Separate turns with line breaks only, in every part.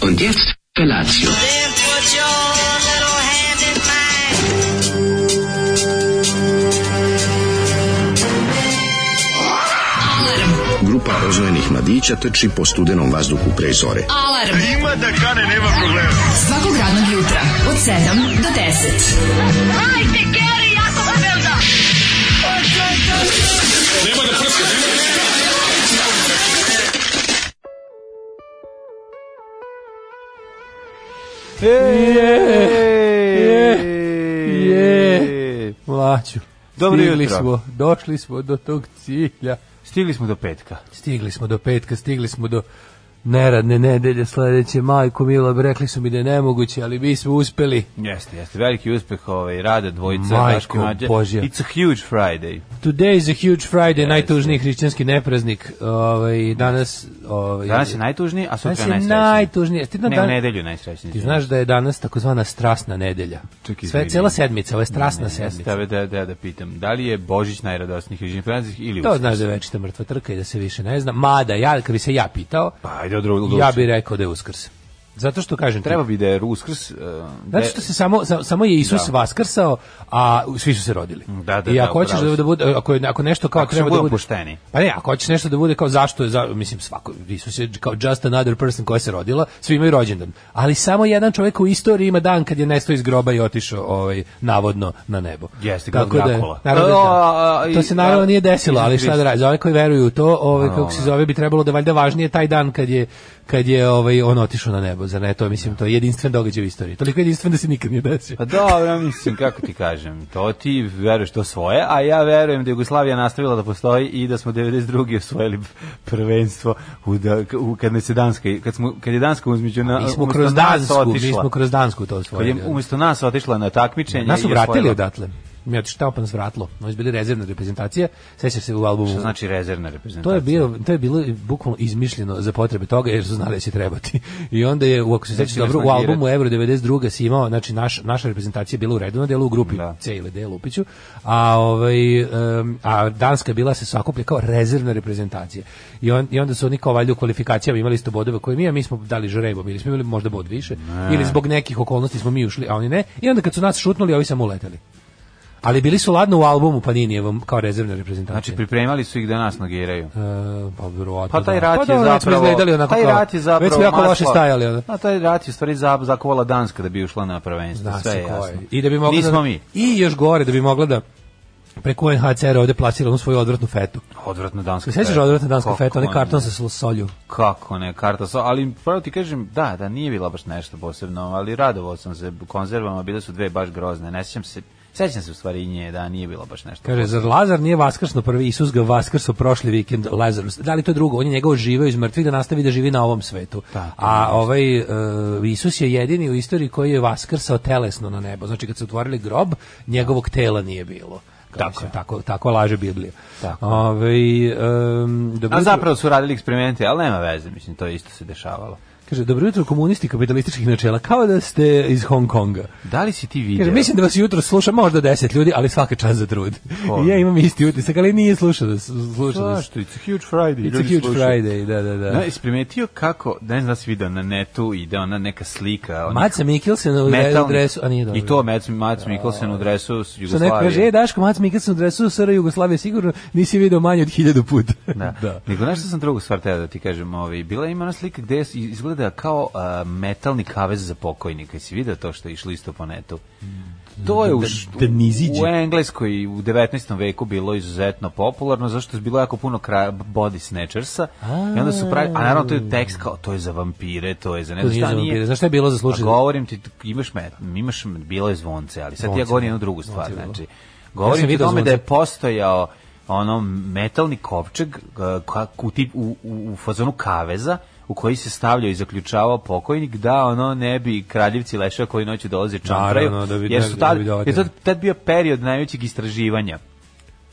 Und jetzt Felatio.
Then put your little hand in mine.
Grupa oznojenih mladića trči po studenom vazduhu pre zore.
Alarm. Ima da kane, nema problema. Svakog radnog jutra, od 7 do 10.
Je.
Mlađu.
Dobro
stigli
jutro.
smo, došli smo do tog cilja.
Stigli smo do petka.
Stigli smo do petka, stigli smo do neradne nedelje sledeće. Majko Mila, rekli su mi da je nemoguće, ali mi smo uspeli.
Jeste, jeste. Veliki uspeh ovaj, rada dvojica.
Majko
Daško i Mlađe.
Božja.
It's a huge Friday.
Today is a huge Friday, najtužniji hrišćanski nepraznik. Ovaj, danas, ovaj,
Danas je najtužniji, a sutra je
danas je
najsrećniji.
najtužniji. Jesi ti na
Ne, u
dan-
nedelju najsrećniji.
Ti znaš da je danas takozvana strasna nedelja.
Čekaj,
Sve,
izvini.
cela sedmica, ovo je strasna
Jeste,
sedmica.
da, da, da pitam. Da li je Božić najradosnijih ili Francuskih ili
To
Uskrs?
znaš da je večita mrtva trka i da se više ne zna. Mada, ja, kad bi se ja pitao,
Pa, ajde od drugog.
ja bih rekao da je uskrs. Zato što kažem ti,
Treba bi da je Uskrs... Uh, da
Zato što se samo sa- samo je Isus
Da.
vaskrsao, a svi su se rodili.
Da, da,
I
da,
ako hoćeš
upravo si.
da, da bude ako je- ako nešto kao
Ako smo
treba da
budemo
bude
pošteni.
Pa ne, ako hoćeš nešto da bude kao zašto je za, mislim svako Isus je kao just another person koja se rodila, svi imaju rođendan. Ali samo jedan čovjek u istoriji ima dan kad je nestao iz groba i otišao ovaj navodno na nebo.
Jeste, kao
Tako da, je-
Drakula.
naravno,
O,
da.
a, i-
to se naravno
a,
nije desilo, ali
Isus
šta da radi, za ove koji veruju u to, ovaj kako
ono.
se zove bi trebalo da je valjda važnije taj dan kad je kad je ovaj on otišao na nebo, zar ne? To je, mislim to je jedinstven događaj u istoriji. Toliko jedinstven da se nikad nije desio.
Pa dobro, mislim, kako ti kažem, to ti veruješ to svoje, a ja verujem da je Jugoslavija nastavila da postoji i da smo 92. osvojili prvenstvo u, da, u kad nas je Danska, kad, smo, kad je Danska uzmeđu na,
Mi smo
umjesto
kroz
nas
Dansku, mi
otišla,
smo kroz Dansku to
kad je
osvojili.
umjesto nas otišla na takmičenje.
Nas su
i
vratili
osvojila-
odatle. Mi je otišao tamo pa nas vratilo. Oni su bili rezervna reprezentacija. Sećaš se u albumu.
Što znači rezervna
To
reprezentacija.
je bilo to je bilo bukvalno izmišljeno za potrebe toga jer su znali da će trebati. I onda je u- ako se sećaš
će nas
dobro u
nagirati.
albumu Euro 92 si imao znači naš, naša reprezentacija je bila u redu na delu u grupi
Da.
C ili D Lupiću, a ovaj em, a danska je bila se sakuplja kao rezervna reprezentacija. I, on, i onda su oni kao valjda u kvalifikacijama imali isto bodove koje mi, a mi smo dali žrebo, bili smo imali možda bod više ili zbog nekih okolnosti smo mi ušli, a oni ne. I onda kad su nas šutnuli, ovi samo uleteli. Ali bili su ladno u albumu pa Paninijevom kao rezervna reprezentacija.
Znači, pripremali su ih da nas nagiraju.
E, pa verovatno.
Pa taj
da.
rat je
dobro, već smo
zapravo...
izgledali onako
taj
kao-
rat je zapravo...
Već smo jako
masla-
loše stajali. Ono.
A taj rat je u stvari za- zakovala Danska da bi ušla na prvenstvo.
Zna
Sve
se
je
ko je.
jasno.
I da bi mogla
Nismo
da,
mi.
I još gore da bi mogla da preko NHCR ovde plasira onu svoju odvratnu fetu.
Odvratno danska
Se sećaš
feta.
odvratne danske fete,
Kako
onaj karton
ne?
sa sol- solju.
Kako ne, karta sa... Ali pravo ti kažem, da, da, nije bila baš nešto posebno, ali radovao sam se konzervama, bile su dve baš grozne. Ne sećam se, sećam se u stvari i nje, da, nije bila baš nešto.
Kaže, zar Lazar nije vaskrsno prvi, Isus ga vaskrso prošli vikend, Lazarus. Da li to je drugo? On je njegov živeo iz mrtvih da nastavi da živi na ovom svetu.
Tako.
A ovaj, e, Isus je jedini u istoriji koji je vaskrsao telesno na nebo. Znači, kad su otvorili grob, njegovog tela nije bilo. Kao,
Tako
mislim,
je.
tako, tako laže Biblija.
Tako.
Ovaj, em, dobro
A
jutro-
zapravo su radili eksperimente, ali nema veze, mislim, to isto se dešavalo.
Kaže, dobro jutro komunisti kapitalističkih načela, kao da ste iz Hong Konga.
Da li si ti
Kaže,
vidio?
mislim da vas jutro sluša možda 10 ljudi, ali svaka čast za trud.
Ko?
I ja imam isti utisak, ali nije slušao da slušao da
Zašto? It's a huge Friday.
It's a huge Friday, da, da, da.
Da, jesi primetio kako, ne znam da si video na netu ide ona neka slika. onih
Maca Mikkelsen u dre- u
metalnih-
dresu, a nije dobro.
I to Mac, Mac Mikkelsen u dresu s
Što neko kaže,
Jugoslavije.
e, Daško, Mac Mikkelsen u dresu SR Jugoslavije, sigurno nisi video manje od hiljadu puta.
Da. Nego znaš što sam drugu stvar teo da ti kažem, ovaj, bila ima ona slika gde je- izgleda kao a, metalni kavez za pokojnika. Jesi vidio to što je išlo isto po netu? To je u, š-
da niziđe.
u Engleskoj u 19. veku bilo izuzetno popularno, zašto je bilo jako puno kra, body snatchersa. I onda su pravi, a naravno to je tekst kao, to je za vampire, to je za ne
To
znam
nije
šta
za
nije. Pa
vampire. Znaš šta je bilo za slučaj?
A govorim ti, imaš, me, imaš bilo je zvonce, ali sad ti ja
Zvonce,
govorim
da.
jednu drugu stvar.
Zvonce je bilo.
Znači,
Ja sam
govorim ti
video
o tome da je
zvonce.
postojao ono metalni kopčeg uh, ka- u, tip- u, u, u fazonu kaveza u koji se stavljao i zaključavao pokojnik da ono ne bi kraljevci leševa koji noću dolaze čampraju
Naravno, da bi-
jer
da-
su
da
tad,
bi dovatili.
jer tad, tad bio period najvećeg istraživanja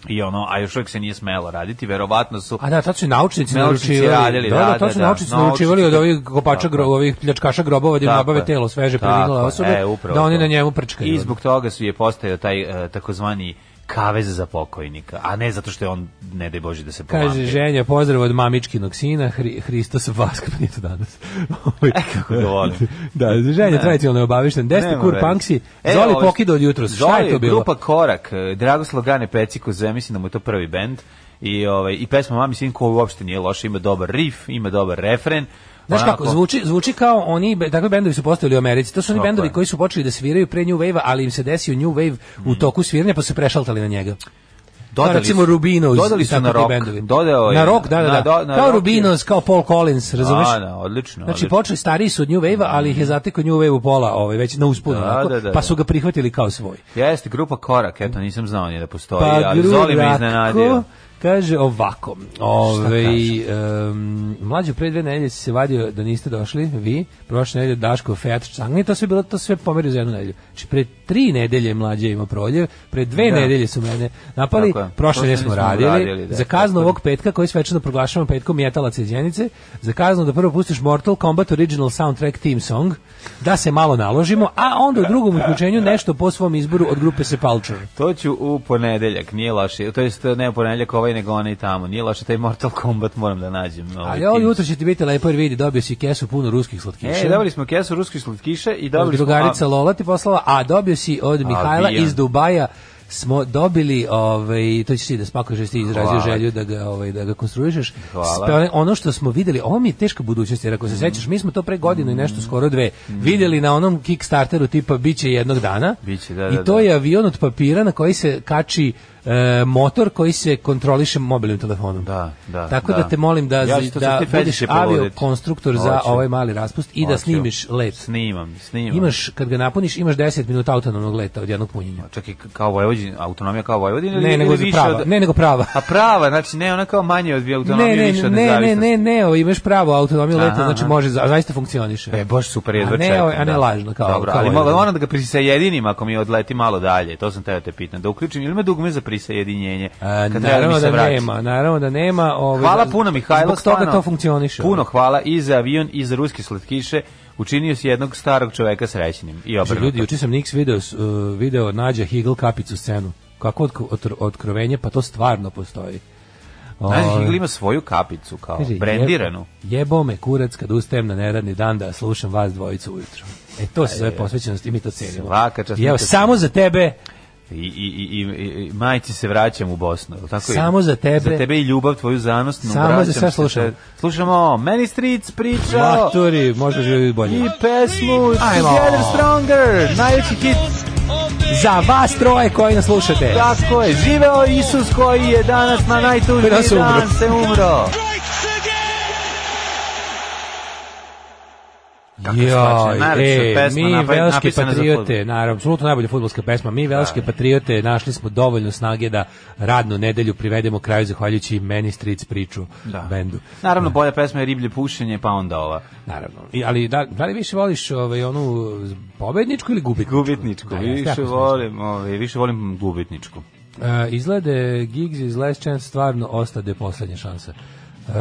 i ono, a još uvijek se nije smelo raditi, verovatno su
A da, tad su i naučnici
Naučnici
naručivali.
radili,
da,
da,
da, tad
da,
su
da.
naučnici
Naučnici
naručivali od
to-
ovih kopača,
Tako
gro,
je.
ovih pljačkaša grobova da im
Tako
nabave
je.
telo sveže
Tako
preminule
je,
osobe,
e, upravo
da oni
to.
na njemu prčkaju.
I zbog toga su je postao taj e, takozvani kavez za pokojnika, a ne zato što je on, ne daj Bože, da se povampi.
Kaže ženja, pozdrav od mamičkinog sina, Hri, Hristos Vaska, pa nije to danas. Ovaj,
E, kako ga volim.
da, ženja, tradicionalno je obavišten. Deste
Nema
kur
veze.
Panksi,
E,
Zoli
ovo-
Pokida od jutros. Šta
Zoli,
je to bilo?
Grupa Korak, eh, Dragoslav Gane Peciko, ja mislim da mu je to prvi bend. I, ovaj, I pesma Mami Sin koja uopšte nije loša, ima dobar riff, ima dobar refren.
Znaš kako,
Onako-
zvuči, zvuči kao oni, be- takvi bendovi su postojali u Americi, to su oni
Tako
bendovi
je.
koji su počeli da sviraju pre New Wave-a, ali im se desio New Wave u toku sviranja, pa su se prešaltali na njega. Dodali recimo
Mm. su-
Rubinos.
dodali
i
su
tako
na
ti
rock.
bendovi.
Dodao je,
na rock, da, da,
na
da.
do- na
kao
rock je-
Rubinos, kao Paul Collins, razumeš?
A, da, odlično.
Znači,
odlično.
počeli stariji su od New Wave-a, ali ih je zateko New Wave u pola, ovaj, već na uspunu,
Mm. Da,
onako,
da, da,
pa
da.
su ga prihvatili kao svoj.
Jeste, grupa Korak, eto, nisam znao nije da postoji, ali
gru,
Zoli me
Pa Ratko
iznenadio.
Kaže ovako, ovaj, um, mlađo pre dve nedelje si se vadio da niste došli, vi, prošle nedelje Daško, Fiat, Čangni, to sve bilo, to sve pomerio za jednu nedelju. Znači pre tri nedelje mlađe ima proljev, pre dve
Da.
nedelje su mene napali,
Tako je.
prošle nedelje smo radili,
da.
za kaznu
Tako je.
ovog petka koji svečano proglašavamo petkom Jetalac i Đenice, za kaznu da prvo pustiš Mortal Kombat Original Soundtrack Team Song, da se malo naložimo, a onda u drugom uključenju nešto po svom izboru od grupe Sepulture.
To ću u ponedeljak, nije loše. To jest ne u ponedeljak ovaj nego onaj tamo. Nije loše taj Mortal Kombat moram da nađem. ovaj,
Ali ovo
tim.
ja, jutro će ti biti lepo jer vidi, dobio si kesu puno ruskih slatkiša.
E, dobili smo kesu ruskih slatkiša i
Od
dobili smo...
drugarica Lola ti poslala, a dobio si od Mihajla
Avijan.
iz Dubaja smo dobili ovaj to ćeš ti da spakuješ jer si ti izrazio
Hvala.
želju da ga ovaj da ga konstruišeš.
Hvala. Mm.
Spe- ono što smo videli, ovo mi je teška budućnost jer ako se sećaš, mi smo to pre godinu i nešto skoro dve videli na onom Kickstarteru tipa biće jednog dana.
Biće, da,
I
da,
to
da.
je avion od papira na koji se kači e, motor koji se kontroliše mobilnim telefonom.
Da, da,
Tako da,
da.
te molim da
Ja
za-
ću to
da
sad te
budeš
fetiše
avio
poluditi.
konstruktor za
Hoću.
ovaj mali raspust i da
Hoću.
snimiš lep.
Snimam, snimam.
Imaš, kad ga napuniš, imaš 10 minuta autonomnog leta od jednog punjenja.
Čak i kao Vojvodin, autonomija kao Vojvodin ili,
Ne, nego
ili
za
više
prava.
od...
Ne, nego prava.
A prava, znači ne ona kao manje od
Ne,
autonomije,
ne,
više od
ne, ne,
nezavisnosti.
ne, ne, ovo, imaš pravo autonomiju
Aha,
leta, znači
aha.
može, za- zaista funkcioniše.
E, baš super, jedva
A ne,
čekam,
ovaj, a ne
da.
lažno, kao-
Dobro,
kao
ali
ovaj.
moram moram da ga prisajedinim ako mi odleti malo dalje, to sam teo te pitan, da uključim, ili ima dugme za prisajedinjenje?
A,
kad treba mi
E, naravno
se
da
vrati?
nema, naravno da nema. Ovaj,
Hvala
za-
puno Mihajlo.
Zbog toga
stvarno.
to funkcioniše. ono.
Puno hvala i za avion i za ruski slatkiše. Učinio si jednog starog čoveka srećnim. I
Znači,
obrnuto.
ljudi, juče sam Nix video, s- uh, video Nađa Higl kapicu scenu. Kako otk- otr- otkrovenje, pa to stvarno postoji.
Znaš,
Ovaj,
Higl ima svoju kapicu, kao
Kaže,
Pa, brendiranu.
Jebo, jebo me kurac kad ustajem na neradni dan da slušam vas dvojicu ujutru. E to se zove posvećenost i mi to cenimo.
Svaka čast,
I evo,
mi to
samo za tebe,
I, i, i, i, i- i majci se vraćam u Bosnu. jel Tako je?
Samo za tebe.
Za tebe i ljubav tvoju zanosnu.
Samo za
vraćam
sve
se
slušamo.
te- Slušamo Many Streets pričao.
maturi, možda živjeti bolje.
I pesmu
Ajmo.
Together Stronger. Najveći hit.
Za vas troje koji nas slušate.
Tako je. Živeo Isus koji je danas na najtužniji
Danas je umro.
dan se umro. kako
Joj,
svačije, najlepša
e,
pesma
mi
napravi-
velške
napisana za fudbal.
patriote, naravno, apsolutno najbolja fudbalska pesma. Mi velške patriote našli smo dovoljno snage da radnu nedelju privedemo kraju zahvaljujući meni stric priču bendu.
Naravno, bolja pesma je Riblje pušenje, pa onda ova.
Naravno. I, ali da, da li više voliš ovaj, onu pobedničku ili gubitničku?
Gubitničku,
Da, jeste, jako
više
smešno.
volim, ovaj, više volim gubitničku.
E, izglede Giggs iz Last Chance stvarno ostade poslednja šansa. E,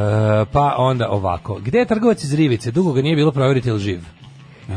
pa onda ovako. Gde je trgovac iz Rivice? Dugo ga nije bilo provjeriti ili živ.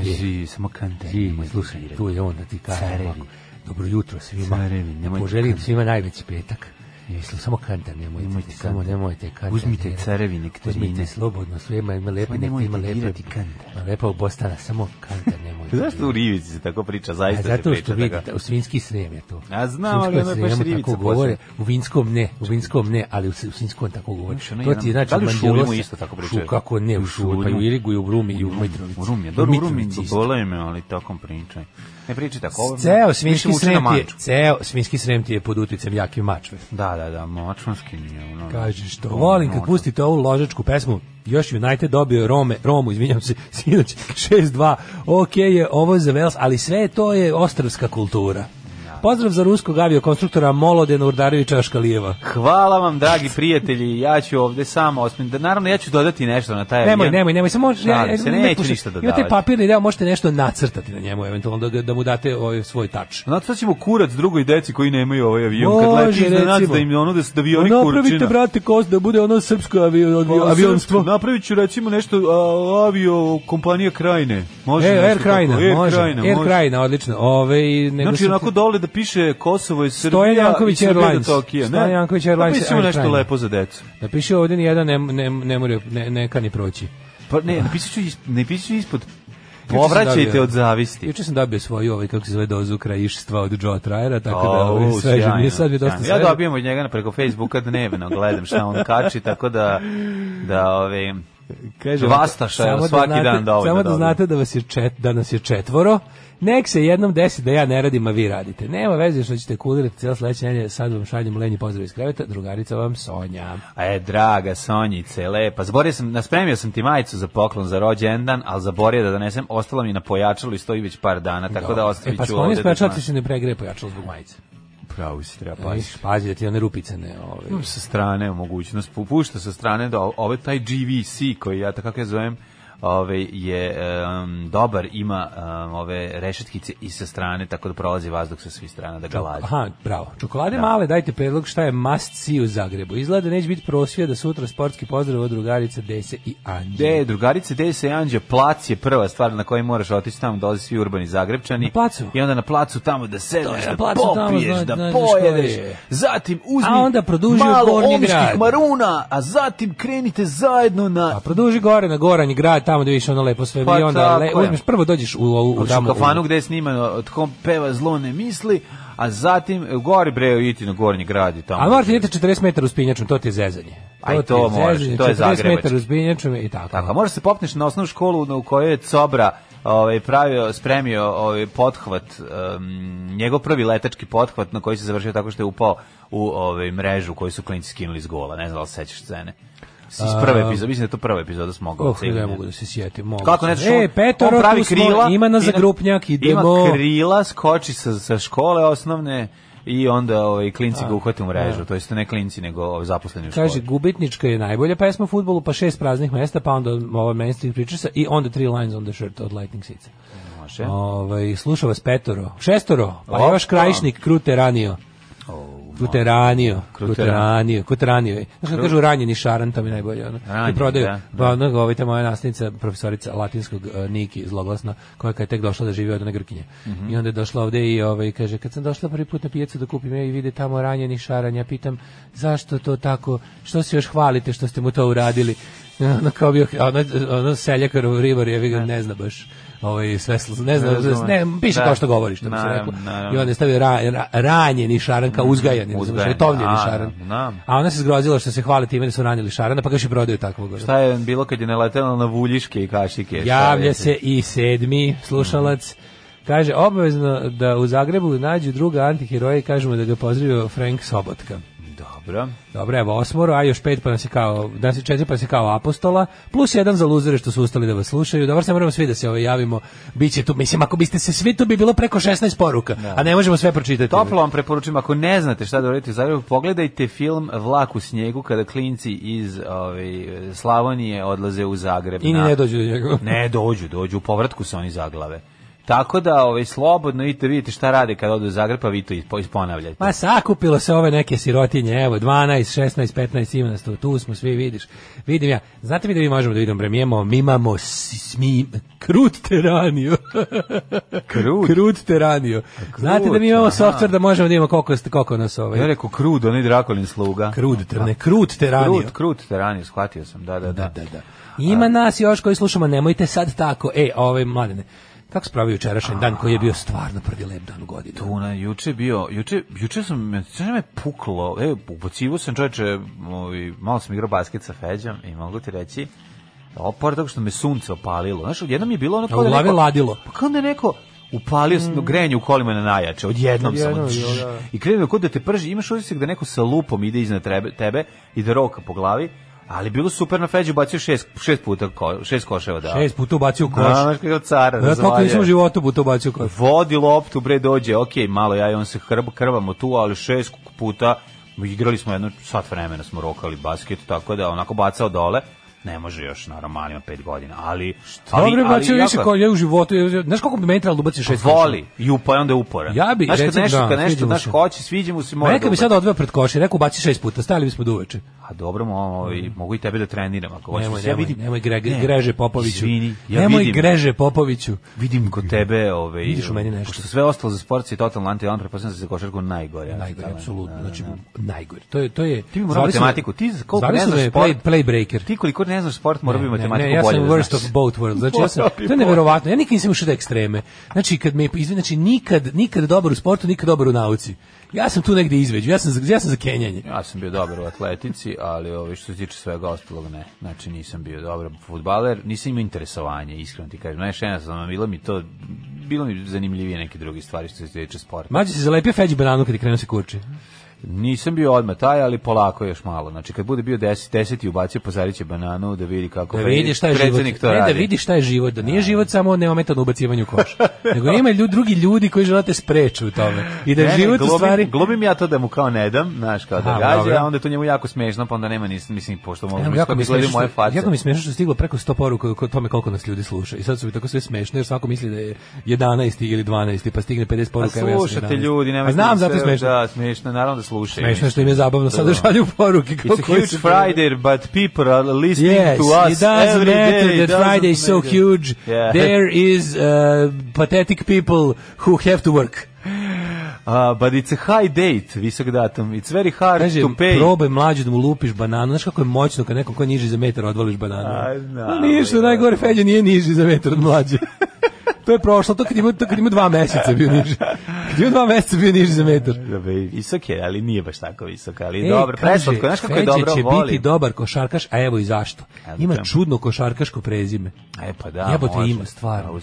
Ži, E, samo kante.
Ti, slušaj, tu je on da ti kaže
Carevi.
ovako. Dobro jutro svima.
Carevi, nemojte
Poželim
kantar.
svima najveći petak. Jesli, samo kantar nemojte,
Nemojte
samo
kantar.
nemojte kantar.
Uzmite
ne-
carevi nektarine.
Uzmite slobodno, sve ima, ima lepe,
Samo
nektar, ima
Pa nemojte
lepe,
dirati kantar.
ima lepa obostana, samo kantar nemojte.
Zašto u Rivici se tako priča,
A
zaista se
E, zato što
priča
vidite,
tako?
u svinski srem je to.
A znam, ali
U
ono je baš
sremu
ribica
tako govore,
posebno.
u vinskom ne, u vinskom ne, ali u, s- u svinskom tako govore.
Znaš, ono
To
jedan-
ti je znači
da li u Šulimu
Mandilosa-
isto tako pričaju?
Šu, kako ne, u
U
Šuli, pa i u
Šulinu.
Irigu i u Brumi i u Mitrovici.
U Rum je, dobro, u Rum je,
Mitrovici isto.
bolo me, ali tokom pričaj. Ne pričaj tako. ovo-
Ceo
više
svinski
vuče na
srem ti je,
manču.
ceo svinski srem ti je pod uticajem jake mačve.
Da, da, da, močvanski mi je ono.
Kaže što volim kad
Ono,
pustite ovu ložačku pesmu. Još United dobio Rome, Romu, izvinjam se, sinoć 6-2. Ok je ovo za Wales, ali sve to je ostravska kultura. Pozdrav za ruskog aviokonstruktora Molodena Urdarevića Škalijeva.
Hvala vam, dragi prijatelji, ja ću ovde samo osmin... Da, naravno, ja ću dodati nešto na taj avion.
Nemoj, nemoj, nemoj, samo
Šalim se, neću ništa dodavati.
Imate papirni deo, možete nešto nacrtati na njemu eventualno da, ga- da mu date ovaj svoj tač.
Znate, sad ćemo kurac drugoj deci koji nemaju ovaj avion. Kad leti iznenad da im je ono da se da vi oni
Pa Napravite,
kurčina.
brate, kost da bude ono srpsko avio, avio,
Pa,
avionstvo.
srpsko, Napravit ću recimo nešto a, avio kompanija Krajne. Može
E,
nešto
Air
tako.
Krajina, može.
Krajina,
Air
može.
Krajina, odlično. Ove, i nego
Znači,
su-
onako dole da piše Kosovo i Srbija.
Stojan Janković
i Srbija do
Airlines.
Tokija, ne?
Stojan Janković Airlines
Napišemo nešto
Airline.
lepo za decu.
Napiši ovdje nijedan ne, ne, ne, more, ne, ne kani proći.
Pa ne, napisat ću, isp- napisat ću ispod.
sam
Povraćajte
dobio-
od zavisti.
Juče sam dobio svoju, ovaj, kako se zove, dozu krajištva od Joe Trajera, tako da
Pa, O,
ovaj, sveže,
sjajno,
mi je sad mi je dosta
sjajno.
sveže.
Ja dobijem od njega na preko Facebooka dnevno, gledam šta on kači, tako da, da ove,
Kaže,
Vastaša,
samo
evo, svaki
znate,
dan ovaj dovoljno
Samo da
dobro.
znate da, vas je čet, da nas je četvoro, nek se jednom desi da ja ne radim, a vi radite. Nema veze što ćete kulirati cijelo sledeće nedelje, sad vam šaljem lenji pozdrav iz kreveta, drugarica vam Sonja.
E, draga Sonjice, lepa. Zaborio sam, naspremio sam ti majicu za poklon za rođendan, ali zaborio da donesem. Ostala mi na pojačalu i stoji već par dana, tako da
e,
ostavit
pa
ću
skloni
ovde. da
spačala ti
znaš.
se ne pregreje pojačalo zbog majice.
Pravo si treba
Pa,
paziti.
pazi da ti one rupice ne... Ovaj.
Imam sa strane mogućnost, pu- pušta sa strane da o- ovaj taj GVC koji ja tako ja zovem ove, je em, dobar, ima em, ove rešetkice i sa strane, tako da prolazi vazduh sa svih strana da ga lađe.
Aha, bravo. Čokolade male, dajte predlog šta je must see u Zagrebu. Izgleda da neće biti prosvija da sutra sportski pozdrav od drugarica Dese i Anđe.
De, drugarice, gde se Anđe, plac je prva stvar na kojoj moraš otići tamo, dolaze svi urbani zagrebčani.
Na placu?
I onda na placu tamo da sedneš,
je na
da
placu tamo,
popiješ,
zna-
da
znaš što
pojedeš,
je.
zatim uzmi
A onda produži u
malo
Gornji
omskih
grad.
maruna, a zatim krenite zajedno na
A Pa, produži gore na Goranji grad, tamo da vidiš ono lepo sve.
Pa
I onda le,
tako je.
uzmeš, prvo dođeš u, u, u,
u
tamo,
kafanu
u-
gde je snimano tko peva zlo ne misli, a zatim e, gori bre idite na gornji grad i tamo.
A morate idete 40 metara uspinjačom, to ti je zezanje.
Aj,
ti
to moraš,
zezanje,
to je
40 metara
zagrebački.
uspinjačom i tako.
Tako, a možeš se popneš na osnovnu školu na- u kojoj je Cobra ovaj, pravio, spremio ovaj, pothvat, em, njegov prvi letački pothvat na koji se završio tako što je upao u ovaj, mrežu koju su klinci skinuli iz gola. Ne znam da li se sećaš scene. Iz prve epizode, mislim da je to prva epizoda s mogao.
Oh, ne mogu da se sjetim. mogu
Kako
se-
ne znaš,
E,
on-
Petor,
on pravi krila,
ima nas za
ide-
grupnjak, idemo.
Ima krila, skoči sa, sa škole osnovne i onda ovaj, klinci ga uhvate u mrežu. To jest ne klinci, nego ovaj, zaposleni u školi.
Kaže, gubitnička je najbolja pesma u futbolu, pa šest praznih mesta, pa onda ova Main Street Preachers i onda three lines on the shirt od Lightning Seeds.
Može.
Ovaj, sluša vas petoro. Šestoro, pa je
E. Opa.
vaš krajišnik krute ranio. Krute ranio, krute ranio, krute ranio. Znaš kad kažu ranjeni šaran, to mi je najbolje. Ono.
Ranjeni,
I prodaju,
da,
pa onog, ovaj, ta moja nastavnica, profesorica latinskog, eh, Niki, zloglasna, koja kad je tek došla da živi od one Grkinje.
Mhm.
I onda je došla ovde i ovaj, kaže, kad sam došla prvi put na pijacu da kupim ja i vide tamo ranjeni šaran, ja pitam, zašto to tako, što se još hvalite što ste mu to uradili? I Ono kao bio, ono, ono seljakarov ribar, ja ga ne zna baš ovaj, sve, sl- ne zna,
razumem.
ne, piše
Da.
kao što govoriš, što bi se
Naravno,
reklo.
naravno.
I onda je stavio ra, ra, ranjeni šaran kao uzgajan,
uzgajan,
tovljeni
Mm, a,
šaran.
da.
A ona se zgrozila što se hvali time da su ranili šarana, pa ga još i prodaju takvog. ono.
Šta je bilo kad je naletela na vuljiške i kašike? Šta
Javlja
je? Mm.
se i sedmi slušalac. Kaže, obavezno da u Zagrebu nađu druga antiheroja i kažemo da ga pozdravio Frank Sobotka.
Dobro.
Dobro, evo osmoro, a još pet pa nas je kao, nas je četiri pa nas je kao apostola, plus jedan za luzere što su ustali da vas slušaju. Dobro, sad moramo svi da se ovaj javimo. Biće tu, mislim, ako biste se svi, tu bi bilo preko 16 poruka, a ne možemo sve pročitati.
Toplo vam preporučujem, ako ne znate šta da uradite u Zagrebu, pogledajte film Vlak u snijegu kada klinci iz ovaj, Slavonije odlaze u Zagreb.
I ni
na-
ne dođu do njega.
Ne, dođu, dođu, u povratku se oni zaglave. Tako da, ovaj, slobodno idite, vidite šta rade kada odu u Zagreb, pa vi to ispo- isponavljajte.
Ma sakupilo se ove neke sirotinje, evo 12, 16, 15 ima nas tu, tu smo svi, vidiš. Vidim ja, znate vi da mi možemo da vidimo, bre, mi imamo, mi imamo, s- s- mi, krut teranio.
Krut?
krut teranio. Znate da mi imamo
aha.
softver da možemo da imamo koliko, ste- koliko nas ove.
Ja rekao krud, onaj Drakolin sluga.
Krut, ter- ne, krut teranio.
Krut, krut, te ranije, shvatio sam, da, da, da.
da, da. Ima nas još koji slušamo, nemojte sad tako. E, ove mladene, kako se pravi jučerašnji dan koji je bio stvarno prvi lep dan u godinu?
Tuna, juče je bio, juče, juče sam, me- znaš da me puklo, e, ubocivo sam čoveče, ovaj, malo sam igrao basket sa Feđom i mogu ti reći, o, pored toga što me sunce opalilo, znaš, odjednom je bilo ono kao
A u
da
glavi
neko,
ladilo.
Pa kao da je neko upalio mm. grenje u kolima na najjače, odjednom samo
Odjednom,
tš,
jo, da.
i krenuo kod da te prži, imaš utisak da neko sa lupom ide iznad tebe, tebe i da roka po glavi, ali bilo super na Feđu, bacio šest, šest puta, ko, šest koševa da.
Šest puta ubacio u koš.
Da, znaš kako cara,
Ja toliko nisam u
razvalio.
životu puta ubacio u koš.
vodi loptu, bre, dođe, ok, malo ja i on se hrb, krvamo tu, ali šest puta igrali smo jedno sat vremena, smo rokali basket, tako da onako bacao dole, ne može još, naravno, mali ima pet godina, ali... Šta
Dobro, bacio više kolja u životu. ja- ja- Znaš koliko bi meni trebalo da ubaci šest
Voli, i upa pa je onda uporan.
Ja bi,
znaš, kad
recimo,
nešto,
da,
kad
sviđa
nešto,
mu
znaš,
se.
hoće, sviđa mu se, mora
Neka
da
bi
ubaci.
sad odveo pred koš i rekao baci šest puta, stajali bismo do uveče.
A dobro, mo, i mogu i tebe da treniram ako hoćeš.
Nemoj,
ja
nemoj,
vidim,
nemoj gre,
Ne,
greže Popoviću.
Izvini, ja
nemoj
vidim,
greže Popoviću.
vidim kod tebe, ovaj,
Vidiš u meni nešto.
Pošto sve ostalo za sport si totalno anti-on, prepostavljam da se košarku najgore.
Najgore,
talent.
apsolutno.
Da, da,
Znači,
da.
najgore. To je, to je...
Ti bi morao
zvali su me-
matematiku, ti za koliko
zvali
ne
su
znaš
me
sport-
play, playbreaker.
Ti koliko ne znaš sport, mora bi matematiku
ja
bolje
sam
da
worst
znaš.
of both worlds. Znači, ja sam,
Morao bi
to je
bolje.
neverovatno. Ja nikad nisam ušao do ekstreme. Znači, kad me, izvin, znači, nikad, nikad dobar u sportu, nikad dobar u nauci. Ja sam tu negde izveđu, ja sam, za- ja sam za kenjanje.
Ja sam bio dobar u atletici, ali ovi što se tiče svega ostalog ne. Znači nisam bio dobar fudbaler, nisam imao interesovanje, iskreno ti kažem. Znaš, jedna sam, bilo mi to, bilo mi zanimljivije neke druge stvari što se tiče sporta.
Mađe se zalepio Feđi bananu kad je krenuo se kurči.
Nisam bio odmah taj, ali polako još malo. Znači kad bude bio 10 10 i ubacio pozariće bananu da vidi kako
Da
pre-
vidi šta je
predsednik
život.
to
Ne, da
radi.
vidi šta je život. Da nije život samo neometano ubacivanje u koš. Nego ima ljudi, drugi ljudi koji želate spreču u tome. I da
Ne,
je
ne,
život u
glumim-
stvari...
glumim ja to da mu kao ne dam, znaš, kao da
A,
gađa,
dobro.
a onda je to njemu jako smešno, pa onda nema ni mislim pošto mogu
Evo,
ja,
jako mi
izgledaju
smiješno
moje
što,
face.
jako mi smiješno što je stiglo preko 100 poruka o tome koliko nas ljudi sluša. I sad su mi tako sve smešno jer svako misli da je 11. ili 12. pa stigne 50
A
poruka. evo, ja sam
slušate
11.
ljudi, nemojte
A znam,
da
zato je
se-
smešno.
Da, smešno, naravno da slušaju.
Smešno je što im je zabavno. Sada šalju poruke.
It's a
kako
huge
su-
Friday, but people are listening
Yes,
to us
it
every
doesn't matter
day.
that
Doesn't
Friday is so
matter.
huge.
Yeah.
There is uh, pathetic people who have to work.
Uh, but it's a high date, visok datum. It's very hard
Kaže,
to pay.
probaj mlađe da mu lupiš bananu. Znaš kako je moćno kad nekom ko je niži za metar odvališ bananu.
A, znam,
A nije što je
da.
najgore, Feđa nije niži za metar od mlađe. to je prošlo, to kad ima, to kad ima dva meseca bio niži. Kad ima dva meseca bio niži za metar.
Da, babe, visok je, ali nije baš tako visok, ali
E,
dobro,
kaže,
preslatko, znaš kako je
Feđa
dobro,
će
volim.
biti dobar košarkaš, a evo i zašto.
Evo
Ima
čemu.
čudno košarkaško prezime.
E, pa da,
Jebote
može.
ima stvarno.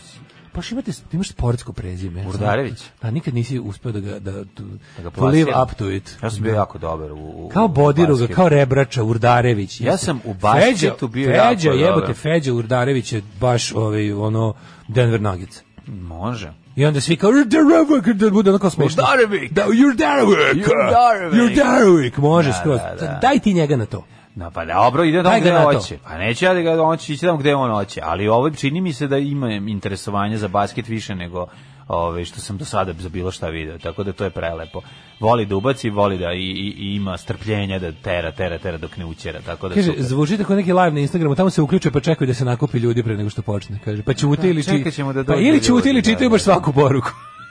Baš imate, imaš sportsko prezime.
Urdarević.
Da, nikad nisi uspeo da ga, da, to,
Da ga
to live
plasiram.
up to it.
Ja sam bio jako dobar u, u
Kao
u
Bodiruga,
basketu.
kao Rebrača, Urdarević.
Ja
jeste.
sam u basketu bio jako
Feđa,
dobar.
jebote, Feđa Urdarević je baš ovaj, ono, Denver Nuggets.
Može.
I onda svi kao Urdarević, da bude onako smešno.
Urdarević!
Da, Urdarević!
Urdarević!
Urdarević! Može
Da,
skroz.
da, da.
Daj ti njega na to.
No pa dobro, ide tamo
Daj ga
gde
na to.
hoće. Pa neće ja da ga on će ići tamo gde on hoće, ali ovo čini mi se da ima interesovanje za basket više nego ove, što sam do sada za bilo šta video, tako da to je prelepo. Voli da ubaci, voli da i, i, i ima strpljenja da tera, tera, tera dok ne učera, tako da
Kaže,
super.
zvučite kao neki live na Instagramu, tamo se uključuje pa čekaju da se nakupi ljudi pre nego što počne. Kaže, pa ćute ili čitaju.
čekat ćemo da
pa
dođu
ili
ljudi,
ćute ili
da,
čitaju
da.
baš svaku poruku.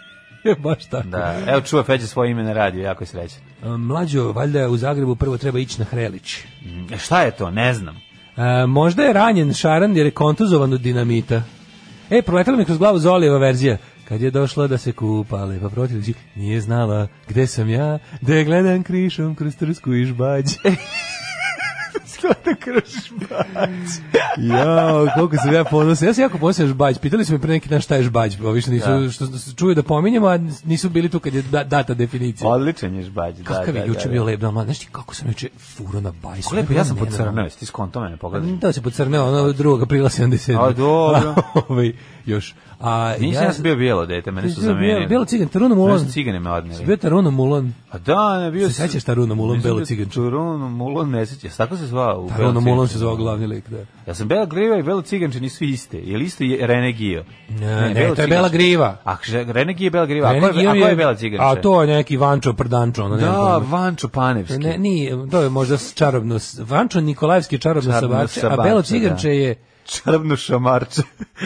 Je baš tako.
Da, evo čuva Feđa svoje ime na radiju, jako je srećan.
Mlađo, valjda u Zagrebu prvo treba ići na Hrelić.
Mm, Šta je to? Ne znam.
E, možda je ranjen Šaran jer je kontuzovan od dinamita. E, proletala mi kroz glavu Zolijeva verzija. Kad je došla da se kupa, lepa protivnici, nije znala gde sam ja, da je gledam krišom kroz trsku i žbađ.
Sklada kroš
Jao, koliko sam ja ponosan. Ja sam jako ponosan na žbađ. Pitali su me pre neki dan šta je žbađ. Ovi što, nisu,
Da.
što su- čuju da pominjemo, a nisu bili tu kad je da- data definicija.
Odličan je žbađ. Da,
Kakav
da,
je
da,
juče
da.
bio lep dan, mlad. Znaš ti kako sam juče furo na bajsu?
Kako Lepo, ja sam pod
Nenadno.
crnove, ti skonto mene pogledaj.
Da se pocrneo, ono 2. aprila 77.
A, dobro.
Ovaj, još. A,
Nisam ja sam bio bijelo dete, mene su
Bio-
zamenili.
Bijelo cigan, Tarunom Ulan.
Znaš, cigane me odneli.
Bio Tarunom Ulan.
A da, ne bio
Se sećaš Tarunom Ulom, Belo Cigan?
Tarunom Ulom ne sećaš, tako se zvao u
Tarunom
Belo
Ulan
Cigan.
se zvao glavni lik, da.
Ja sam Bela Griva i Belo Ciganče nisu iste. Je li isto je Rene Gio?
Ne,
Belo
ne, to je
Ciganče.
Bela Griva.
A že- Rene Gio je Bela Griva, a ko
Meni
je, a ko je
Gio
Bela Ciganče?
A to je neki Vančo Prdančo, ono nema
Da,
pojma.
Vančo Panevski.
Ne, nije, to je možda s- čarobno, s- Vančo Nikolajevski je čarobno,
Čarobno
sabače, a
sabače,
Belo
da.
Ciganče je
Čarobno šamarče.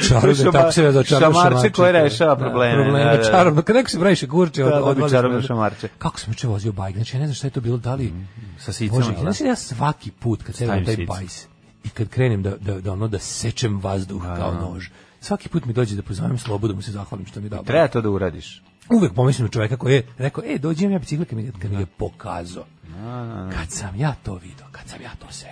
Čarobno, tako se zove čarobno
Šamarče koje rešava
Da,
probleme.
probleme
da, da, da.
čarobno, kad neko se previše kurče,
Da,
od,
da bi
odvali
čarobno
se-
šamarče. Mhm.
Kako sam juče vozio bajk, znači ja ne znam šta je to bilo, da li...
Sa sicama,
Bože,
da.
znači ja svaki put kad sedem na taj
sice.
bajs i kad krenem da, da, da, ono, da sečem vazduh kao nož, svaki put mi dođe da pozovem slobu, da mu se zahvalim što mi je dao.
Treba to da uradiš.
Uvek pomislim na čoveka koji je rekao, e, dođi imam ja bicikl, kad mi, ga- kad mi ga pokazao. Kad sam ja to video, kad sam ja to seo.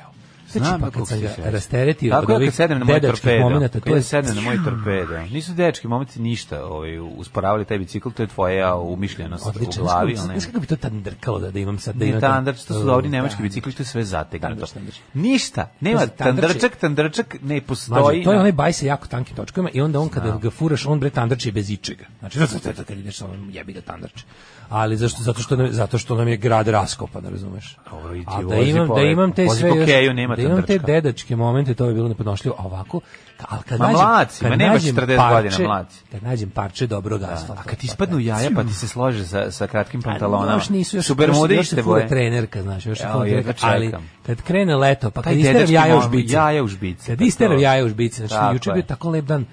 Znam
Znači, pa
kako
kad sam
si
ga
srećan.
rasteretio od
Tako je
ovih
kad sedem na moj
dedačkih
torpedo.
momenta, to
kad
je
ja sedem na moj torpedo. Nisu dečki momci ništa, ovaj usporavali taj bicikl, to je tvoja umišljenost
odlično.
u glavi, ono. al ne.
Znaš kako bi to tandrkalo da, da imam sad... Da
Ne,
imam
tandar,
taj-
to su dobri nemački
Da.
bicikli, to je sve zategnuto.
Tandar, tandar.
Ništa, nema,
Pazi, tandar će-
tandrčak, tandrčak ne
Mlađe,
postoji.
to je
na-
onaj baj sa jako tankim točkama i onda on kada ga furaš, on bre tandarči bez ičega. Znači, zato što kad ideš sa onom jebi ga tandarči. Ali zašto, zato, što nam, zato što nam je grad raskopan, razumeš?
Dobro, idi,
A da
vozi
imam, da
polako.
imam te
Vozi
sve
po
još,
keju, nema
da imam te
drčka.
dedačke momente, to je bilo nepodnošljivo, a ovako, ka- al kad
Ma
nađem,
mlad si,
kad
ma nemaš
nađem
40
parče-
godina, mlad si.
Kad nađem parče dobrog asfalta.
A kad ti ispadnu jaja pa ti ono, se slože sa, sa kratkim pantalonama.
Pa, Još nisu, još,
Su
još,
bermude
još
iste
se fura
boje.
trenerka, znaš, još se
Jao,
fura
jedva
trenerka, ali
čekam.
kad krene leto, pa kad
Taj
isteram
dedački
jaja u
mom-
žbici.
jaja u žbici,
Kad
pa
isteram
to.
jaja u žbici, znači,
Tako
juče je
je.
bio tako lep dan,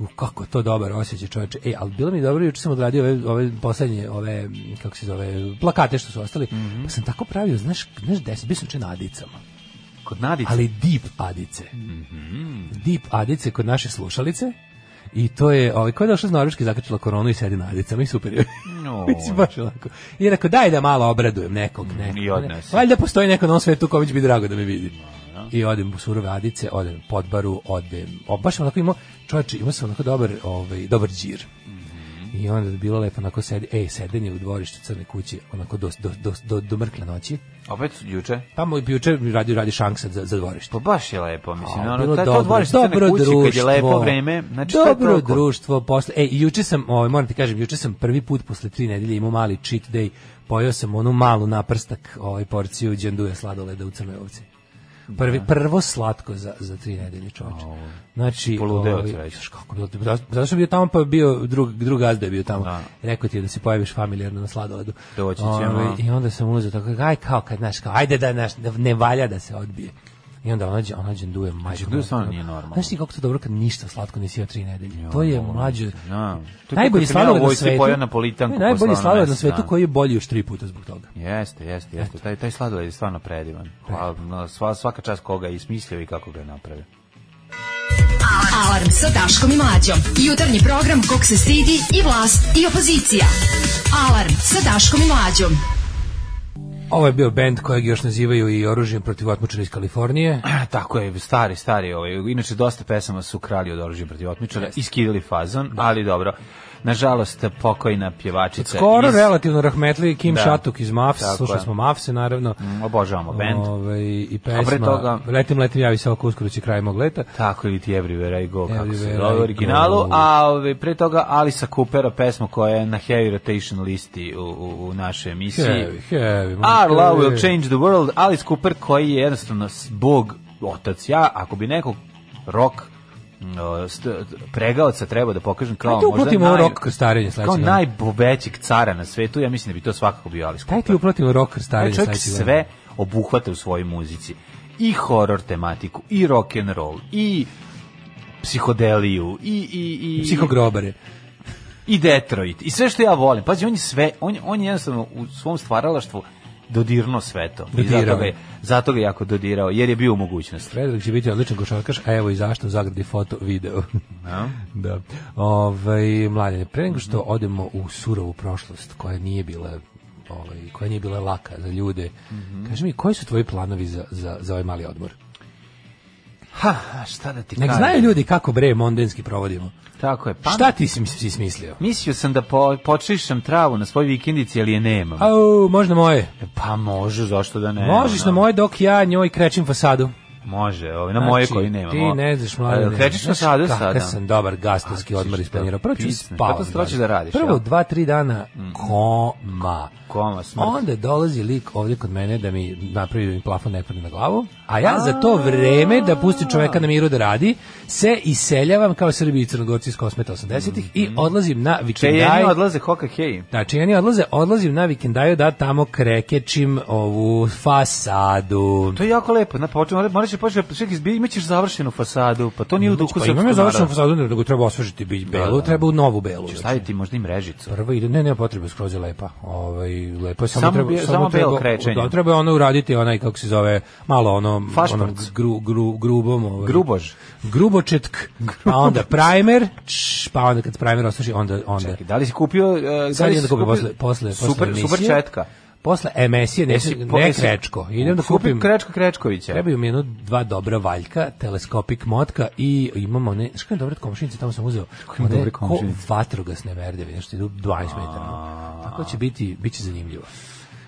U, kako je to dobar osjećaj čoveče. E, ali bilo mi je dobro, juče sam odradio ove, ove poslednje, ove, m, kako se zove, plakate što su ostali,
Mhm.
pa sam tako pravio, znaš, znaš, deset, bio sam juče na adicama
Kod Nadice.
ali deep adice.
Mhm.
Deep adice kod naše slušalice. I to je, ovaj, ko je došla iz Norveške, zakačila koronu i sedi na adicama i super je.
No. Mm,
Mislim, baš onako. I je rekao, daj da malo obradujem nekog, nekog.
i odnese.
Valjda postoji neko na ovom svetu ko bi bi drago da me vidi. I odem u surove adice, odem u podbaru, odem. O, baš sam onako imao, čovječe, imao sam onako dobar, ovaj, dobar džir.
Mhm.
I onda je bilo lepo onako sedi, ej, sedenje u dvorištu crne kuće, onako do, do, do, do, do mrkle noći.
Opet su juče.
Tamo je juče radi, radi šanksa za, za dvorište.
Pa baš je lepo, mislim.
A,
ono,
bilo
ta, to
dobro,
dvorište
dobro
crne kući, kad je
društvo.
lepo vreme. Znači, šta je
dobro
toliko?
društvo. Posle, e, i juče sam, ovaj, moram ti kažem, juče sam prvi put posle tri nedelje imao mali cheat day, pojeo sam onu malu naprstak ovaj, porciju džanduja sladoleda u Crnoj ovci. Prvi, prvo slatko za, za tri nedelje čoveče. Znači,
poludeo od
ovaj,
sreće.
još kako bilo, dobro. zato što je bio tamo pa je bio drug, drug gazda je bio tamo. Rekao ti je da se pojaviš familijarno na sladoledu.
Doći ćemo.
Ovaj, I onda sam uzeo tako, aj kao kad, znaš, kao, ajde da, znaš, da ne valja da se odbije. I onda ona, ona dženduje, majko.
Đenduje
moja,
stvarno
ono-
nije normalno.
Znaš ti kako to dobro kad ništa slatko nisi jeo tri nedelje? to je mlađe.
Da. To je kako
najbolji
sam ja u
sladoled na
vojsci
svetu.
pojeo napolitanku
To je najbolji
posle ono
sladoled na
mesec
svetu
dana.
koji je bolji još tri puta zbog toga.
Jeste, jeste, jeste. Taj, taj sladoled je stvarno predivan. Hvala, na- sva, svaka čast koga je ismislio i kako ga je napravio.
Alarm sa Daškom i Mlađom. Jutarnji program kog se stidi i vlast i opozicija. Alarm sa Daškom i Mlađom.
Ovo je bio bend kojeg još nazivaju i oružjem protiv otmučara iz Kalifornije.
Tako je, stari, stari. Ovaj. Inače, dosta pesama su krali od oružja protiv otmičara i skidali fazon, ali dobro. Nažalost, pokojna pjevačica
Skoro
iz...
relativno rahmetli Kim
Da.
Šatuk iz Mavs.
Tako
Slušali
je.
smo Mavse, naravno.
Mm, Obožavamo bend.
Ovaj, I
A pre
pesma
toga-
Letim, letim, javi se oko uskoro će kraj mog leta.
Tako ili ti Everywhere I Go, kako se
Everywhere I
zove u
Go.
originalu, a ove, pre toga Alisa Coopera pesmu koja je na heavy rotation listi u, u, u našoj emisiji.
Heavy, heavy.
Our
moj
Love Will
heavy.
Change the World, Alice Cooper koji je jednostavno s- bog otac. Ja, ako bi nekog rock no, st- pregaoca treba da pokažem kao
Ajde
možda
uplatimo
naj,
rok krstarenje sledeće
kao
godine.
najbovećeg cara na svetu, ja mislim da bi to svakako bio Alice
Taj ti
Cooper.
uplatimo rok krstarenje
Taj čovjek
sledeće godine.
sve obuhvata u svojoj muzici. I horror tematiku, i rock and roll, i psihodeliju, i, i, i,
Psihogrobare.
i Detroit, i sve što ja volim. Pazi, on je sve, on, je- on je jednostavno u svom stvaralaštvu dodirno sve to. I
Dodirao.
zato, ga je, zato ga je jako dodirao, jer je bio u mogućnosti.
Predrag će biti odličan košarkaš, a evo i zašto u zagradi foto, video. da. Ovaj mladine, pre nego što odemo u surovu prošlost koja nije bila ovaj koja nije bila laka za ljude.
Mhm.
Kaži mi koji su tvoji planovi za za za ovaj mali odmor?
Ha,
Pa,
a šta da ti
Nek
kažem?
znaju ljudi kako bre mondenski provodimo.
Tako je. Pa,
Šta ti si, si smislio?
Mislio sam da po, počišem travu na svoj vikendici, ali je nemam.
Au, možda moje.
Pa može, zašto da ne?
Možeš na
Ono,
moje dok ja njoj krećem fasadu.
Može, ovaj, na moje
Znači,
koji nemam.
Ti ne znaš, mlade.
A,
ne
Krećeš na
znaš
sadu sada?
Kakav sam dobar gastarski
A,
odmor
ćeš
isplanirao.
da
Prvo ću
pisneš,
spavam.
pa to što hoćeš da radiš,
Prvo
jel? Mm.
dva, tri dana koma.
Koma, smrt.
Onda dolazi lik ovdje kod mene da mi napravi da mi plafon ne padne na glavu, a ja za to vreme da pusti čoveka na miru da radi, se iseljavam kao Srbi i Crnogorci iz Kosmeta 80-ih i
Mhm.
odlazim na vikendaj.
Čejeni odlaze hoka hej.
Znači, oni odlaze, odlazim na vikendaju da tamo krekečim ovu fasadu.
To je jako lepo, na počne, moraš da počneš čekaj, izbi, imaćeš završenu fasadu, pa to nije u duhu
Pa
srpskog
imam ja završenu
naroda.
fasadu, nego treba osvežiti bi- belu, treba u novu belu. Znači,
Staviti možda i mrežicu.
Prvo ide, ne, ne, potrebe skroz je lepa. Ovaj lepo je samo,
Samo
treba
bi- samo belo krečenje.
Da, treba ono uraditi onaj kako se zove, malo ono
Fašprc.
ono gru, gru, grubom, ovaj.
Grubož.
Grubočetk. Pa onda primer, čš, pa onda kad primer osuši, onda onda.
Da li si kupio... Uh,
Sad idem da kupim posle, posle, posle
super,
emisije.
Super četka.
Posle emisije, ne,
Jesi po-
ne
jesi-
krečko. Idem da
Kupi
kupim.
Krečko Krečkovića.
Trebaju mi jedno dva dobra valjka, teleskopik motka i imamo one, znaš koje dobre komšinice, tamo sam uzeo,
ima
one
dobre
ko
komšinice?
vatrogasne merdeve, nešto idu 20 metara. Tako će biti, bit će zanimljivo.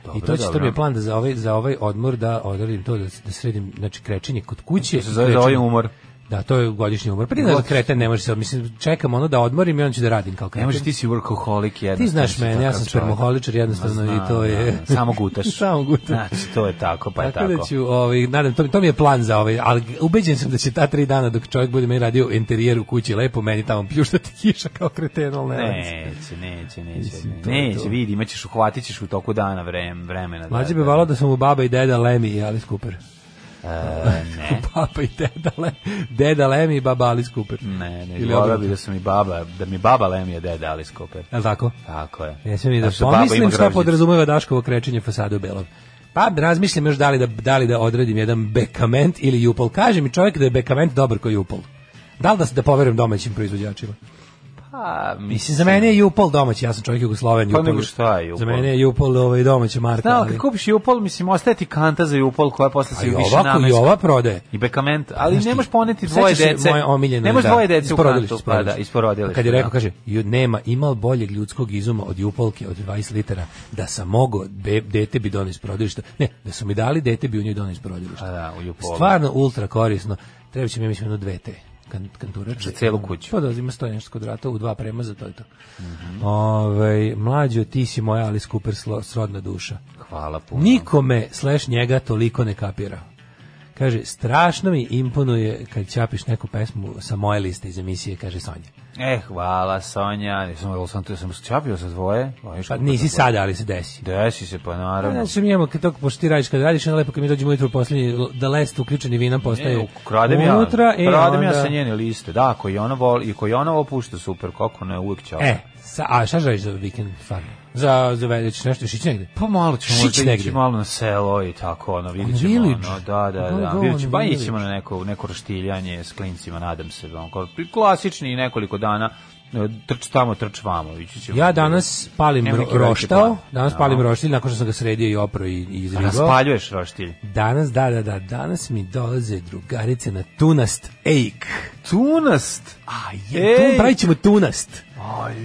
I to
Dobro,
će, to
dobro.
mi je plan da za ovaj, za ovaj odmor da odradim to, da, da sredim, znači krečenje kod kuće.
se zove
i
za
krečenje-
ovaj umor.
Da, to je godišnji umor. Prije da kreten ne može se, mislim, čekam ono da odmorim i on će da radim kao kreten.
Ne može, ti si workaholik
Ti
jednostavno.
znaš
si
mene, ja
takav
sam
čovjek.
spermoholičar jednostavno
Znam,
i to je...
da, samo gutaš.
Samo gutaš.
Znači, to je tako, pa je
tako
tako.
da ću, ovaj, nadam, to, mi- to mi je plan za ovaj, ali ubeđen sam da će ta tri dana dok čovjek bude meni radio interijer u kući lepo, meni tamo pljuštati kiša kao kreten, ali ne. radi
Neće,
se.
neće, neće.
Znači, Mislim, to je
Neće,
to.
vidi, imat ćeš, uhvatit ćeš u toku dana vrem, vremena. da-
Mlađe bi
da-
valo da sam mu baba i deda Lemi i Alice Cooper.
E, ne.
Papa i deda Lemi, deda Lemi i baba Alice Cooper.
Ne, ne,
Ili
volio
obrnuto.
bi da su mi baba, da mi baba Lemija deda Alice Cooper.
Je li tako?
Tako je.
Ne smem ni da
Zato što baba ima
pomislim šta
grožđicu.
podrazumeva Daškovo krećenje fasade u belom. Pa razmišljam još da li da, da li da odredim jedan bekament ili jupol. Kaže mi čovjek da je bekament dobar kao jupol. Da li da, se- da poverujem domaćim proizvođačima?
Pa,
Mislim, za mene je jupol domaći, ja sam čovjek Jugosloven.
Pa
Jupol
nego šta je Jupol?
Za mene je jupol ovaj, domaća marka.
Da,
ali-
kad kupiš i upol, mislim, ostaje ti kanta za i upol koja posle
A
se
i
više
ovako i
namenska.
ova prodaje.
I bekament, ali
Znaš ti,
ne možeš poneti dvoje
sećaš se
dece.
moje omiljene,
ne možeš
da,
dvoje dece u
iz porodilišta,
kantu,
iz
pa
porodilišta.
da, iz porodilišta,
Kad je rekao,
da.
kaže, "Ju, nema, ima boljeg ljudskog izuma od jupolke od 20 litara, da sam mogao, be, dete bi donio iz porodilišta. Ne, da su mi dali, dete bi u njoj donio iz porodilišta.
A da, u jupolu.
Stvarno ultra korisno. Treba će mi, mislim, jedno dve te kan, kanturače.
Za celu kuću. Mhm.
Pa da, ima sto i nešto kvadrata u dva premaza, to je to. Ovaj, mlađo, ti si moja Alice Cooper slo- srodna duša.
Hvala puno.
Nikome slash njega toliko ne kapira. Kaže, strašno mi imponuje kad ćapiš neku pesmu sa moje liste iz emisije, kaže Sonja.
E, hvala Sonja, jesam jel sam, sam čapio sa dvoje. Pa, viš
Pa
kako
nisi
sam dvoje.
sada, ali se desi.
Desi se, pa naravno.
Ja sam imamo, kad toko, pošto ti radiš, kad radiš, onda lepo kad mi dođemo ujutru posljednji, da lest uključeni vinam postaje
E, kradem ja,
unutra. e,
kradem ja
onda-
sa njene liste. Da, koji ona voli i koji ona opušta super, kako ne uvek čao.
E, sa, a šta želiš za vikend farm? Za, za veljeći nešto, šići negde?
Pa malo ćemo
Šić
možda ići
negde.
malo na selo i tako, ono, vidjet ćemo,
village.
ono, da, da,
Go,
da,
go,
vidjet
on
ćemo, pa
village.
ićemo na neko, neko roštiljanje s klincima, nadam se, onko, klasični nekoliko dana, e, trč tamo, trč vamo, ići ćemo.
Ja danas palim
Nema
ro-
neki veliki
roštao,
plan.
danas
Da.
palim roštilj, nakon što sam ga sredio i opro i, i
A
izrigao.
Raspaljuješ roštilj.
Danas, da, da, da, danas mi dolaze drugarice na tunast ejk.
Tunast!
A
Ej!
je, tu pravit ćemo tunast.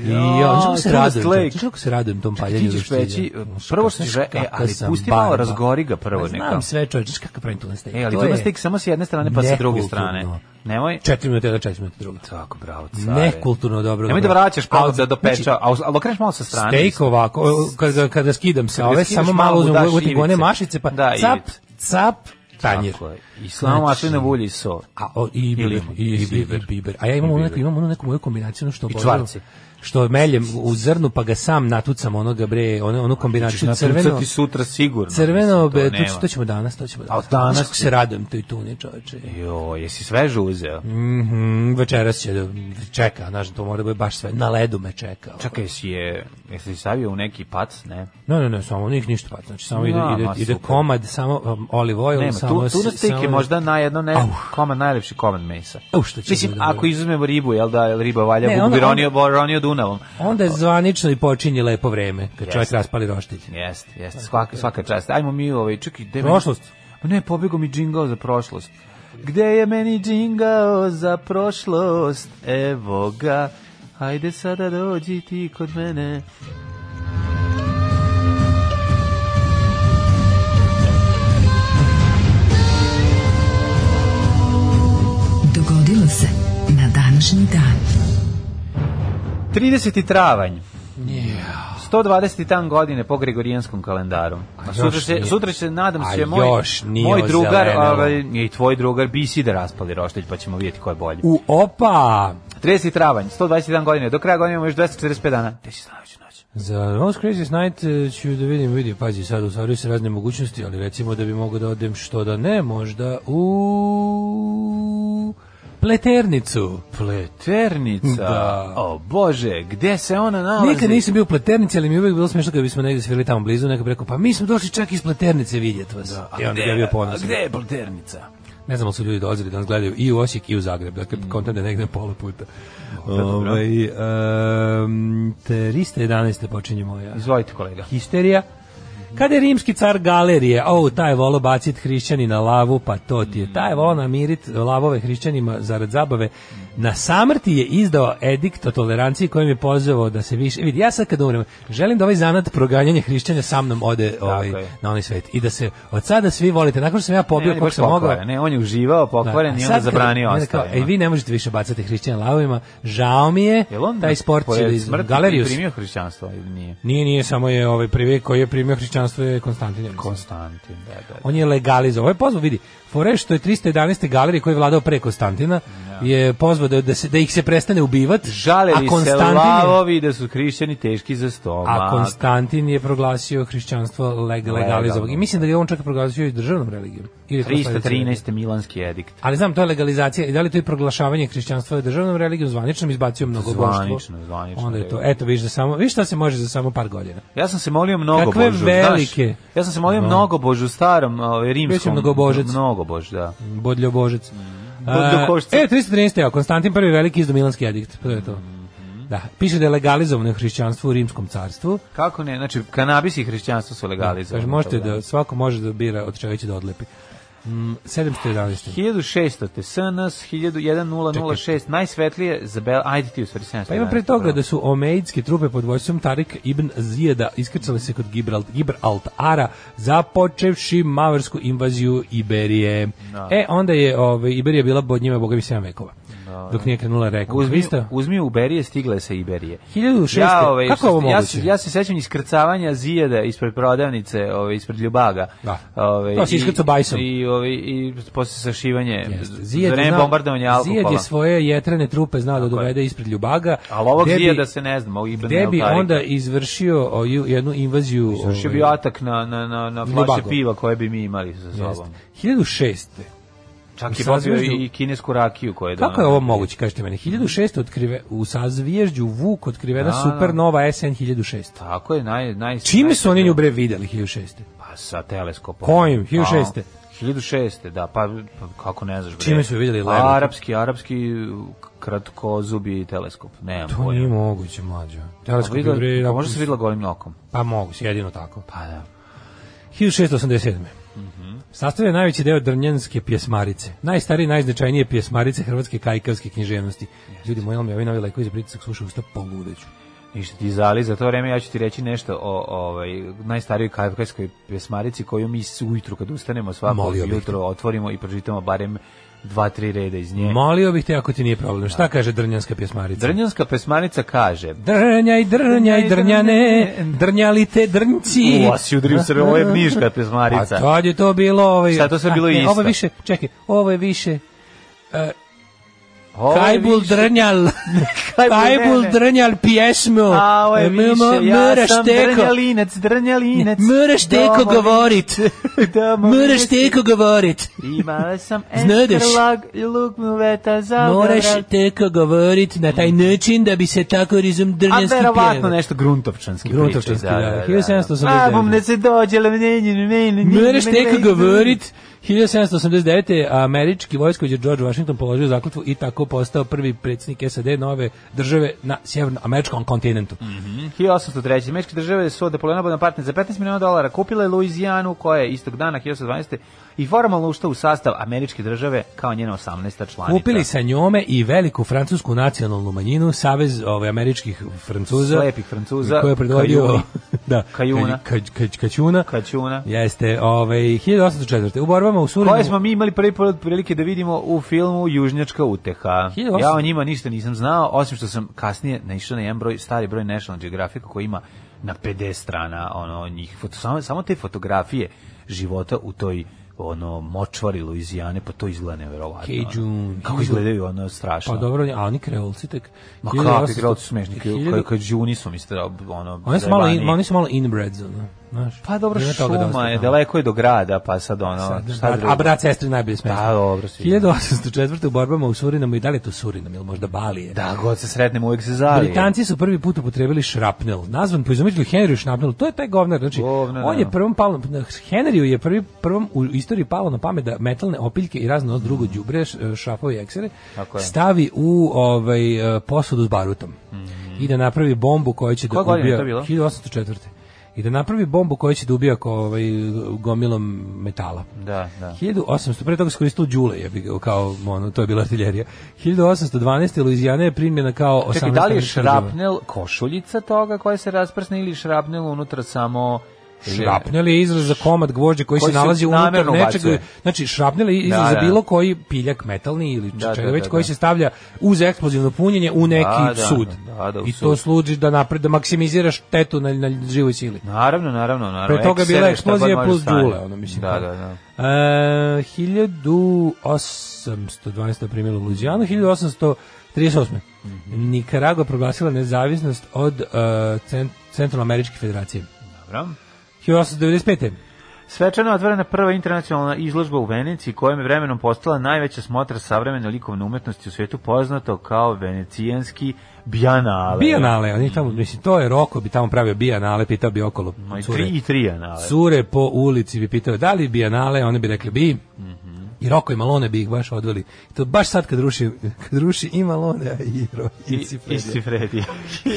I ja, znaš kako se
tunast
radujem,
lake.
čovječe, znaš kako se radujem tom paljenju
Ti ćeš
roštilja?
peći,
Znaš
prvo
kako-
što ćeš
znaš
re- e,
kakav
ali
sam
pusti malo,
barba.
razgori ga prvo
Pa
neka.
Znam sve čovječe, znaš kako pravim tunast ejk.
E, ali
To je
tunast tek samo s jedne strane, pa sa druge strane.
nekulturno.
Nemoj...
Četiri minuta jedna, četiri minuta druga.
Tako, bravo, care.
Nekulturno dobro.
Nemoj da
dobro.
vraćaš pa
Al-
da
znači,
dopeča, a ali okreneš malo sa strane.
Steak ovako, o, kad ga, kad ga skidam sa
Kad ga
ove,
skidaš
samo
malo
malo uzmem
daš
utim one
ivice.
mašice, pa
Da,
cap,
ivice.
cap, tanjir.
Tako je. I slamo znači, maslina ulje i sol.
A, o, i,
Ili-
biber, i,
i
i,
biber.
biber. i biber. A ja imam, onu
biber.
neku, imam onu neku moju kombinaciju ono što obožavam.
čvarci.
Što meljem u zrnu pa ga sam natucam onoga bre, ono, onu kombinaciju
Znači,
crveno.
ti sutra sigurno.
Crveno,
mislim, to
be, to,
nema.
ću- to ćemo danas, to ćemo
A
danas.
danas
Znaš kako
će-
se radujem toj tuni, čoveče.
Jo, jesi sveže uzeo?
Mhm, večeras će da čeka, znaš, to mora da bude baš sve. Na ledu me čeka.
Čekaj, jesi je, jesi stavio u neki pac, ne?
No, no, no, samo njih ništa pa, znači samo ide,
Da, ma,
ide, ide
super.
komad, samo um, olive oil,
Nema,
samo...
tu, tu na
s-
steak je
samo-
možda najedno ne,
Au.
komad, najlepši komad mesa.
Au, što će
Mislim,
da bude.
ako izuzmemo ribu, jel da, jel riba valja,
Ne,
ne,
onda-
bi ronio, ronio Dunavom.
Onda je zvanično i počinje lepo vreme, kad čovjek raspali roštilj.
Jeste, jeste, svaka, svaka čast. Ajmo mi ovaj, čekaj, gde meni-
Prošlost.
Pa Ne, pobjegao mi džingao za prošlost. Gde je meni džingao za prošlost? Evo ga. Hajde sada dođi ti kod mene.
Dogodilo se na današnji dan.
30. travanj. 127 godine po gregorijanskom kalendaru. A
još
sutra se,
nije.
sutra se, nadam
A
se, moj,
još nije
moj drugar
ozelenelo.
ovaj, i tvoj drugar bisi da raspali roštilj, pa ćemo vidjeti ko je bolji.
U opa!
30. travanj, 121 godine, do kraja godine imamo još 245 dana. Gde si Slavić noć?
Za Most Craziest Night eh, ću da vidim, vidi, pazi, sad usvaraju se razne mogućnosti, ali recimo da bi mogao da odem što da ne, možda u pleternicu.
Pleternica.
Da.
O bože, gde se ona nalazi?
Nikad nisam bio u pleternici, ali mi je uvijek bilo smiješno kad bismo negdje svirali tamo blizu, neko bi rekao, pa mi smo došli čak iz pleternice vidjeti vas. Da,
A
I
Pa gde,
onda bi ja bio
a
ponosan.
gde je pleternica?
Ne znam, ali su ljudi dolazili da nas gledaju i u Osijek i u Zagreb, dakle,
Mm.
kontam da je negde pola puta. Ovaj, em, 311. počinje moja
Izvolite kolega.
histerija Kada je rimski car galerije, o, taj je volo bacit hrišćani na lavu, pa to
Mm.
ti je. Taj je volo namirit lavove hrišćanima zarad zabave. Na samrti je izdao edikt o toleranciji kojim je pozvao da se više... Vidi, ja sad kad umrem, želim da ovaj zanat proganjanje hrišćanja sa mnom ode ovaj,
je. E,
na onaj svet. I da se od sada svi volite. Nakon što sam ja pobio
on je
koliko
baš
sam mogao...
pokvaren, Ne, on je uživao, pokvaren
Da, a
i
sad
onda
kad-
zabranio
mene kao, Ej,
ostalima.
vi ne možete više bacati hrišćana lavovima. Žao mi je,
Jel on
taj sport će
pored
da iz...
smrti
Galerijus.
primio hrišćanstvo ili nije?
Nije, nije, samo je ovaj prvi koji je primio hrišćanstvo je Konstantin. ja mislim.
Konstantin, da, da. da.
On je legalizovao. Ovo je pozvao, vidi, fore što je 311. galerije koji je vladao pre Konstantina, je pozvao da, da, se, da ih se prestane ubivati.
Žaleli se
Konstantin je-
lavovi da su hrišćani teški za stomak.
A Konstantin je proglasio hrišćanstvo leg, legalizovog. I mislim da je on čak proglasio i državnom religijom. Ili je to sledeće.
313. Milanski edikt.
Ali znam, to je legalizacija. I da li to je proglašavanje hrišćanstva državnom religijom zvaničnom izbacio mnogo
Zvanično, zvanično.
Onda je to. Eto, viš da samo, viš šta se može za samo par godina.
Ja sam se molio mnogo
Kakve
Božu,
velike.
znaš? Ja sam se molio mnogo Božu starom, ovaj rimskom.
mnogobožec.
Mnogo Bož, da.
Bodljo Božec.
Mm. Bodljokošca.
E, 313. evo, Konstantin prvi veliki izdo Milanski edikt. To je to.
Mhm.
Da, piše da je legalizovano hrišćanstvo u rimskom carstvu.
Kako ne? Znači, kanabis i hrišćanstvo su legalizovani.
Kaže, možete da, svako može da bira od čega će da odlepi. Mm, 711.
1600. te SNS 1006. Najsvetlije za Bel... Ajde ti u stvari 700.
Pa ima pre toga da su omejdske trupe pod vojstvom Tarik ibn Zijeda iskrcale se kod Gibralt, Gibraltara započevši maversku invaziju Iberije. E, onda je ovaj, Iberija bila pod njima, boga mi, 7 vekova. Dok nije krenula reka.
Uzmi,
Isto?
uzmi Uberije, stigla je sa Iberije.
1006.
Ja, ovaj,
Kako je ovo
ja,
moguće?
se- ja se sećam iskrcavanja zijeda ispred prodavnice, ovaj, ispred Ljubaga.
Da.
Ovaj,
To si
i-
iskrcao bajsom.
I, ovaj, i posle sašivanje,
Jeste.
za
je
vreme
znao-
bombardovanja alkohola.
Zijed je svoje jetrene trupe znao da dovede ispred Ljubaga.
Ali ovog
gde bi-
zije da se ne znamo, Ibn
Gde bi
Eltarika.
onda izvršio o, ju- jednu invaziju...
Svršio
ovaj,
bi atak na, na, na, na flaše
Ljubago.
piva koje bi mi imali sa sobom.
jeste. 1006.
Čak
U
je popio
sazveždu-
i kinesku rakiju koje je
Kako je
donao.
ovo moguće, kažete meni? 1600 otkrive, u sazviježđu Vuk otkrivena
Da, da. Pa,
supernova SN 1600.
Tako je, naj... naj
Čime
naj-
su oni nju bre videli 1600?
Pa sa teleskopom.
Kojim? 1006.
A, 1006. Da, pa, pa kako ne znaš. Bre.
Čime su vidjeli levo?
Arapski, arapski kratkozubi teleskop. Nemam
To
pojma.
Pa, nije moguće, mlađo. Teleskop je bre...
Videla, pa
nakon-
možda se videla golim nokom.
Pa moguće, jedino tako.
Pa da.
1687.
Mhm.
Sastavlja najveći deo drnjanske pjesmarice. Najstariji, najznačajnije pjesmarice hrvatske kajkavske književnosti. Ljudi moji, jel mi ovi novi lekovi za pritisak slušaju usta poludeću.
Ništa ti zali, za to vreme ja ću ti reći nešto o ovaj, najstarijoj kajkajskoj pjesmarici koju mi s- ujutru kad ustanemo svako
Molio bih te.
jutro otvorimo i pročitamo barem dva, tri reda iz nje.
Molio bih te ako ti nije problem. Šta kaže drnjanska pjesmarica?
Drnjanska pesmanica kaže
Drnjaj, drnjaj, drnjane, drnjali te drnci.
U, a si udri u srve, ovo je mniška pesmarica.
A tad je to bilo... Ovaj,
Šta, to sve
a,
bilo
ne,
isto?
Ovo je više, čekaj, ovo je više...
Ovo je
Kajbul
više-
drnjal,
Kajbul, ne,
kajbul
ne.
drnjal pjesmu.
A, ovo je
M-
više,
m-
ja
moraš
sam
teko.
drnjalinec, drnjalinec.
Moraš teko
Domovin-
govorit.
domovin-
Moraš teko govorit.
Imala sam
Znadeš.
estrlag i luknu veta za
Moraš
vrat.
teko govorit na taj način da bi se tako rizom
A
drnjanski
verovatno
pjeva.
nešto gruntovčanski
Gruntovčanski, da, 1789.
Abom ne se dođe, le meni, meni,
Moraš teko govorit. 1789. američki vojskovođa George Washington položio zakletvu i tako postao prvi predsjednik SAD nove države na sjevernoameričkom kontinentu.
Mm. 1803. Meške države su od Napoleona Bonaparte za 15 miliona dolara kupile Luizijanu koja je istog dana 1812. i formalno ušla u sastav američke države kao njena 18. članica.
Kupili sa njome i veliku francusku nacionalnu manjinu, Savez ovaj, američkih francuza.
Slepih Francuza,
Koje je predvodio...
Kajuni.
da,
Kajuna.
Kaj, kaj, kaćuna.
Kaćuna.
Jeste, ovaj, 1804. U borbama u Surinu...
Koje smo mi imali prvi put prilike da vidimo u filmu Južnjačka uteha.
1800.
Ja o njima ništa nisam znao, osim što sam kasnije naišao na jedan broj, stari broj National Geographic koji ima na 50 strana ono, njih, foto, samo, samo te fotografije života u toj ono močvari Luizijane, pa to izgleda neverovatno. ono.
Cajun.
Kako izgledaju ono strašno.
Pa dobro, a oni kreolci tek...
Ma
1800
kakvi igralci su smešni,
hiljadu-
kao kao Juni su mi stra- ono.
Oni su malo, in,
zajebani.
oni su malo inbreds, ono, znaš.
pa dobro
Ima toga dosta,
šuma je,
da.
daleko je do grada, pa sad ono, šta
Brat-
drugo?
a brat sestri najbolje smešno.
Da, dobro, svi.
1804. u borbama u Surinamu i da li je to Surinam ili možda Balije?
Da, god se sretnemo, uvek se zalije.
Britanci su prvi put upotrebili šrapnel, nazvan po izumitelju Henryu Šrapnel, to je taj govnar, znači
Govnar,
on je
da.
prvom palo, na- Henryu je prvi prvom u istoriji palo na pamet da metalne opiljke i razno drugo đubre, š- šrafove i eksere
Tako je. Mhm.
stavi u ovaj e, posudu s barutom i da napravi bombu koja će
Koje
da
godine je
ubija
to bilo?
1804. i da napravi bombu koju će da ubija ko, ovaj, gomilom metala.
Da, da.
1800, pre toga se koristilo Đule, je kao, ono, to je bila artiljerija. 1812. Luizijana je primljena kao 18.
Čekaj, da li je
država.
šrapnel košuljica toga koja se rasprsne ili šrapnel unutra samo...
Šrapnel je izraz za komad gvožđa
Koji
koji, se
se
nalazi unutar
namerno
nečega.
ubacuje.
Znači, šrapnel je izraz
Da,
za
da.
bilo koji piljak metalni ili
Da,
čega
da,
već
da,
koji
da.
se stavlja uz eksplozivno punjenje u neki
Da, da,
sud.
da, da, u
I to
sud.
služi da napred, da maksimiziraš tetu na, na živoj sili.
Naravno, naravno, naravno.
Pre toga je
Eksere,
bila
šta god
eksplozija
može
plus
stane.
dule, ono mislim.
Da,
kao.
da, da.
E, 1812. primjela Luđijanu, 1838.
Mhm.
Nikaragua proglasila nezavisnost od e, Cent- Centralnoameričke federacije.
Dobro.
1895.
Svečano je otvorena prva internacionalna izložba u Veneciji, kojom je vremenom postala najveća smotra savremene likovne umetnosti u svijetu, poznato kao venecijanski bijanale.
Bijanale, oni tamo, mislim, to je Roko bi tamo pravio Bijanale, pitao bi okolo
Ma Ono, i
cure,
tri pa. i trijanale.
cure po ulici bi pitao da li Bijanale, one bi rekli bi.
Mhm.
I Roko i Malone bi ih baš odveli. I To baš sad kad ruši, kad ruši i Malone, a i Roko. I,
I,
Cifredija.
i Cifredi.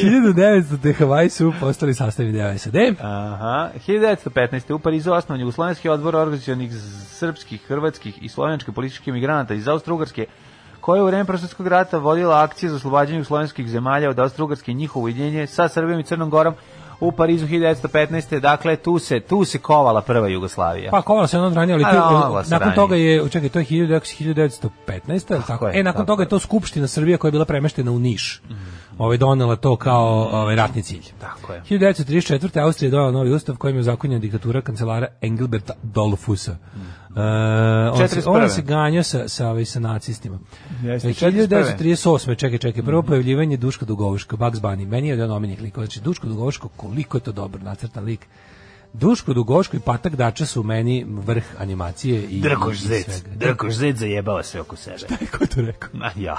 1900. Hawaii su postali sastavni deo SAD.
Aha, 1915. u Parizu osnovan Jugoslovenski odbor organizacijonih srpskih, hrvatskih i slovenačkih političkih migranata iz Austro-Ugrske, koja je u vreme Prosvetskog rata vodila akcije za oslobađanje slovenskih zemalja od Austro-Ugrske i njihovo ujedinjenje sa Srbijom i Crnom Gorom u Parizu 1915. Dakle, tu se, tu se kovala prva Jugoslavija.
Pa kovala se ono ranije, ali
A,
tu,
da, kovala se
nakon
ranije.
toga je, čekaj, to je 1915. jel tako?
je,
E, nakon
tako
toga je to Skupština Srbije koja je bila premeštena u Niš. Ovaj donela to kao ovaj ratni cilj.
Tako je.
1934. Austrija je donela novi ustav kojim je zakonjena diktatura kancelara Engelberta Dolfusa. E, on, se,
41..
on se ganjao sa, sa, ovaj, sa nacistima.
Jeste,
E, 1938. Čekaj, čekaj, prvo pojavljivanje Duška Dugovuška, Bugs Bunny. Meni je jedan omenjih likova. Znači, Duško Dugovuško, koliko je to dobro nacrtan lik. Duško Dugoško i Patak Dača su meni vrh animacije i
Drkoš
i
zec,
svega.
drkoš zec zajebava sve oko sebe.
Ko je to rekao?
Ma ja.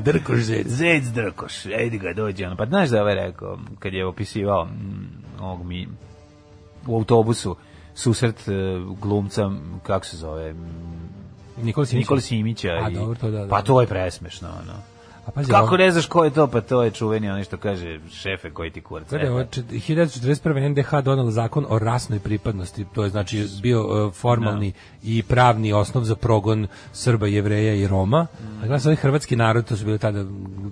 Drkoš zec.
Zec drkoš, ejdi ga dođe. Ono. Pa znaš da je ovaj rekao, kad je opisivao mm, ovog mi u autobusu, susret e, glumca, m, kako se zove, m,
Nikola Simić.
Nikola Simića.
A,
i-
dobro, to da, da.
Pa to je presmešno, ono.
A pazi, ovo-
Kako ne znaš ko je to, pa to je čuveni onaj što kaže šefe koji ti kurac.
Gledaj, ovo,
eto.
čet- 1941. NDH donela zakon o rasnoj pripadnosti, to je znači bio e, formalni i pravni osnov za progon Srba, Jevreja i Roma.
Mm.
A gledam sad ovaj hrvatski narod, to su bile tada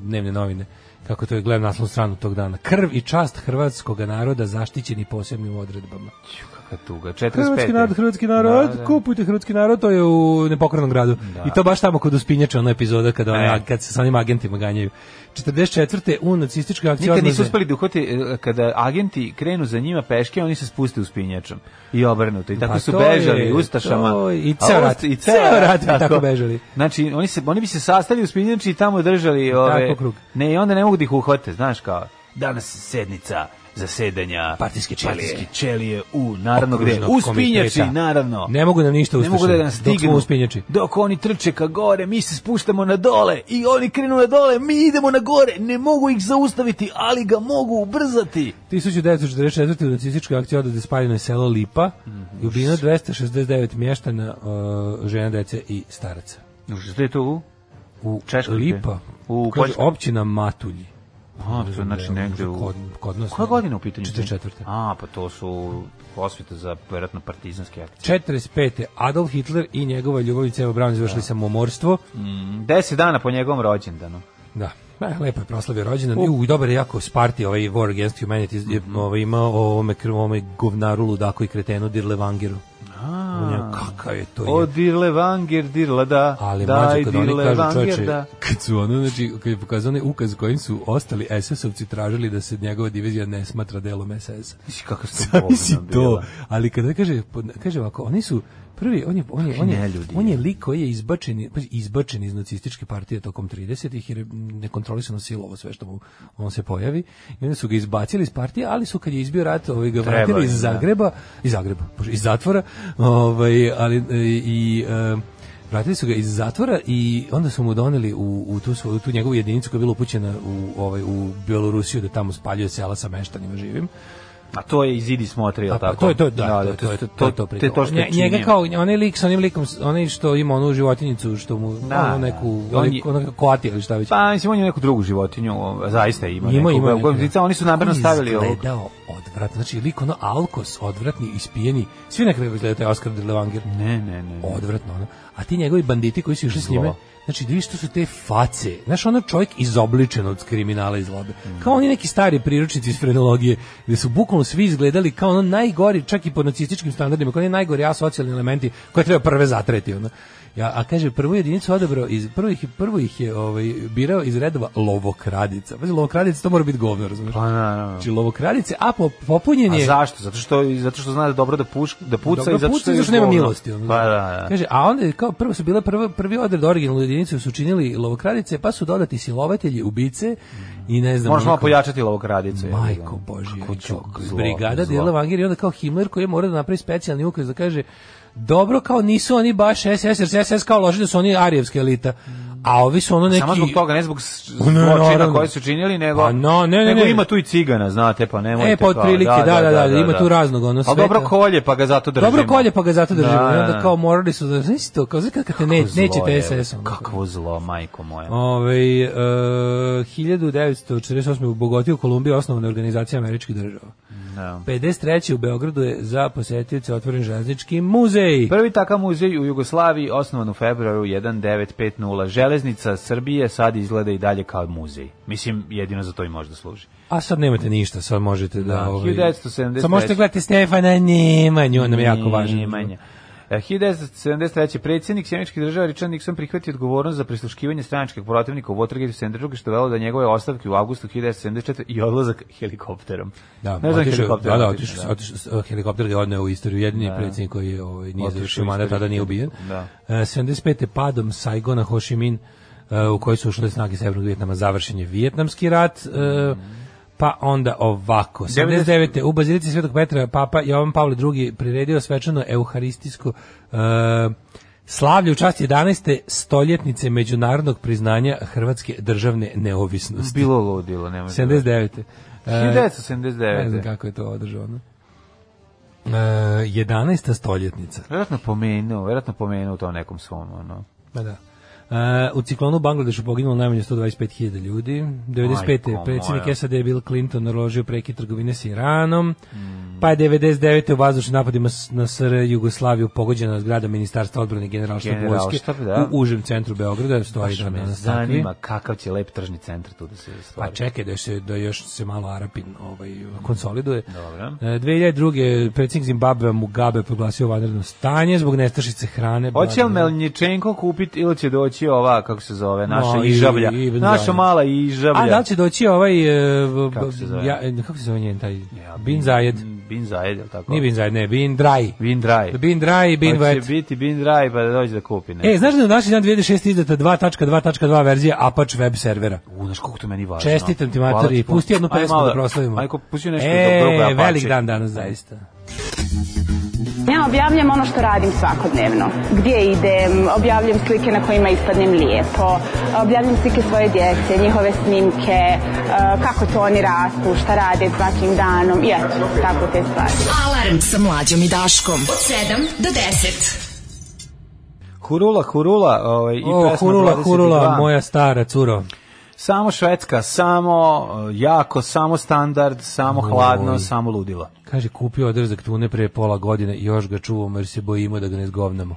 dnevne novine, kako to je gledam naslovnu stranu tog dana. Krv i čast hrvatskog naroda zaštićeni posebnim odredbama.
Ću, kakva tuga. 45.
Hrvatski narod, hrvatski narod,
Da, da.
kupujte hrvatski narod, to je u nepokrenom gradu. I to baš tamo kod Uspinjača, ona epizoda kada, ona,
E.
kad se sa onim agentima ganjaju. 44. u nacističkoj akciji
Nikad nisu
odlaze-
uspeli da uhvate, e, kada agenti krenu za njima peške, oni se spuste uz pinjačom i obrnuto. I tako
Pa
su
to
bežali
je,
ustašama.
to je, i
A
ceo
ust-
rat, ceo rat bi tako bežali.
Znači, oni, se, oni bi se sastali uz pinjači i tamo držali ove...
krug.
Ne, i onda ne mogu da ih uhvate, znaš kao. Danas sednica zasedanja
Partijske čelije.
partijske čelije u, naravno gde,
Okružnog
uz pinjači,
komiteta.
naravno.
Ne mogu nam ništa
Ne
ustaše.
mogu da nas
dok smo
stignu.
uspinjači.
Dok oni trče ka gore, mi se spuštamo na dole i oni krenu na dole, mi idemo na gore. Ne mogu ih zaustaviti, ali ga mogu ubrzati.
1944. u nacističkoj akciji odade spaljeno je selo Lipa
Mhm.
i ubijeno 269 mještana, e, žena, dece i staraca.
Što je to u?
U
Češkoj gde?
Lipa,
U
kaže,
Poljskoj?
općina Matulji.
A, to je znači negde u...
Kod, kod nas.
Koja godina u pitanju?
44.
A, pa to su osvite za, vjerojatno, partizanske akcije.
45. Adolf Hitler i njegova ljubavica Eva Braun izvršili samomorstvo.
Deset dana po njegovom rođendanu.
Da. E, lepo je proslavio rođendan. U, i dobar je jako Sparti, ovaj War Against Humanity je
Mhm.
ovaj, imao o ovome, kr- ovome govnaru, ludaku i kretenu Dirlevangeru. U njemu, Kakav je to je.
O, dirle vanger, dirla da.
Ali
Daj,
mlađo kad oni
dirle
kažu
vanger,
čoveče,
da.
kad su ono, znači, kad je pokazao onaj ukaz kojim su ostali SS-ovci tražili da se njegova divizija ne smatra delom SS-a.
Mislim, kako su to
Zamisli
bolno
to,
bilo.
ali kada kaže, pod- kaže ovako, oni su prvi, on je, on je, on je,
Neljudi.
on je lik koji je izbačen, pazi, izbačen iz nacističke partije tokom 30-ih jer je nekontrolisano silovo sve što mu on se pojavi. I onda su ga izbacili iz partije, ali su kad je izbio rat, ovaj ga
Treba
vratili
je,
iz
da.
Zagreba, iz Zagreba, bože, iz zatvora, ovaj, ali e, i e, Vratili su ga iz zatvora i onda su mu doneli u, u tu, svoju, tu njegovu jedinicu koja je bila upućena u, ovaj, u Bjelorusiju da tamo spaljuje sela sa meštanima živim.
A to je iz Idi smotri, jel
A, pa,
tako?
to je to, da, to, je-
to, je-
to, je-
to,
je to, pri
te to
tome.
što
Nje-
je
Njega
činio.
kao, onaj lik sa onim likom, onaj što ima onu životinjicu, što mu,
Da,
onu neku,
da. On
on
je-
koati ili šta već.
Pa, mislim, on je neku drugu životinju, o, zaista ima.
Ima,
neku,
ima
neku,
neku, da.
Oni su namerno
On je
stavili ovog.
izgledao odvratno. brate, znači lik ono alkos, odvratni, ispijeni, svi nekako izgledaju taj Oscar de Levanger.
Ne, ne, ne.
Odvratno, ono. A ti njegovi banditi koji su išli s njime, znači da vidiš to su te face. Znaš, ono čovjek izobličen od kriminala i zlobe.
Mm.
Kao oni neki stari priručnici iz frenologije, gde su bukvalno svi izgledali kao ono najgori, čak i po nacističkim standardima, kao oni najgori asocijalni elementi koje treba prve zatreti, ono. Ja, a kaže prvu jedinicu odabrao iz prvo ih prvo ih je ovaj birao iz redova lovokradica. Pazi lovokradica to mora biti govno, razumeš?
Pa, na, na.
Znači lovokradice, a po, popunjen
A
je
zašto? Zato što zato što zna da dobro da puš da puca
Dobro,
i zato što
puca
je
zašto nema
govno.
milosti. Ono.
Pa da, da.
Kaže, a onda je kao prvo su bile prvo, prvi odred originalnu jedinicu su činili lovokradice, pa su dodati silovatelji, ubice i ne znam.
Možeš
ono
malo
kao-
pojačati lovog radicu.
Majko Božje.
Kuću,
kao
zlo,
Brigada
zlo.
Dela Vangir i onda kao Himmler koji je morao da napravi specijalni ukaz da kaže dobro kao nisu oni baš SS, jer SS kao loži da su oni arijevska elita. A ovi su ono neki...
Samo zbog toga, ne zbog s-
Ne,
zločina
naravno.
koje su činili, nego,
Pa no, ne, ne,
nego
ne.
ima tu i cigana, znate, pa nemojte.
E, pa otprilike,
kao,
da, da, da, ima tu raznog, ono,
Ali
sveta.
dobro kolje, pa ga zato držimo.
Dobro kolje pa ga zato držimo.
Da,
I
da.
onda kao morali su da... Znaš to, kao znaš kad kad te ne,
Zlo je,
nećete SS. ono.
Kakvo zlo, majko moja.
Ove, e, 1948. u Bogoti u Kolumbiji osnovana organizacija američkih država.
Da.
53. u Beogradu je za posetioce otvoren železnički muzej.
Prvi takav muzej u Jugoslaviji osnovan u februaru 1950. Železnica Srbije sad izgleda i dalje kao muzej. Mislim, jedino za to i možda služi.
A sad nemate ništa, sad možete da...
Da,
ovaj,
1973.
Sad možete gledati Stefana Nemanju, on nam je jako važan.
Nemanja. E, 1973. predsjednik Sjemičkih država Richard Nixon prihvatio odgovornost za prisluškivanje stranačkih protivnika u Watergate 72. što je velo da njegove ostavke u avgustu 1974. i odlazak helikopterom.
Da,
Znaš
otišao-
helikopter
da, da,
otišao,
otišao, otišao, helikopter ga odneo u istoriju, jedini je predsjednik koji je, ovaj, nije
Otišao
završio
u
mandat,
istoriju.
tada nije ubijen.
Da.
E, 75. padom Saigona Ho Chi Minh, e, u kojoj su ušle snage Severnog Vjetnama, završen je Vjetnamski rat, e, pa onda ovako. 79. u Bazilici Svetog Petra Papa Jovan Pavle II priredio svečano euharistijsko e, slavlje u časti 11. stoljetnice međunarodnog priznanja Hrvatske državne neovisnosti.
Bilo ludilo, nemoj.
79. E,
1979.
ne znam kako je to ono. održano. E, 11. stoljetnica.
Vjerojatno pomenuo, vjerojatno pomenuo to nekom svom, ono.
Ma da. E, u ciklonu u Bangladešu poginulo najmanje 125.000 ljudi. 95.
Majko
je
moja.
predsjednik SAD Bill Clinton naložio prekid trgovine s Iranom.
Mm.
Pa je 99. u vazdušnim napadima s- na SR Jugoslaviju pogođena zgrada Ministarstva odbrane i Generalštaba
Generalštab,
vojske
da.
u užem centru Beograda. Stoji
Baš
dan
me
danas takvi.
zanima kakav će lep tržni centar tu da se
Pa
stvari.
čekaj da se da još se malo Arapin ovaj konsoliduje.
Dobro.
E, 2002. je predsjednik Zimbabvea Mugabe proglasio vanredno stanje zbog nestašice hrane.
Hoće li
blage-
Melničenko kupiti ili će doći ova, kako se zove, naša
No, i-
ižavlja?
i- i-
naša mala ižavlja.
A da li će doći ovaj e, b-
Kako se zove?
ja, e, kako se zove njen taj
Ja,
Bin Zajed?
Mm, Bin Zajed, je li tako?
Nije Bin Zajed, ne, Bin Draj.
Bin Draj.
Bin Draj i Bin
Pa će
Wet.
biti Bin Draj pa da dođe da kupi ne.
E, znaš da je na današnji dan 2006 izdata 2.2.2 verzija Apache web servera.
U, znaš koliko to meni važno.
Čestitam
Pa
ti,
Hvala
matori,
puno.
pusti jednu
Ajde
pesmu
malo
da proslavimo.
Ajko, pusti nešto
e,
dobro. Apache.
velik dan danas, zaista.
Ja objavljam ono što radim svakodnevno. Gdje idem, objavljam slike na kojima ispadnem lijepo, objavljam slike svoje djece, njihove snimke, eh, kako to oni rastu, šta rade svakim danom i eto, tako te stvari.
Alarm sa mlađom i Daškom. Od 7 do 10.
Hurula, hurula. Ovaj, i
O,
pesma
Hurula,
22.
Hurula, moja stara curo.
Samo švedska, samo eh, jako, samo standard, samo hladno, samo ludilo.
Kaže, kupio odrezak tune pre pola godine i još ga čuvamo jer se bojimo da ga ne zgovnamo.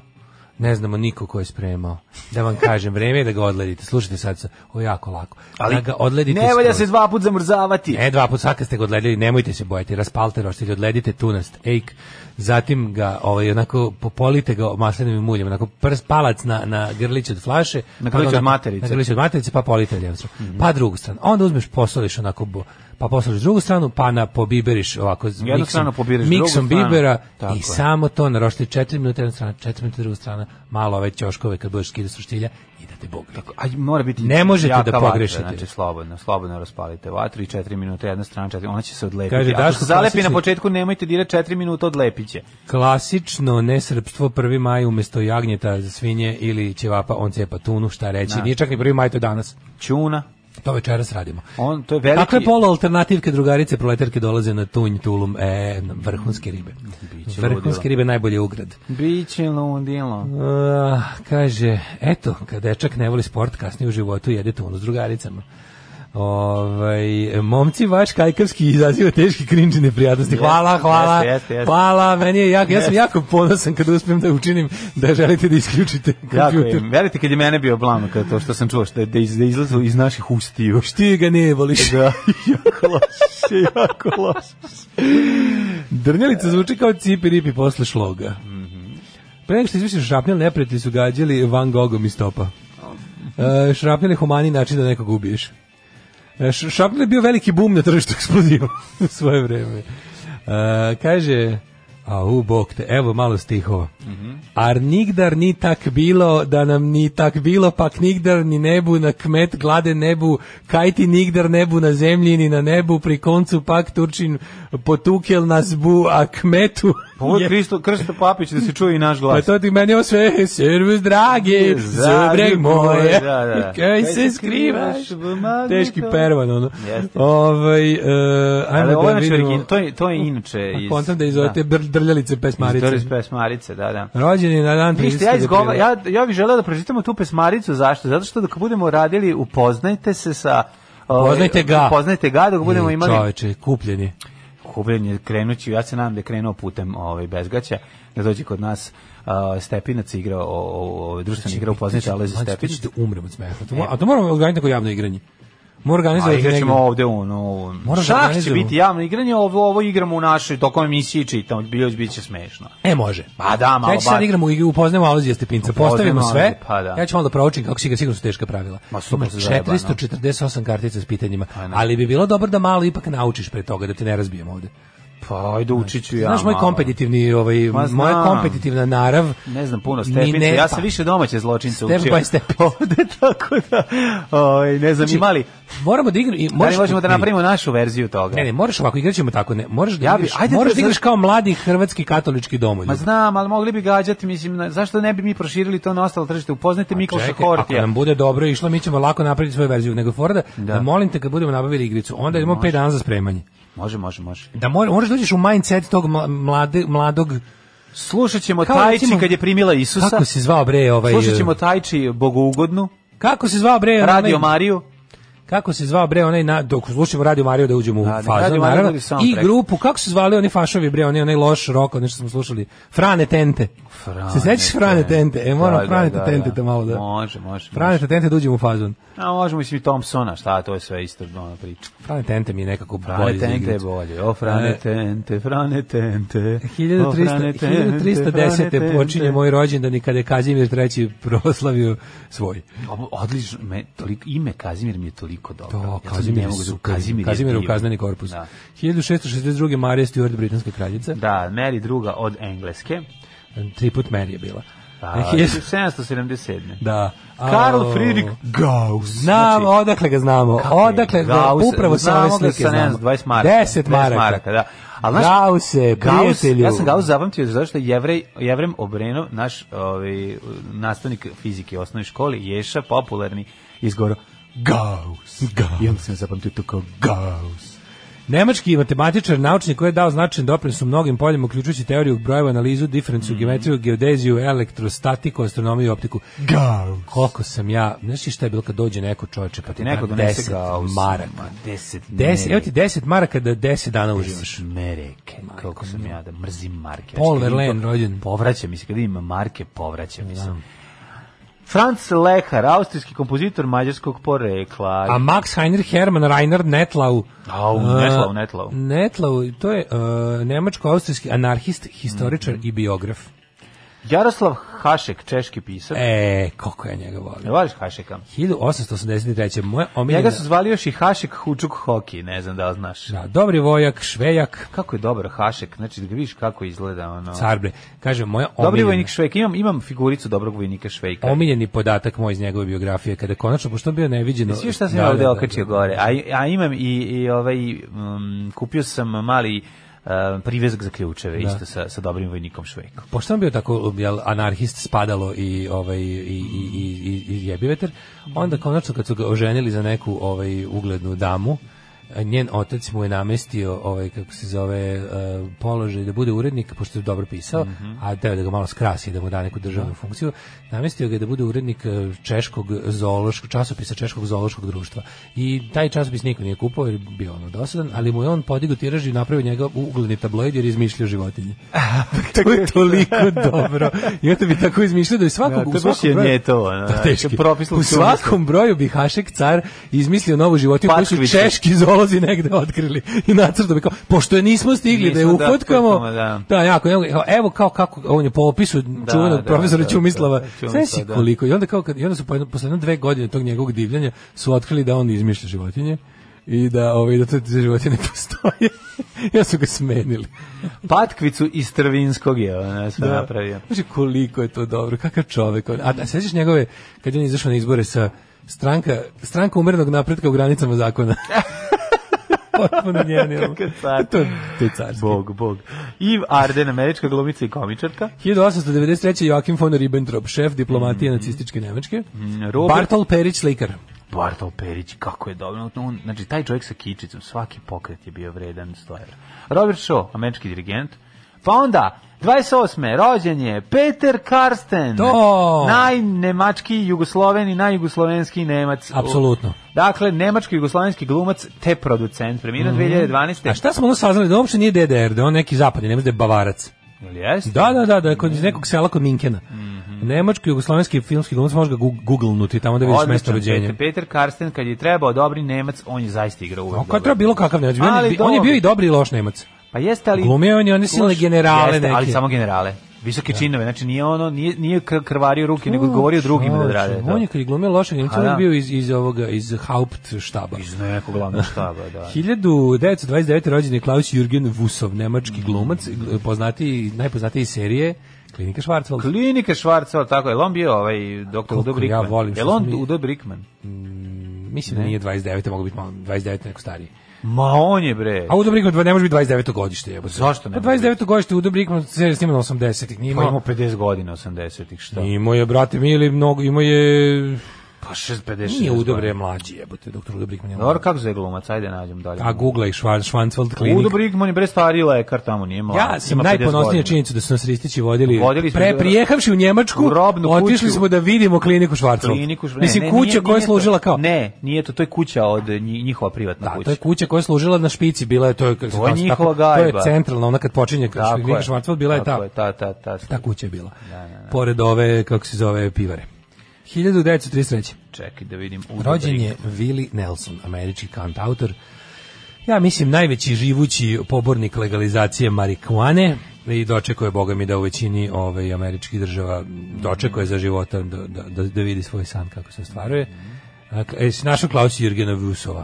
Ne znamo niko ko je spremao. Da vam kažem, vreme je da ga odledite. Slušajte sad, sa- ovo je jako lako. da ga odledite
ne valja se
skroz.
dva put zamrzavati.
E, dva puta sad kad ste ga odledili, nemojte se bojati, raspalite roštilj, odledite tunast, ejk, zatim ga, ovaj, onako, popolite ga maslinovim uljem, onako, prst, palac na, na grlić od flaše,
Na
pa
grlić od
onako-
materice. Mhm.
na grlić od materice, pa polite ljevu stranu, pa drugu stranu, onda uzmeš, posoliš onako, bo- pa posoliš drugu stranu, pa na pobiberiš ovako, s
Jednu
miksom,
stranu pobiraš, drugu
miksom
stranu.
bibera
Tako je.
i samo to na roštilj, četiri minuta jedna strana, četiri minuta druga strana, malo ove ćoškove kad budeš skidati s roštilja i da te Bog vidi.
Aj, mora biti
Ne možete
jaka
da
vatra,
pogrešite.
Znači, slobodno, slobodno raspalite vatru i 4 minuta jedna strana, četiri, ona će se odlepiti.
Kaže,
Ako
Daško,
se zalepi
klasični-
na početku, nemojte dirati 4 minuta, odlepiće.
klasično nesrpstvo 1. maj umesto jagnjeta za svinje ili ćevapa on cepa tunu, šta reći. Nije čak ni 1. maj to je danas.
Čuna.
To večeras radimo.
On, to je veliki...
Kakve polo alternativke drugarice proletarke dolaze na tunj, tulum, e, vrhunske ribe.
Biće
vrhunske
ludilo.
ribe najbolje ugrad.
Biće lundilo.
Ah, Uh, kaže, eto, kad dečak ne voli sport, kasnije u životu jede tunu s drugaricama. Ovaj momci vaš kajkavski izaziva teški cringe neprijatnosti.
Jeste,
Hvala, hvala.
jeste, jeste, jeste.
Hvala, meni je jako, ja sam jako ponosan kad uspijem da učinim da želite da isključite
Jako
kompjuter.
je, verite kad je mene bio blam, kad to što sam čuo, što je, da, iz, da izlazu iz naših ustiju.
Ti ga ne voliš.
Da, jako loše, jako loše.
Drnjelica zvuči kao cipi ripi posle šloga. Pre nego što izvišiš šrapnjel, neprijatelji su gađali Van Gogom iz topa. E, šrapnjel je humani način da nekog ubiješ. E, š- šrapnjel je bio veliki bum na tržištu eksploziva u svoje vreme. E, kaže, a u bok te, evo malo stihova. Ar nigdar ni tak bilo, da nam ni tak bilo, pak nigdar ni nebu na kmet glade nebu, kaj ti nigdar nebu na zemlji ni na nebu, pri koncu pak Turčin potukel nas bu, a kmetu...
Pa Ovo je
je-
Kristo, Krsto Papić, da se čuje i naš
pa
glas.
to ti meni ovo sve, servus dragi, zabreg moje,
Da, da.
kaj se skrivaš,
v magnetu?
teški pervan, ono.
Jeste.
Ovaj, e,
Ali
ajmo
ovo je inače,
da vidimo,
origin- to je, to je inače
A
iz...
kontam da je iz ove te dr- drljalice
Marice.
pesmarice.
Iz Doris pesmarice, da, da.
Rođen je na dan 30.
Ništa, ja, izgova,
aprila.
ja, ja bih želeo da pročitamo tu pesmaricu, zašto? Zato što dok budemo radili Upoznajte se sa... ovaj,
Upoznajte ga.
Upoznajte ga dok budemo
I,
imali...
Čoveče, kupljen je.
Kubljen je krenući, ja se nadam da je krenuo putem ovaj, bezgaća, da dođe kod nas uh, Stepinac igra, o, o, o, društvena igra upoznajte Alezi
Znači, Mlađe, to
Stepinac.
ćete umrem od smeha. To mo- A to moramo organizati neko javno igranje. Moramo
A
organizovati
igrat
negdje.
ćemo ovde on, on.
Moram da
Šah će
organizujemo.
biti javno igranje, ovo, ovo igramo u našoj tokom emisije i čitamo, bilo bit će smešno.
E, može.
Pa da, malo
Ja ću sad
bar.
igramo i upoznamo Alozija Stepinca. Postavimo
Alozija,
sve.
pa da.
Ja ću onda proučim kako si ga sigurno su teška pravila.
Ma, super
Ima
se zajebano.
448 kartica s pitanjima.
ne.
Ali bi bilo dobro da malo ipak naučiš pre toga, da te ne razbijemo ovde.
Pa, ajde učit ću ja.
Znači, Znaš, moj
malo.
kompetitivni, ovaj,
Ma, znam.
moja kompetitivna narav.
Ne znam puno
mi
stepinca,
ne
ja
pa-
sam više domaće zločince
Step
učio.
by step.
Ovde, tako da, oj, ne znam,
Znači,
imali.
Moramo da igramo. i
Da
možeš-
li možemo da
vidi,
napravimo našu verziju toga?
Ne, ne, moraš ovako, igraćemo tako, ne, moraš da
Ja bi-
igraš,
ajde,
moraš
to
da
je-
igraš kao mladi hrvatski katolički domoljub.
Ma znam, ali mogli bi gađati, mislim, na- zašto ne bi mi proširili to na ostalo tržište? Upoznajte Mikloša
Čekaj, ako
Hortija.
nam bude dobro išlo, mi ćemo lako napraviti svoju verziju nego Forda. Da.
Da.
molim te kad budemo nabavili igricu, onda idemo 5 dana za spremanje.
Može, može, može.
Da mora, moraš da uđeš u mindset tog mla- mlade, mladog,
Slušat ćemo
Kao
Tajči
recimo-
kad je primila Isusa.
kako se zvao bre ovaj...
Slušat ćemo Tajči bogougodnu,
Kako se zvao bre? onaj-
Radio Mariju.
Kako se zvao bre onaj na, dok slušamo Radio Mario da uđemo u
Da, da,
fazu
Radio Mario
naravno.
radi soundtrack.
I grupu kako se zvali oni fašovi bre, oni onaj loš rok, nešto smo slušali. Frane Tente.
Frane
se sećaš Frane Tente? E moramo
Da, da,
Frane
da,
Tente
da.
da malo da.
Može, može,
Frane
može.
Tente da uđemo u fazon.
A možemo mislim i Thompsona, šta, to je sve isto ona priča.
Frane Tente mi je nekako bolji
Frane
za
Tente je
igricu.
bolje. O, Frane
E,
Tente, Frane Tente. o,
1300,
Frane Tente,
1310.
Frane
počinje
Tente.
moj rođendan i kada je Kazimir III proslavio svoj.
Ovo, odlično, me, toliko, ime Kazimir mi je toliko dobro.
To,
Ja sad
Kazimir
ne
je
mogu da-
super.
Kazimir je
Kazimir je u
divan.
kazneni korpus.
Da.
1662. Marija Stuart, britanska kraljica.
Da, Mary druga od Engleske. Pa,
Tri put Mary je bila.
A,
E, 1000
1777.
Da.
Karl
A,
Friedrich Gauss.
Znamo,
Znači,
odakle ga znamo.
Kako je
Odakle, ga,
Gauss?
upravo sa ove
Znamo ga
slike
sa, ne
znamo.
znam, 20 maraka.
10 maraka.
da. Ali,
Gause,
Gauss,
prijatelju.
ja sam Gauss zapamtio zato što je jevrej, jevrem Obreno, naš ovaj, nastavnik fizike u osnovnoj školi, Ješa, popularni, izgoro Gauss. Gauss. I onda sam zapamtio to kao Gauss.
Nemački matematičar, naučnik koji je dao značajan doprinos u mnogim poljima, uključujući teoriju brojeva, analizu, diferenciju,
Mm.
geometriju, geodeziju, elektrostatiku, astronomiju i optiku.
Gauss.
Koliko sam ja, znaš ti šta je bilo kad dođe neko čoveče, pa ti
Ti neko
da
donese
10
Gauss.
maraka.
10
10, evo ti 10 maraka da 10 dana uživaš.
Mereke, kako sam ja da mrzim marke.
Paul
Znači, kad
Verlaine
vidim to-
rođen.
Povraća mi se, kad vidim marke, povraća mi se. Franz Lehar, austrijski kompozitor mađarskog porekla.
A Max Heinrich Hermann Reinhard Netlau.
Au,
Uh,
Netlau, Netlau.
Netlau, to je uh, nemačko-austrijski anarhist,
Mm-hmm.
historičar i biograf.
Jaroslav Hašek, češki pisac. E.
E, koliko ja njega volim.
Voliš Hašeka?
1883. Moja omiljena...
Njega su zvali još i Hašek Hučuk Hoki, ne znam da li znaš.
Da, dobri vojak, švejak,
Kako je dobar Hašek, znači da ga vidiš kako izgleda ono.
car bre. Kaže, moja
Dobri
omiljena-
vojnik Švejka, imam, imam figuricu dobrog vojnika Švejka.
omiljeni podatak moj iz njegove biografije, kada je konačno, pošto on bio neviđeno...
Svi šta sam
Da,
ja ovde
da, da,
okačio
da.
gore. A, a imam i, i ovaj, mm, kupio sam mali um, privezak za ključeve, isto sa, sa dobrim vojnikom Švejkom.
Pošto on bio tako jel, anarhist, spadalo i ovaj i i i
Mhm.
i, i jebi veter, onda konačno kad su ga oženili za neku ovaj uglednu damu, a njen otac mu je namestio ovaj kako se zove e, položaj da bude urednik pošto je dobro pisao,
Mhm.
a teo je da ga malo skrasi da mu da neku državnu funkciju. Namestio ga je da bude urednik e, češkog zoološkog časopisa češkog zoološkog društva. I taj časopis niko nije kupovao jer je bio ono dosadan, ali mu je on podigao tiraž i napravio njega u ugledni tabloid jer je izmišljao životinje. to je toliko dobro. I to bi tako izmišljao da je svakog
Da, to je
u
baš
svakom
je
broju-
njetovo, da,
Da, teški.
to je propis
U svakom broju bi Hašek car izmislio novu životinju koju su
Patkvicu.
češki zoolozi negde otkrili i nacrtao bi kao, pošto je nismo stigli da je
Nismo da
ufotkamo,
ufotkamo,
da,
da.
jako, evo, evo kao kako, on je po opisu čuvenog
da,
profesora
da, da,
Ćumislava,
da, Ćumislava,
znaš si
da.
koliko, i onda, kao, kad, i onda su po jedno, posle jedno dve godine tog njegovog divljanja su otkrili da on izmišlja životinje i da ovaj da te te životinje ne postoje. ja su ga smenili.
Patkvicu iz Trvinskog je ona sve napravio.
Znači koliko je to dobro, kakav čovek. on. A da sećaš njegove kad je on izašao na izbore sa stranka stranka umerenog napretka u granicama zakona. Potpuno genijalno.
Kakav car.
To, to je carski.
Bog, bog. Iv Arden, američka glumica i komičarka.
1893. Joachim von Ribbentrop, šef diplomatije nacističke Nemačke.
Mm, Robert-
Bartol Perić slikar.
Bartol Perić, kako je dobro. On, znači, taj čovjek sa kičicom, svaki pokret je bio vredan 100 evra. Robert Shaw, američki dirigent. Pa onda, 28. rođen je Peter Karsten.
To!
Najnemački, jugosloveni, najjugoslovenski Nemac.
Apsolutno.
Dakle, nemačko-jugoslovenski glumac te producent. Premiran 2012.
Mhm. A šta smo ono saznali? Da uopšte nije DDR, da je on neki zapadni, Nemac, da je Bavarac.
Jel jeste?
Da, da, da, da, je kod iz nekog sela kod Minkena.
Mhm.
Nemačko-jugoslovenski filmski glumac, možeš ga gu- googlnuti tamo da vidiš mesto
Odličan
rođenja.
Peter, Peter Karsten, kad je trebao dobri Nemac, on je zaista igrao uvek.
On kad
dobro.
treba bilo kakav Nemac. On je,
Ali
bi- on je bio
dobro.
i dobri i loš Nemac.
Pa jeste ali
Glumio je on i one silne
Loš-
generale
jeste, ali
neke.
samo generale. Visoke činove, znači nije ono nije nije kr- krvario ruke, nego govorio drugima da rade to.
Mm, On je kad je glumio lošeg Nemca,
A,
on je
da.
bio iz, iz ovoga, iz Haupt štaba.
Iz nekog glavnog štaba, da.
1929. rođen je Klaus Jürgen Vusov,
Mm.
nemački glumac, gl- poznatiji, najpoznatiji iz serije Klinika Schwarzwald.
Klinika Švarca, tako je, on bio ovaj doktor Udo
Koliko ja
Brickman.
volim što
Jel on
smo mi-
Udo Brickman?
Mislim da nije 29. mogu biti malo, 29. neko stariji.
Ma on je bre.
A Udo Brickman ne može biti 29. godište. Jebote.
Zašto ne
Pa
može
29. godište Udo Brickman se snima na 80. Nije
Pa imao
imao,
50 godina 80-ih, šta?
imao je, brate, mi ili mnogo, imao je...
Pa 6 50.
Nije Udo bre mlađi, jebote, doktor Udo Brickman je mlađi.
Dobro, kako zove glumac? Ajde nađem dalje.
A Google i Schwan, Schwarzwald klinik.
Udo Brickman je bre stariji lekar tamo, nije mlad.
Ja sam
Ima 50
najponosnija
godina.
činjenica da su nas Ristići vodili,
Vodili smo
pre,
do-
prijehavši u Njemačku,
u robnu
otišli
kuću.
smo da vidimo kliniku Schwarzwald.
kliniku. Ne,
Mislim,
ne,
kuća
nije-
koja je
nije to.
služila kao...
Ne, nije to, to je kuća od nji- njihova privatna
Da,
kuća.
to je kuća koja je služila na špici, bila je to je, kako se
To je
kaže,
njihova
tako- To je
gajba.
centralna, ona kad počinje
Tako
klinika
je.
Schwarzwald, bila je ta.
Tako ta, ta, ta.
Ta kuća je bila. Pored ove, kako se zove, pivare. 1933.
Čekaj da vidim. Udo
Rođen
Brick.
je Willie Nelson, američki kantautor. Ja mislim najveći živući pobornik legalizacije marihuane i dočekuje, boga mi, da u većini ove, američkih država dočekuje za života da, da, da, da vidi svoj san kako se ostvaruje. A, E, si našao Klausa Jurgena Vusova.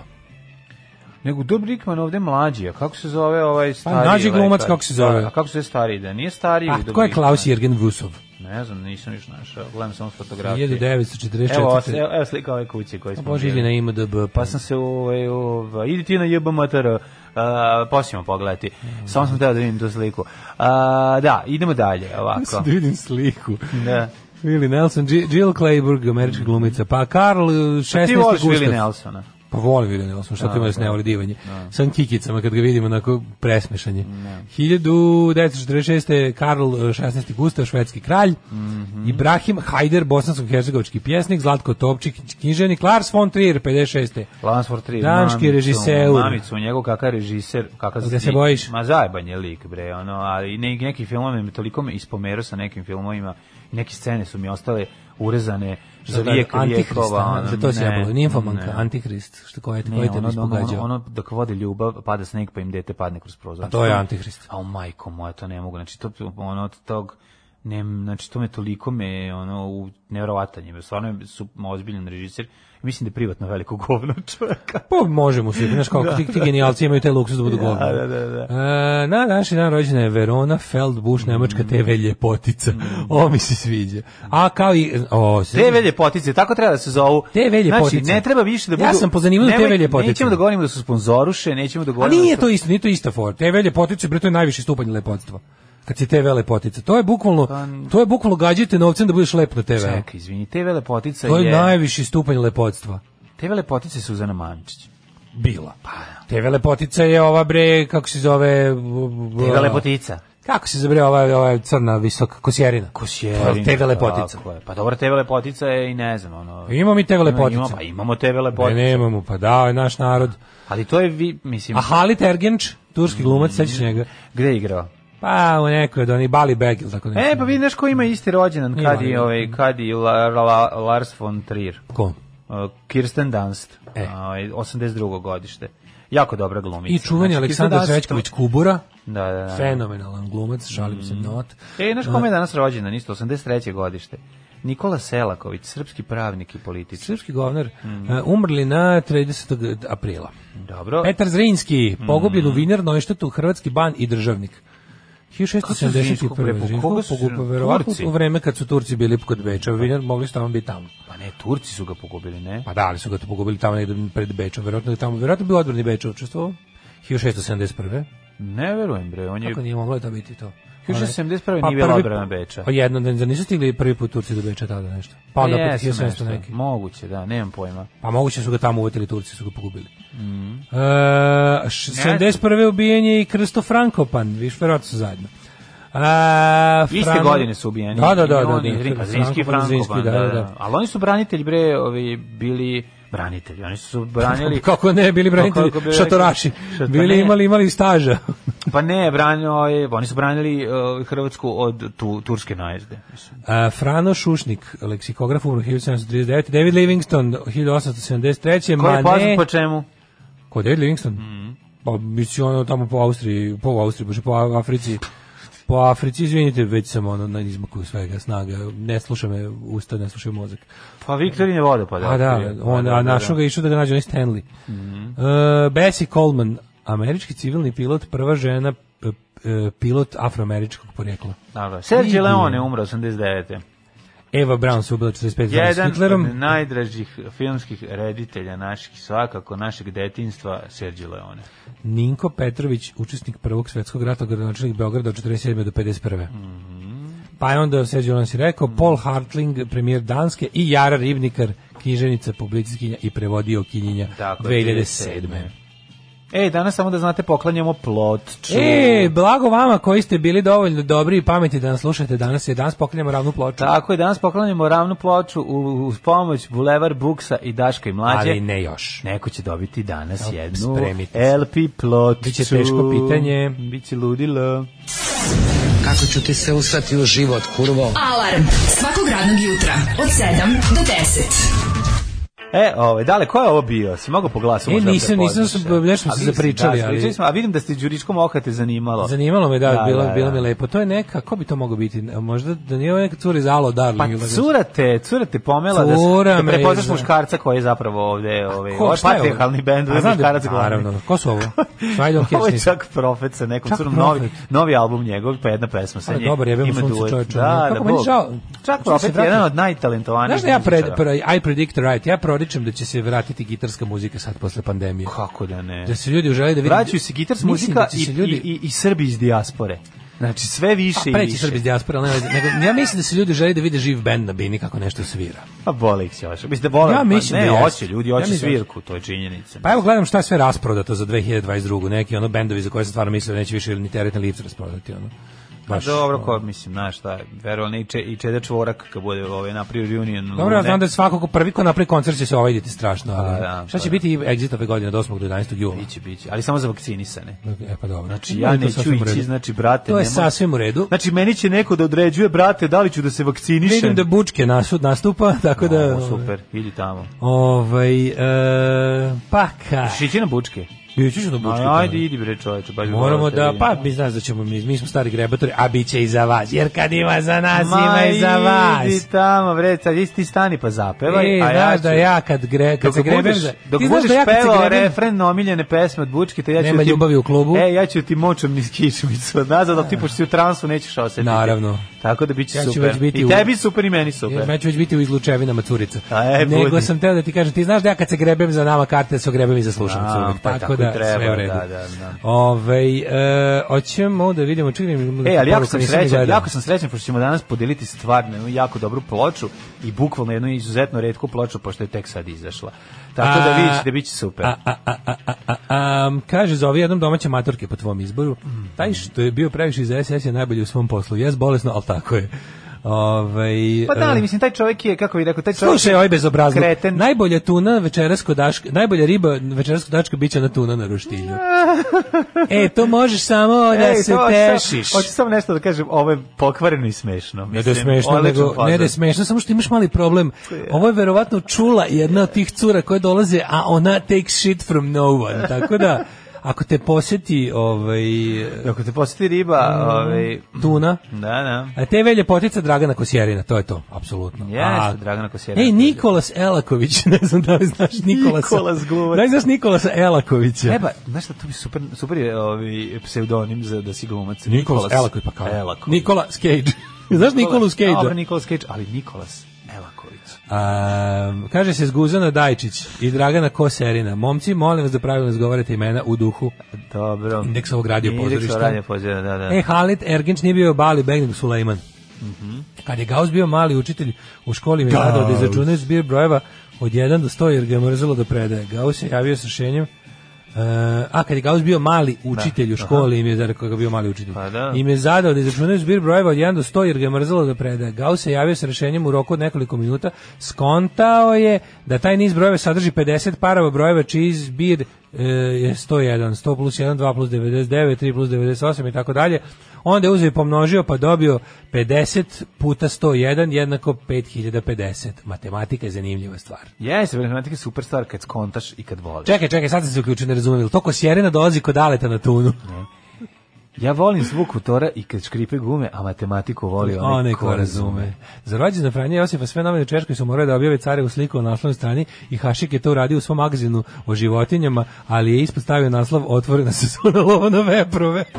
Nego Udo Brickman ovde mlađi, a kako se zove ovaj stariji?
Pa, mlađi
lekar?
glumac, kako se zove?
A kako se zove stariji? Da nije stariji
A,
Udo
Ah, ko je
Brickman?
Klaus Jürgen Vusov?
Ne znam, nisam još našao. Gledam samo fotografije.
1944.
Evo, os- evo, evo slika ove kuće koje smo...
Bože,
bili.
ili na IMDB.
Pa sam se ovaj, ovaj, idi ti na jebamatar, uh, poslijemo pogledati.
Mm.
Samo sam teo da vidim tu sliku. A, da, idemo dalje, ovako.
da vidim sliku.
Da.
Willie Nelson, G- Jill Clayburg, američka glumica, pa Karl uh, 16.
Ti voliš
Gustav.
Willi Nelsona?
Pa volim Willie Nelson, šta to ima da se ne voli divanje. Sam kikicama kad ga vidimo onako presmešanje. 1946. Karl e, 16. Gustav, švedski kralj,
Mhm.
Ibrahim Hajder, bosansko-hercegovički pjesnik, Zlatko Topčik, književnik, Lars von Trier, 56.
Lansford 3.
Danski režiseur.
Mamicu, njegov kakav režiser. Kakav
Da se
lik.
bojiš?
Ma zajeban je lik, bre. Ono, ali ne, neki filmove me toliko me ispomerao sa nekim filmovima. Neke scene su mi ostale urezane za vijek vijekova.
Antihrista,
ono,
za to se
ne,
jebalo, nimfomanka,
ne.
antihrist, što koje te,
Ne,
koje te
ono,
mis
ono, ono,
pogađao.
ono dok vode ljubav, pada sneg pa im dete padne kroz prozor.
A to je antihrist.
A majko moja, to ne mogu. Znači, to, ono, od tog, ne, znači, to me toliko me, ono, u, nevjerovatan je. me, Stvarno je su, ozbiljan režiser. Mislim da je privatno veliko govno čovjeka.
Pa može mu se, znaš kako, ti, ti genijalci imaju taj luksus da budu govni.
da, da, da.
E, na današnji dan rođena je Verona Feldbusch, nemačka TV ljepotica.
Mm.
O, mi se sviđa. A kao i... O, se-
TV ljepotice, tako treba da se zovu.
TV ljepotice.
Znači, ne treba više da
Ja
budu...
sam po zanimanju
Nemoj-
TV ljepotice.
Nećemo da govorimo da su sponzoruše, nećemo da
A
govorimo...
nije
da
to isto, nije to ista for. TV ljepotica, bre, to je najviši stupanj lepotstva. Kad si TV lepotica. To je bukvalno, to je bukvalno gađajte novcem da budeš lep na TV.
su... Pa- Čekaj, izvini, TV lepotica
To
je...
je najviši stupanj lepotstva.
TV lepotice Suzana Mančić.
bila.
Pa-
TV lepotica je ova bre, kako se zove... TV
Tega lepotica.
Kako se zove ova, ova crna, visoka, kosjerina? Pa, TV lepotica.
Tako je. Pa dobro, TV lepotica je i ne znam, ono...
Imamo mi TV lepotice.
Imamo, pa imamo TV
Ne,
lepotica.
nemamo, pa da, naš narod.
Ali to je, vi, mislim,
A Halit Ergenč, turski glumac, sećaš njega?
gde je igrao?
Pa, u nekoj od onih Bali Begil, tako nešto.
E, pa vidi, znaš ko ima isti rođendan, kad
Ima,
je,
ima.
ovaj, kad je La- La- Lars von Trier.
Ko?
Uh, Kirsten Dunst,
E.
ovaj, 82. godište. Jako dobra glumica.
I čuveni
Znači,
Aleksandar
Kirsten Dunst-
Zrećković Kubura, Mm.
Da, da, da.
fenomenalan glumac, šalim se not.
E, znaš kome je danas rođendan, isto, 83. godište. Nikola Selaković, srpski pravnik i političar.
Srpski govnar, e, umrli na 30. aprila.
Dobro.
Petar Zrinski, pogubljen u Vinar, Nojštatu, hrvatski ban i državnik.
Zrinskog prepo- koga
1671. Koga
su
su
Zrinskog?
verovatno
Turci?
u vreme kad su Turci bili kod Beča, u Vinar mogli su tamo biti tamo.
Pa ne, Turci su ga pogubili, ne?
Pa da, ali su ga to pogubili tamo negde pred Bečom, verovatno je tamo, verovatno bi odbrani Beča učestvovao. 1671.
Ne verujem, bre, on je...
Kako nije moglo da biti to?
1971
Pa
nije bila
prvi-
odbrana Beča.
Pa jedno, da da nisu stigli prvi put Turci do Beča tada nešto. Pa onda opet
Jesu
1700
E, nešto.
neki.
Moguće, da, nemam pojma.
Pa moguće su ga tamo uvetili Turci, su ga pogubili.
Mhm.
E, š- 71. ubijen je i Krsto Frankopan, viš verovatno su zajedno. A,
Iste
Fran-
godine su ubijeni.
Da, da, da.
I
da,
oni, Zrin-
da, Frankopan,
Zrinski i Frankopan, da, da, da. Ali oni su branitelji, bre, ovi, bili branitelji. Oni su branili...
Kako ne, bili branitelji,
Kako bi rekli-
šatoraši.
Šato-
Bili
ne.
imali, imali staža.
Pa ne, branio je, oni su branili uh, Hrvatsku od tu, turske najezde. Mislim.
A, Frano Šušnik, leksikograf umro 1739, David Livingston 1873,
Ko je poznat
Mane...
po Mhm. čemu?
Ko David Livingston? Pa mislim ono tamo po Austriji, po Austriji, bože, po Africi. Po Africi, izvinite, već sam ono na izmaku svega snaga, ne sluša me usta, ne sluša me mozak.
Pa Viktorin je vodopad.
A da,
otkrio.
on,
Pa da,
a
da,
našao
da. Mhm.
ga je išao da ga nađe onaj Stanley. E, Bessie Coleman, američki civilni pilot, prva žena p- p- e, pilot afroameričkog porijekla.
Da, da. Sergio Leone umro 89.
Eva Brown se ubila 45 godina s
Jedan
Hitlerom.
od najdražih filmskih reditelja naših, svakako našeg detinstva, Sergio Leone.
Ninko Petrović, učesnik Prvog svjetskog rata, gradonačelnik Beograda od 47. do 51.
Mhm.
Pa je onda Sergio Leone si rekao, Paul Hartling, premijer Danske i Jara Ribnikar, knjiženica, publicistkinja i prevodio kinjenja
Tako je,
2007.
Ej, E, danas samo da znate, poklanjamo plotču.
E, blago vama koji ste bili dovoljno dobri i pametni da nas slušate danas, je danas pokrenemo ravnu ploču.
Tako je, danas poklanjamo ravnu ploču u- uz pomoć Bulevar Buksa i Daška i Mlađe.
ali ne još.
Neko će dobiti danas
Evo,
jednu
spremite se.
LP plotču.
Biće teško pitanje.
Biće ludilo.
Kako ću ti se usrati u život, kurvo?
Alarm svakog radnog jutra od 7 do 10.
E, ovaj, dale, ko je ovo bio? Si mogao po glasu
E,
možda da
nisam, nisam,
prepoznaš,
nešto smo
A
se
vi ste,
zapričali,
da,
ali-
zapričali smo, a vidim da ste Đuričkom okate zanimalo.
Zanimalo me da,
Da,
bilo,
da,
bilo
da.
mi lepo. To je neka, ko bi to mogao biti? Možda da nije ovo neka cura iz Alo Darling.
Pa
ili nešto.
curate, curate pomela da,
Cura
da
me
prepoznaš
izna-
muškarca koji je zapravo ovde, ovaj,
Ko,
ovaj
šta je ovo?
patrijarhalni bend,
A
ovaj
znam da-
muškarac glavni.
Naravno, ko su ovo? Ajde, okej,
Ovo je
snisam.
čak profet sa nekom
Čak
curom,
Profet.
novi, novi album njegov, pa jedna pesma sa
Ali
njim.
dobar, jebem
Ima
sunce,
duet.
čoveče,
Da,
kako
da,
meni
Bog.
žao.
Čak
Što se
profet je
vratim?
jedan od najtalentovanijih
Znaš da ja pred,
muzičara.
pre, I predict right, ja proričem da će se vratiti gitarska muzika sad posle pandemije.
Kako da ne?
Da se ljudi žele da vide.
Vraćaju se gitars
Mislim
muzika
da će
i,
se
i, i, i Srbi iz dijaspore. Znači sve više
Pa,
i
preći
više.
Srbi iz dijaspora, ali ne veze. nego, ja mislim da se ljudi žele da vide živ bend na bini kako nešto svira.
Pa boli ih se još. Mislim da boli.
Ja
pa
mislim
ne,
da jeste.
hoće ljudi,
Ja
hoće
mislim da
svirku, to je činjenica.
Pa evo gledam šta je sve rasprodato za 2022. Neki ono bendovi za koje sam stvarno mislio da neće više ni teret ni lift rasprodati. Ono. Baš,
Pa
ono.
Dobro, ko mislim, znaš šta, verovatno i če, i Čeda Čvorak kad bude ovaj napravio reunion.
Dobro, ja
Lune.
znam da svako ko prvi ko napravi koncert će se ovaj iditi strašno, ali
Pa da,
šta
pa
će
da.
biti exit ove godine od 8. do 11. jula?
biće, biće, ali samo za vakcinisane.
E pa dobro.
Znači
Ima
ja
i to
neću
sasvim u
ići,
redu.
znači brate,
To je
nemoj-
sasvim u redu.
Znači meni će neko da određuje brate da li ću da se vakcinišem.
Vidim da Bučke nasud nastupa, tako da...
O, super, idi tamo.
Ovaj, e, pa ka...
Ćeš ići na bučke.
Biću ću do Bučke.
Aj, ajde, idi bre čoveče, baš bi volao
Moramo
te
da,
vidim.
pa mi znaš da ćemo, mi, mi smo stari grebatori, a bit će i za vas, jer kad ima za nas,
Ma,
ima i za vas.
Idi tamo, bre, sad idi ti stani pa zapevaj,
E,
a ja
znaš
ću...
da ja kad, gre, kad
Dok
se grebem
budeš,
za...
dok
ti znaš
budeš
da ja kad se
pevao
grebem-
refren na omiljene pesme od Bučke, to ja ću
Nema
ti-
ljubavi u klubu. Ah.
E, ja ću ti močom niz kišmicu od nazad, ali ti pošto si u transu nećeš osetiti.
Naravno.
Tako da biće
Ja ću
super.
već biti
I
u-
tebi super i meni
Jer
super.
meni će već biti u izlučevinama curica.
A, e,
Nego
budi.
sam teo da ti kažem, ti znaš da ja kad se grebem za nama karte, se grebem i za slušalicu.
A,
uvek.
pa tako da, treba.
sve u redu.
Da, da, da.
Ovaj, e, hoćemo da vidimo, čekaj, mi-
E, ali jako
poruku
sam
nisam
srećan,
gledao.
jako sam srećan pošto ćemo danas podeliti stvarno jednu jako dobru ploču i bukvalno jednu izuzetno retku ploču pošto je tek sad izašla. Tako da
A-
vidite da biće super.
A, a, a, a, a, a, um, kaže, zove jednom domaće maturke po tvom izboru. Taj što je bio previše za SS je najbolji u svom poslu. Jes bolesno, ali tako je. Ovaj,
pa da,
e,
ali mislim taj čovjek je kako bih rekao, taj čovjek
Slušaj,
je
oj bezobrazno.
Kreten.
Najbolja tuna večeras kod Daška, najbolja riba večeras kod Daška biće na tuna na roštilju. e, to možeš samo da
Ej,
E, se
E, to hoću samo-
tešiš.
Hoću samo nešto da kažem, ovo je pokvareno i smešno.
Ne da je
Mislim,
smešno,
odličan
nego, ne da je
fazon.
smešno, samo što imaš mali problem. Ovo je verovatno čula jedna od tih cura koje dolaze, a ona takes shit from no one. Tako da, ako te posjeti ovaj,
Ako te posjeti
Mm.
riba, ovaj,
tuna,
da, da.
a te velje potica Dragana Kosjerina, to je to, apsolutno. A-
Jeste, Dragana Kosjera.
Ej, Nikolas Elaković, ne znam da li znaš Nikolasa.
Nikolas glumac.
Da li znaš Nikolasa Elakovića?
Eba, znaš šta, to bi super, super je ovaj pseudonim za da si glumac.
Nikolas Elaković, pa kao.
Elaković.
Nikola Cage. znaš
Dobro,
Nikolu Cage?
Nikolas Cage, ali Nikolas Elaković.
Um, kaže se Zguzana Dajčić i Dragana Koserina. Momci, molim vas da pravilno izgovarate imena u duhu.
Dobro.
Indeks ovog radio
Indeks
pozorišta.
ovog radio pozorišta, da, da.
E, Halit Erginč nije bio Bali Begnog Sulejman.
Mhm.
Kad je Gauss bio mali učitelj u školi mi je nadao da izračunaju zbir brojeva od 1 do 100 jer ga je mrzelo da predaje. Gauss je javio sa šenjem e, a kad je Gauss bio mali učitelj u školi im je zadao koga bio mali učitelj.
Pa da.
Im je zadao da izračunaju zbir brojeva od 1 do 100 jer ga je mrzelo da predaje. Gauss se javio sa rešenjem u roku od nekoliko minuta. Skontao je da taj niz brojeva sadrži 50 parova brojeva čiji zbir e, je 101, 100 plus 1, 2 plus 99, 3 plus 98 i tako dalje. Onda je uzeo i pomnožio pa dobio 50 puta 101 jednako 5050. Matematika je zanimljiva stvar.
Jeste, matematika je super stvar kad skontaš i kad voliš.
Čekaj, čekaj, sad sam se uključio, ne razumijem. jel To ko Sjerina dolazi kod Aleta na tunu.
Ja volim zvuk motora i kad škripe gume, a matematiku voli onaj,
Onaj ko razume. Za rođendan Franje Josipa sve novine u Češkoj su morali da objave carevu sliku na naslovnoj strani i Hašik je to uradio u svom magazinu o životinjama, ali je ispod stavio naslov otvorena sezona lova na veprove.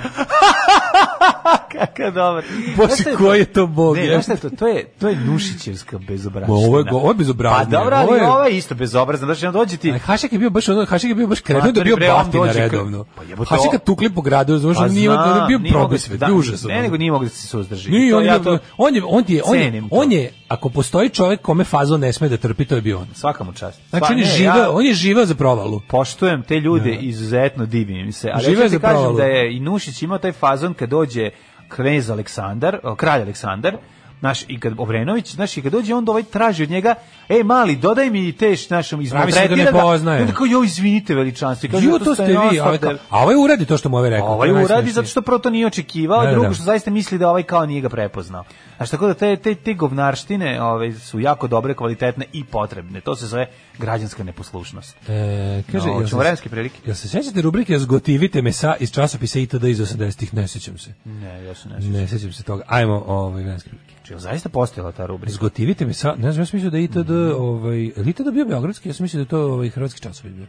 Kakav dobar. Znaš šta
Bože,
je
koji je to bog?
Ne,
je?
znaš šta je to? To je, to je Nušićevska bezobrašnja.
Ma, ovo je go- ovo je bezobraznije.
Pa dobro, ali
Ovo
ovo
je-
je, isto bezobrazno. Znaš, onda dođe ti...
Ali Hašek je bio baš ono, Hašek je bio baš kretan, da
Matori,
je bio
bre, on
baftina
dođe kad-
redovno.
Pa jebote,
Hašek
ovo-
kad tukli po gradu, znaš,
Pa
on nije, on je
znam,
bio
nije mogao
probisvet,
se- da,
bio užasan.
Ne, nego nije mogao da se suzdrži.
ono. Nije,
To
on,
ja
je,
to-
on, je, on, je, on, je,
Cenim to.
on je, ako postoji čovjek kome fazo ne sme da trpi, to je bio on.
Svaka mu čast.
Znači,
Sva-
on je
Pa ne,
živeo,
ja
on je živeo za provalu.
Poštujem te ljude, izuzetno divim im se. Ali
Žive
ja ću
za
ti kažem
provalu.
da je i Nušić imao taj fazon kad dođe knez Aleksandar, o, kralj Aleksandar, naš i kad Obrenović, znaš, i kad dođe on ovaj traži od njega, ej mali, dodaj mi teš našom
Pravi se da ga ne
izmaltretira
poznaje.
I onda kao, jo, izvinite veličanstvo. I kaže,
Ju,
"Ja
to ste
je
vi,
nonstop
a ovaj, kao-
da-
a ovaj uradi to što mu ovaj rekao. to
Ovaj
je
uradi
najsmešnije.
zato što prvo to nije očekivao,
Da, da,
a
da.
drugo što zaista misli da ovaj kao nije ga prepoznao. Znaš, tako da te, te, te govnarštine ove, su jako dobre, kvalitetne i potrebne. To se zove građanska neposlušnost.
E, kaže,
No,
jel
hoćemo
se-
vremenske prilike?
Jel se sjećate rubrike Zgotivite me sa iz časopisa ITD iz 80-ih? Ne sjećam se.
Ne, ja se ne sjećam.
Ne sjećam se toga. Ajmo, ovaj, vremenske prilike.
Čeo, zaista postojala ta rubrika?
Zgotivite me sa, ne znam, ja sam mislio da je ITD, ovaj, je li ITD bio beogradski, ja sam mislio da je to ovaj, hrvatski časopis bio.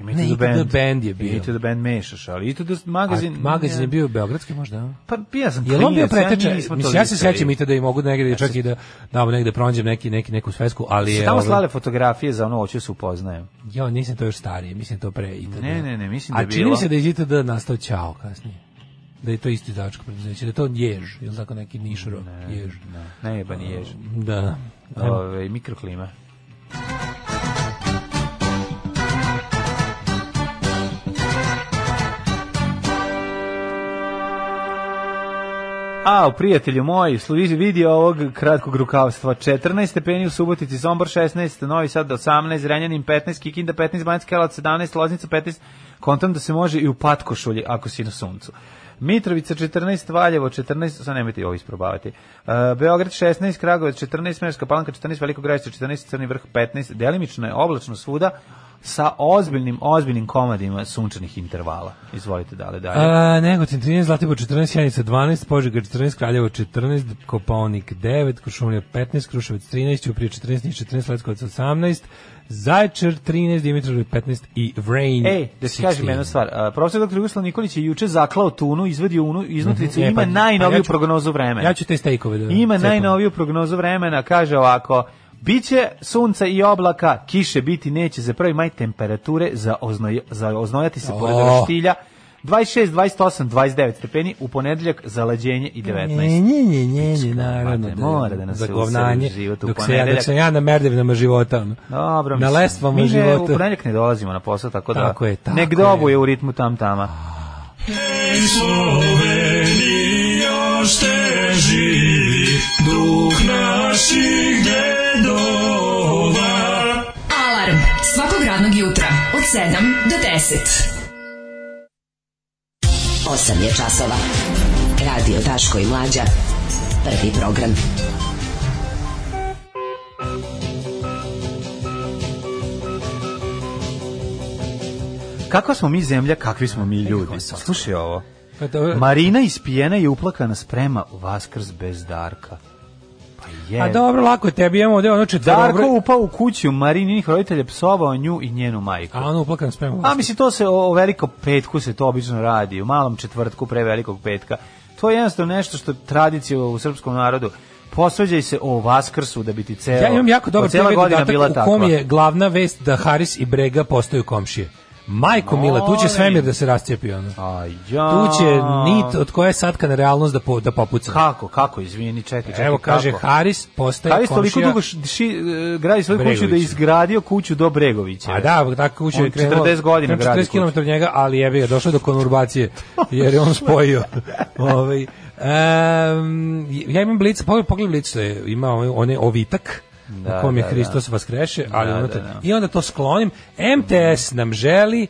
Ima
Ne,
i to
ITD band je bio.
I to da band mešaš, ali i to da magazin...
A, magazin je bio beogradski možda, a?
Pa ja sam
Jel on bio
klinac, ja, mi
preteče?
nismo
Mislim,
to
ja se
vidjeli.
sećam ITD i mogu negdje čak i da, da negde pronađem neki, neki, neku svesku, ali
Su
je...
tamo
ovaj,
slale fotografije za ono hoću se upoznajem.
Ja, nisam to još starije, mislim to pre ITD.
Ne, ne, ne, mislim da
A
je
čini mi
bilo.
se da je iz ITD nastao Ćao kasnije. Da je to isto izdavačko preduzeće, da je to Jež, ili tako neki Nišro, Jež.
Ne, ba nije.
Da.
Ove, mikroklima. A, prijatelju moji, služi vidio ovog kratkog rukavstva. 14 stepeni u Subotici, Sombor 16, Novi Sad 18, Renjanin 15, Kikinda 15, Banjska Jelac 17, Loznica 15. Kontam da se može i u patkošulji ako si na suncu. Mitrovica 14, Valjevo 14, sad nemojte i ovo isprobavati. E, Beograd 16, Kragovac 14, Merska Palanka 14, Veliko Gradište 14, Crni vrh 15. Delimično je oblačno svuda sa ozbiljnim, ozbiljnim komadima sunčanih intervala. Izvolite dalje, dalje.
A, Negotin 13, Zlatibor 14, Sjenica 12, Požega 14, Kraljevo 14, Kopaonik 9, Krušumlija 15, Kruševac 13, Ćuprije 14, Niš 14, Leskovac 18, Zaječar 13, Dimitrov 15 i Vrain
Ej, E, da ti kažem jednu stvar. A, profesor dr. Jugoslav Nikolić je juče zaklao tunu, izvadio unu, iznutricu,
Mhm. E,
ima
pa- pa
najnoviju
ja ću-
prognozu vremena.
Ja ću te stejkove da...
Ima
cepam.
najnoviju prognozu vremena, kaže ovako, Biće sunca i oblaka, kiše biti neće za prvi maj temperature za, oznoj, za oznojati se pored
O.
roštilja. 26, 28, 29 stepeni, u ponedeljak zalađenje i 19.
Nje, nje, nje, nje,
Pička
naravno.
mater, Znači, mora da nas
za
se
govnanje,
useli život u
dok se ja, dok
ponedeljak.
sam ja na merdevnama života. Ono.
Dobro,
na
mislim.
lestvama
mi ne, u
života.
ponedeljak ne dolazimo na posao, tako da
Tako je, tako
nek
je.
dobuje u ritmu tam tama.
Alarm svakog radnog jutra od 7 do 10.
8 je časova. Radio Daško i Mlađa. Prvi program.
Kakva smo mi zemlja, kakvi smo mi ljudi.
sam.
Slušaj ovo.
Pa dobro.
Marina ispijena i uplakana sprema Vaskrs bez Darka. Pa je.
A dobro, lako je tebi, imamo ovde ono
Darko
četvorobro.
upao u kuću Marininih roditelja psovao nju i njenu majku.
A ono uplakan spremamo.
A mislim, to se o, o velikom petku se to obično radi, u malom četvrtku pre velikog petka. To je jednostavno nešto što je tradicija u srpskom narodu. Posveđaj se o Vaskrsu da bi ti ceo,
Ja imam jako dobar
pa cijela
prvi
godina
dodatak
bila
u kom
takva.
je glavna vest da Haris i Brega postaju komšije. Majko Mila, tu će
Molim.
svemir da se rascijepi ono.
A ja.
Tu će nit od koje je satka na realnost da, po, da popuca.
Kako, kako, izvini, čekaj, čekaj.
Evo kaže
kako?
Haris postaje
Haris toliko
komšija.
dugo š- ši, e, gradi svoju kuću da je
Bregovića.
izgradio kuću do Bregovića.
A da, tako kuća
On
je krenulo.
40 godina
krenulo
gradi
40 km od njega, ali je ga došao do konurbacije, jer je on spojio. ovaj, em, ja imam blic, pogledaj, pogledaj blic, što je, ima onaj, onaj ovitak,
Da,
u kom je
da,
Hristos vaskreše, ali
Da,
ono
da,
to-
da.
i onda to sklonim. MTS nam želi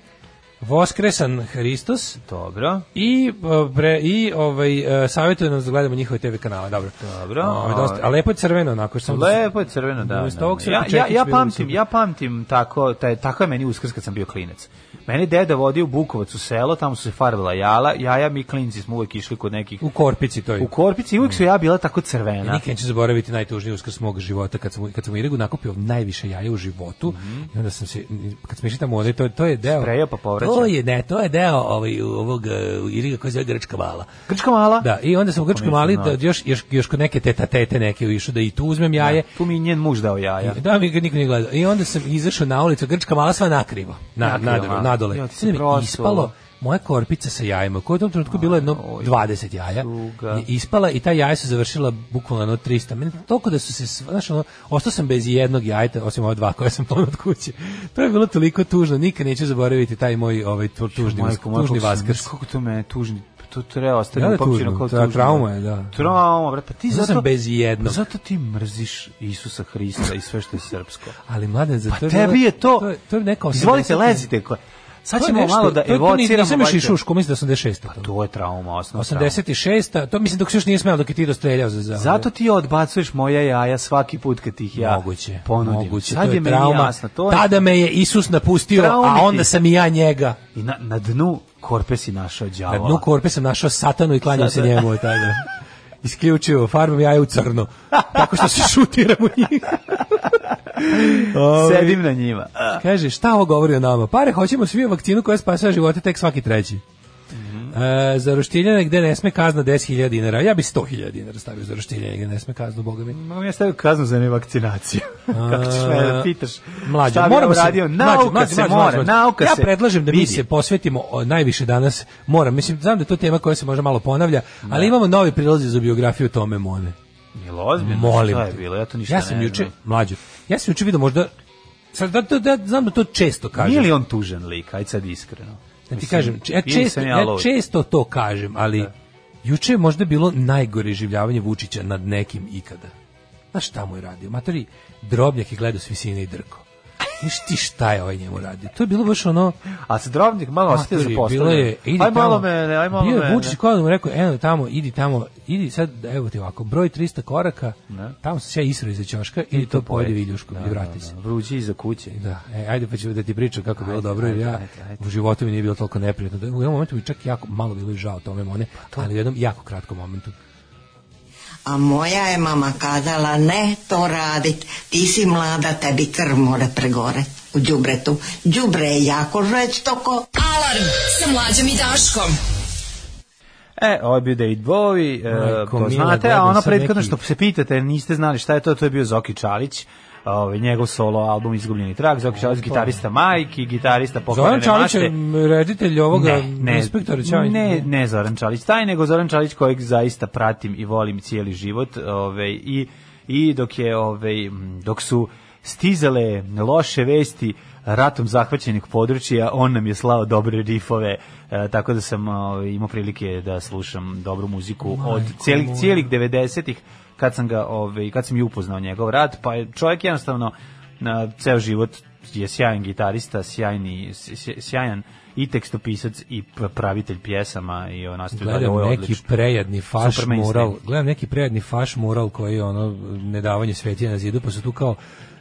Voskresan Hristos
Dobro.
i e, bre, i ovaj e, savjetuje nam da gledamo njihove TV kanale, dobro.
Dobro.
Ovaj, dosta, a lepo je crveno onako što
Lepo je crveno, da.
Umesto
da,
ovog
da.
crvenog
ja, ja, ja
čekića bi
pamtim,
bilo
ja pamtim tako, taj, tako je meni uskrs kad sam bio klinac. Mene deda vodio u Bukovac u selo, tamo su se farbila jala, jaja, mi klinci smo uvek išli kod nekih
u korpici to je.
u korpici i uvek su ja bila tako crvena.
Ja nikad neću zaboraviti najtužniji uskrs mog života kad sam kad sam u Irigu nakupio najviše jaja u životu i onda sam se kad sam išao tamo onaj, to to je deo
Mhm. Sprejao pa povraćao.
To je ne, to je deo ovaj ovog uh, Iriga koji se zove Grčka mala.
Grčka mala?
Da, i onda sam u Grčkoj
nisam
mali
znao.
da, još još još kod neke teta tete neke išao da i tu uzmem jaje.
Tu mi je njen muž dao jaja.
Da, mi ga niko nije gledao. I onda sam izašao na ulicu, grčka mala sva nakrivo. Na,
Nakrivo,
nadole,
a?
nadole.
Jo, ti si
Onda mi je
prosuo.
ispalo moja korpica sa jajima, koja je u tom trenutku bilo jedno 20 jaja,
tuga.
je ispala i ta jaja su završila bukvalno ono 300. Meni toliko da su se, sv- znaš, ono, ostao sam bez jednog jajeta, osim ova dva koja sam ponao od kuće. To je bilo toliko tužno, nikad neću zaboraviti taj moj ovaj, tu- tužni,
Majko,
vas-
majko,
tužni
kako sam-
vaskrs.
Kako to me tužni, to treba ostati
Da, da,
upamćeno
tužno,
kao
ta
tužno.
trauma je, da.
Trauma, brate, pa ti
Zato
zato...
sam bez jednog.
Zato ti mrziš Isusa Hrista i sve što je srpsko.
Ali mladen, za
Pa
to je
tebi
bilo-
je to...
To je, to je neka
Izvolite,
80.
lezite. ko- Sad
To je
ćemo
nešto-
malo da
to- to ni-
evociramo.
Nisam još
valjda.
i šuško, mislim da 86. Pa
To je trauma, osnovna trauma.
86. To mislim dok se još nije smelo dok je ti dostreljao za za.
Zato ti odbacuješ moja jaja svaki put kad tih ja
moguće,
ponudim.
moguće.
Sad
to
je
je
meni
trauma.
jasno. To je...
Tada me je Isus napustio,
Traumi
a onda
ti.
sam i ja njega.
I na, na dnu korpe si našao đavola.
Na dnu korpe sam našao satanu i klanjao se
Sada.
njemu od tada. Isključivo, farbam jaja u crno. Tako što se šutiram u njih. Ovaj,
Sedim na njima.
Kaže, šta ovo govori o nama? Pare, hoćemo svi vakcinu koja spasava živote tek svaki treći. E, za roštiljane gde ne sme kazna 10.000 dinara. Ja bi 100.000 dinara stavio za roštiljane gde ne sme kaznu, boga mi.
Mogu ja stavio kaznu za nevakcinaciju. Kako ćeš me da pitaš?
Mlađe,
šta bi
moramo
ja uradio?
se,
nauka
mlađe, mlađe,
se
mlađe,
mora,
mlađe.
nauka
ja
se
predlažem da mi
vidi.
se posvetimo o, najviše danas, moram, mislim, znam da je to tema koja se možda malo ponavlja, ali imamo novi prilazi za biografiju Tome Mone.
Jel ozbiljno?
Molim
Šta je
te.
bilo? Ja to ništa
ja sam
ne
juče,
znam.
mlađo, ja sam juče vidio možda, sad, da, da, da, znam da to često kažem.
Nije li on tužen lik? Ajde sad iskreno.
Da ti
Mislim,
kažem, e, če- ja
ili sam
često,
ja
ja
lud?
često to kažem, ali juče je možda bilo najgore življavanje Vučića nad nekim ikada. Znaš šta mu je radio? Matori, drobnjak je gledao s visine i drko. Znaš ti šta je ovaj njemu radio? To je bilo baš ono...
A se drobnik malo osjetio
matori,
za
bilo je, idi
Aj malo
tamo.
mene, aj malo
bio je
mene.
Vučić kao da mu rekao, eno tamo, idi tamo, idi sad, evo ti ovako, broj 300 koraka, tamo se sve isro iza ćoška, ili to pojedi viljušku i vrati se.
Vrući iza kuće.
Da, e, ajde pa ću da ti pričam kako je bilo dobro, jer
ajde,
ja
ajde, ajde.
u životu mi nije bilo toliko neprijatno. Da, U jednom momentu mi čak jako malo bilo i žao tome mone,
Pa
ali u jednom jako kratkom momentu.
A moja je mama kazala ne to radit, ti si mlada, tebi krv mora pregore u đubretu. Đubre je jako žveć toko.
Alarm sa Mlađom i Daškom.
E, ovo je bio David Bowie, e,
Majko
to
mila,
znate, a
gledam
ono
sad
prethodno
neki-
što se pitate, niste znali šta je to, to je bio Zoki Čalić, ovaj, njegov solo album Izgubljeni trag, Zoki Čalić gitarista Majki, gitarista Pokorene
Zoran
Mašte.
Čalić je reditelj ovoga inspektora Čalić.
Ne, ne Zoran Čalić, taj nego Zoran Čalić kojeg zaista pratim i volim cijeli život, ovaj i i dok je ovaj m, dok su stizale loše vesti ratom zahvaćenih područja, on nam je slao dobre rifove, e, tako da sam ovaj, imao prilike da slušam dobru muziku od cijelih, cijelih 90-ih kad sam ga ovaj kad sam i upoznao njegov rad, pa je čovjek jednostavno na ceo život je sjajan gitarista, sjajni sj- sjajan i tekstopisac i p- pravitelj pjesama i
ono,
on nastavio dalje,
Gledam
ovo je
neki
odlično.
prejadni faš
Super mainstream.
mural, gledam neki prejadni faš mural koji je ono nedavanje svetinja na zidu, pa su tu kao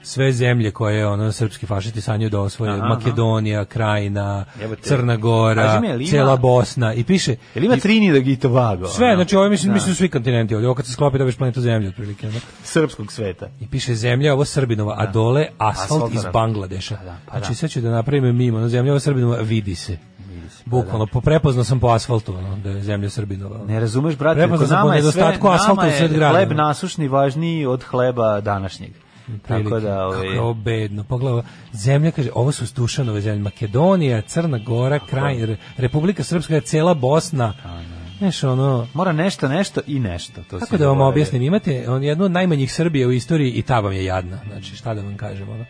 sve zemlje koje ono srpski fašisti sanju da osvoje,
Aha, aha.
Makedonija, Krajina,
Jebote.
Crna
Kaži
Gora,
mi, je li ima-
cela Bosna i piše
Jel ima Trinidad i Tobago?
sve,
ono?
znači ovo mislim,
Da.
mislim svi kontinenti ovdje, ovo kad se sklopi dobiješ planetu zemlje otprilike. ono.
srpskog sveta.
I piše zemlja ovo Srbinova, a dole asfalt,
Asfalt,
iz
da.
Bangladeša.
Pa da, pa da.
znači sad ću da napravim mimo, ono, zemlja ovo Srbinova, vidi se.
pa
Bukvalno, po- prepoznao sam po asfaltu ono, da je zemlja Srbinova. ono.
Ne razumeš, brate,
Prepoznao
kod
sam po
nama je sve,
nedostatku asfalta
nama
u
je
sred grada,
hleb
ono.
nasušni važniji od hleba današnjeg. Tako
prilike.
da,
Kako
ovaj,
je ovo bedno. Pogledaj, ovo. zemlja, kaže, ovo su Stušanove zemlje. Makedonija, Crna Gora, kraj, Re- Republika Srpska, cela Bosna. Znaš, ono,
mora nešto, nešto i nešto. To
kako
si
da vam
zaboravio.
objasnim, imate on, jednu od najmanjih Srbije u istoriji i ta vam je jadna. Znači, šta da vam kažem, ono.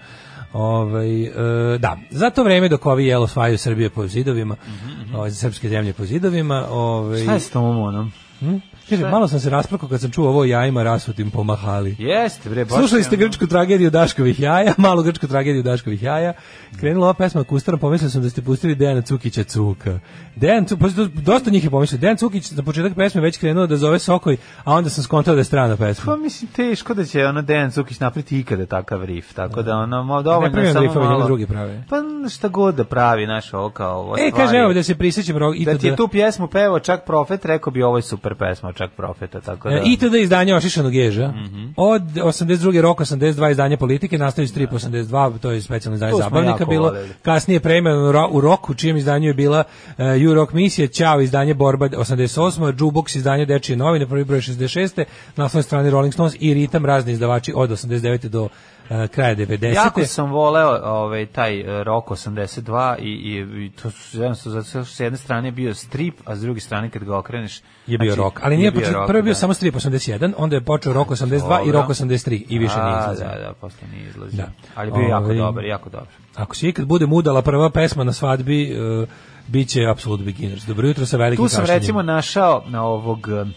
Ovaj, e, da, za to vreme dok ovi jel osvajaju Srbije po zidovima,
Mhm,
ovaj, srpske zemlje po zidovima, ovaj,
Šta je s tom onom?
hm? Kaže, malo sam se rasprkao kad sam čuo ovo o jajima rasutim po mahali.
Jeste, bre, baš.
Slušali
je
ste
ono-
grčku tragediju Daškovih jaja, malu grčku tragediju Daškovih jaja. Krenula ova pesma Kustarom, pomislio sam da ste pustili Dejana Cukića Cuka. Dejan Cu- pa dosta njih je pomislio. Dejan Cukić na početak pesme već krenuo da zove Sokoj, a onda sam skontao da je strana
Pa
pesma.
mislim teško da će ono Dejan Cukić napriti ikada takav rif, tako da ono ma
Ne
dovoljno
pravim
je samo
rifove,
malo.
njega drugi prave.
Pa šta god da pravi naš ovo kao ovo.
E, kaže, evo da se prisjećam rog,
da ti je
ITD,
tu pjesmu pevao čak Profet, rekao bi ovo je super pesma čak Profeta, tako da. Mhm.
E, ITD izdanje Ošišanog ježa. Od 82. rok 82 izdanje politike, nastavi strip 82, to je specijalno izdanje
To smo
zabavnika
jako
bilo.
voleli.
Kasnije preimenovano ro- u roku, čijem izdanju je bila e, U rock misije, Ćao izdanje Borba 88, Jukebox izdanje Dečije novine, prvi broj 66, naslovnoj strani Rolling Stones i Ritam razni izdavači od 89. do e, kraja 90.
Jako sam voleo ovaj taj e, rok 82 i i, i to su jednostavno zato što s jedne strane je bio strip, a s druge strane kad ga okreneš
je bio
znači,
rok, ali nije počet,
rock,
prvi je bio
da.
samo strip 81, onda je počeo rok 82 i
Dobro.
rok 83 i više nije
A,
izlazio.
Da, da, posle nije izlazio.
Da.
Ali bio je jako
Ovaj,
dobar, jako dobar.
Ako se ikad bude mudala prva pesma na svadbi, e, bit će Absolute Beginners. Dobro jutro sa velikim
Tu sam
kašnjenjem.
recimo našao na ovog em,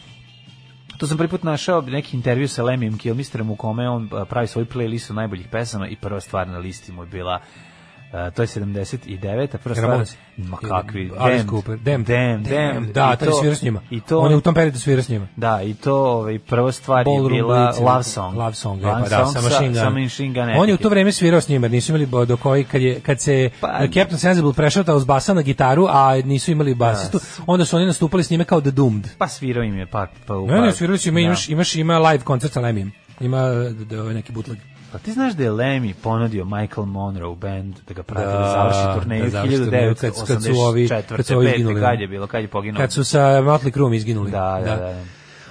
tu sam prvi put našao neki intervju sa Lemijem Kilmisterom u kome on eh, pravi svoj playlistu najboljih pesama i prva stvar na listi mu je bila eh, to je 79, a prva stvar
Ramones.
ma kakvi
Alice
Damned,
Cooper.
Damned,
Damned.
Damned.
Da,
I
taj
to-
svira s njima.
i to
On je u tom periodu svira s njima.
Da, i to ovaj, prva stvar je
Ballroom
bila
Blitz,
Love Song.
Love Song, je, pa da,
Song
sa Machine Gun.
sa Machine Gun
On je u
Etiquette.
to vreme svirao s njima, jer nisu imali bo- do koji, kad, je, kad se
Pa-
eh, Captain Sensible prešao s basa na gitaru, a nisu imali basistu, onda su oni nastupali s njime kao The Doomed.
Pa svirao im je par... Pa, u
Ne,
par-
ne, svirali su, ima,
Da.
imaš, imaš, ima live koncert sa Lemijem. Ima eh, d- d- neki bootleg.
Pa ti znaš da je Lemmy ponudio Michael Monroe band da ga prati da,
Da,
završi turneju
da završi turneju kad- kad su ovi-
1984.
kad su ovi
pete,
ginuli,
Kad
da.
je bilo, kad je poginuo.
Kad su sa Motley Crue izginuli.
Da, da, da.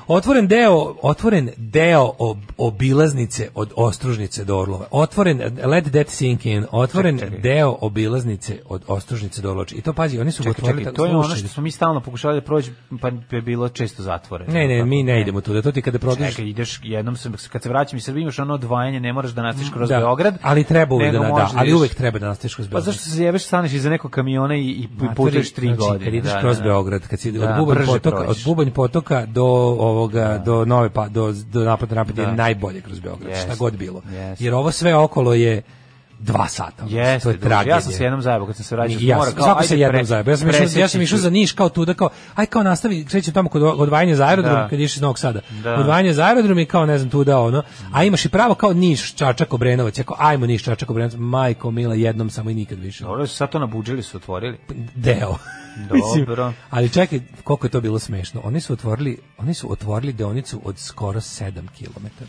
Otvoren deo, otvoren deo ob, obilaznice od Ostružnice do Orlova. Otvoren let that sink in. Otvoren
Čekaj, čekaj.
deo obilaznice od Ostružnice do Orlova. I to pazi, oni su ga
Čekaj,
otvorili
čekaj,
tako-
to je ono
slušaj.
što smo mi stalno pokušali da prođe, pa je bilo često zatvoreno.
Ne, ne,
Tako,
mi ne, idemo tu. Da to ti kada prođeš
Čekaj, ideš jednom se kad se vraćam iz Srbije imaš ono odvajanje, ne moraš da nastiš kroz
Mm, Da,
Beograd.
ali treba uvek da,
nego
da,
možeš
ali
ideš-
uvek treba da nastaviš kroz
Pa
Beograd.
zašto se jebeš, staneš iza nekog kamiona i, i
Matori,
putuješ tri
znači,
godine.
Kad ideš
da,
kroz
da, da.
Beograd, kad si
Da,
od Bubanj
brže
potoka, od
prođeš.
Bubanj potoka do ovoga do Nove pa do do napada napada
Da.
je najbolje kroz Beograd, šta
Jeste.
god bilo.
Jeste.
Jer ovo sve okolo je dva sata. mislim,
Jeste,
to je
druže,
tragedija.
ja sam se jednom zajebao kad sam se vraćao s
I ja
mora,
sam,
kao,
svako
ajde,
se
pre-
jednom zajebao. Ja sam išao, ja sam
presjeći
išao
ću.
za Niš kao tuda kao aj kao nastavi krećem tamo kod odvajanja za aerodrom
Da.
kad išli iz Novog Sada.
Da.
Odvajanje za aerodrom i kao ne znam tuda ono. A imaš i pravo kao Niš, Čačak, Obrenovac, ja kao ajmo Niš, Čačak, Obrenovac, majko mila jednom samo i nikad više
Dobro, su sad to nabuđili, su otvorili.
deo.
Dobro.
ali čekaj, koliko je to bilo smešno. Oni su otvorili, oni su otvorili deonicu od skoro 7 km.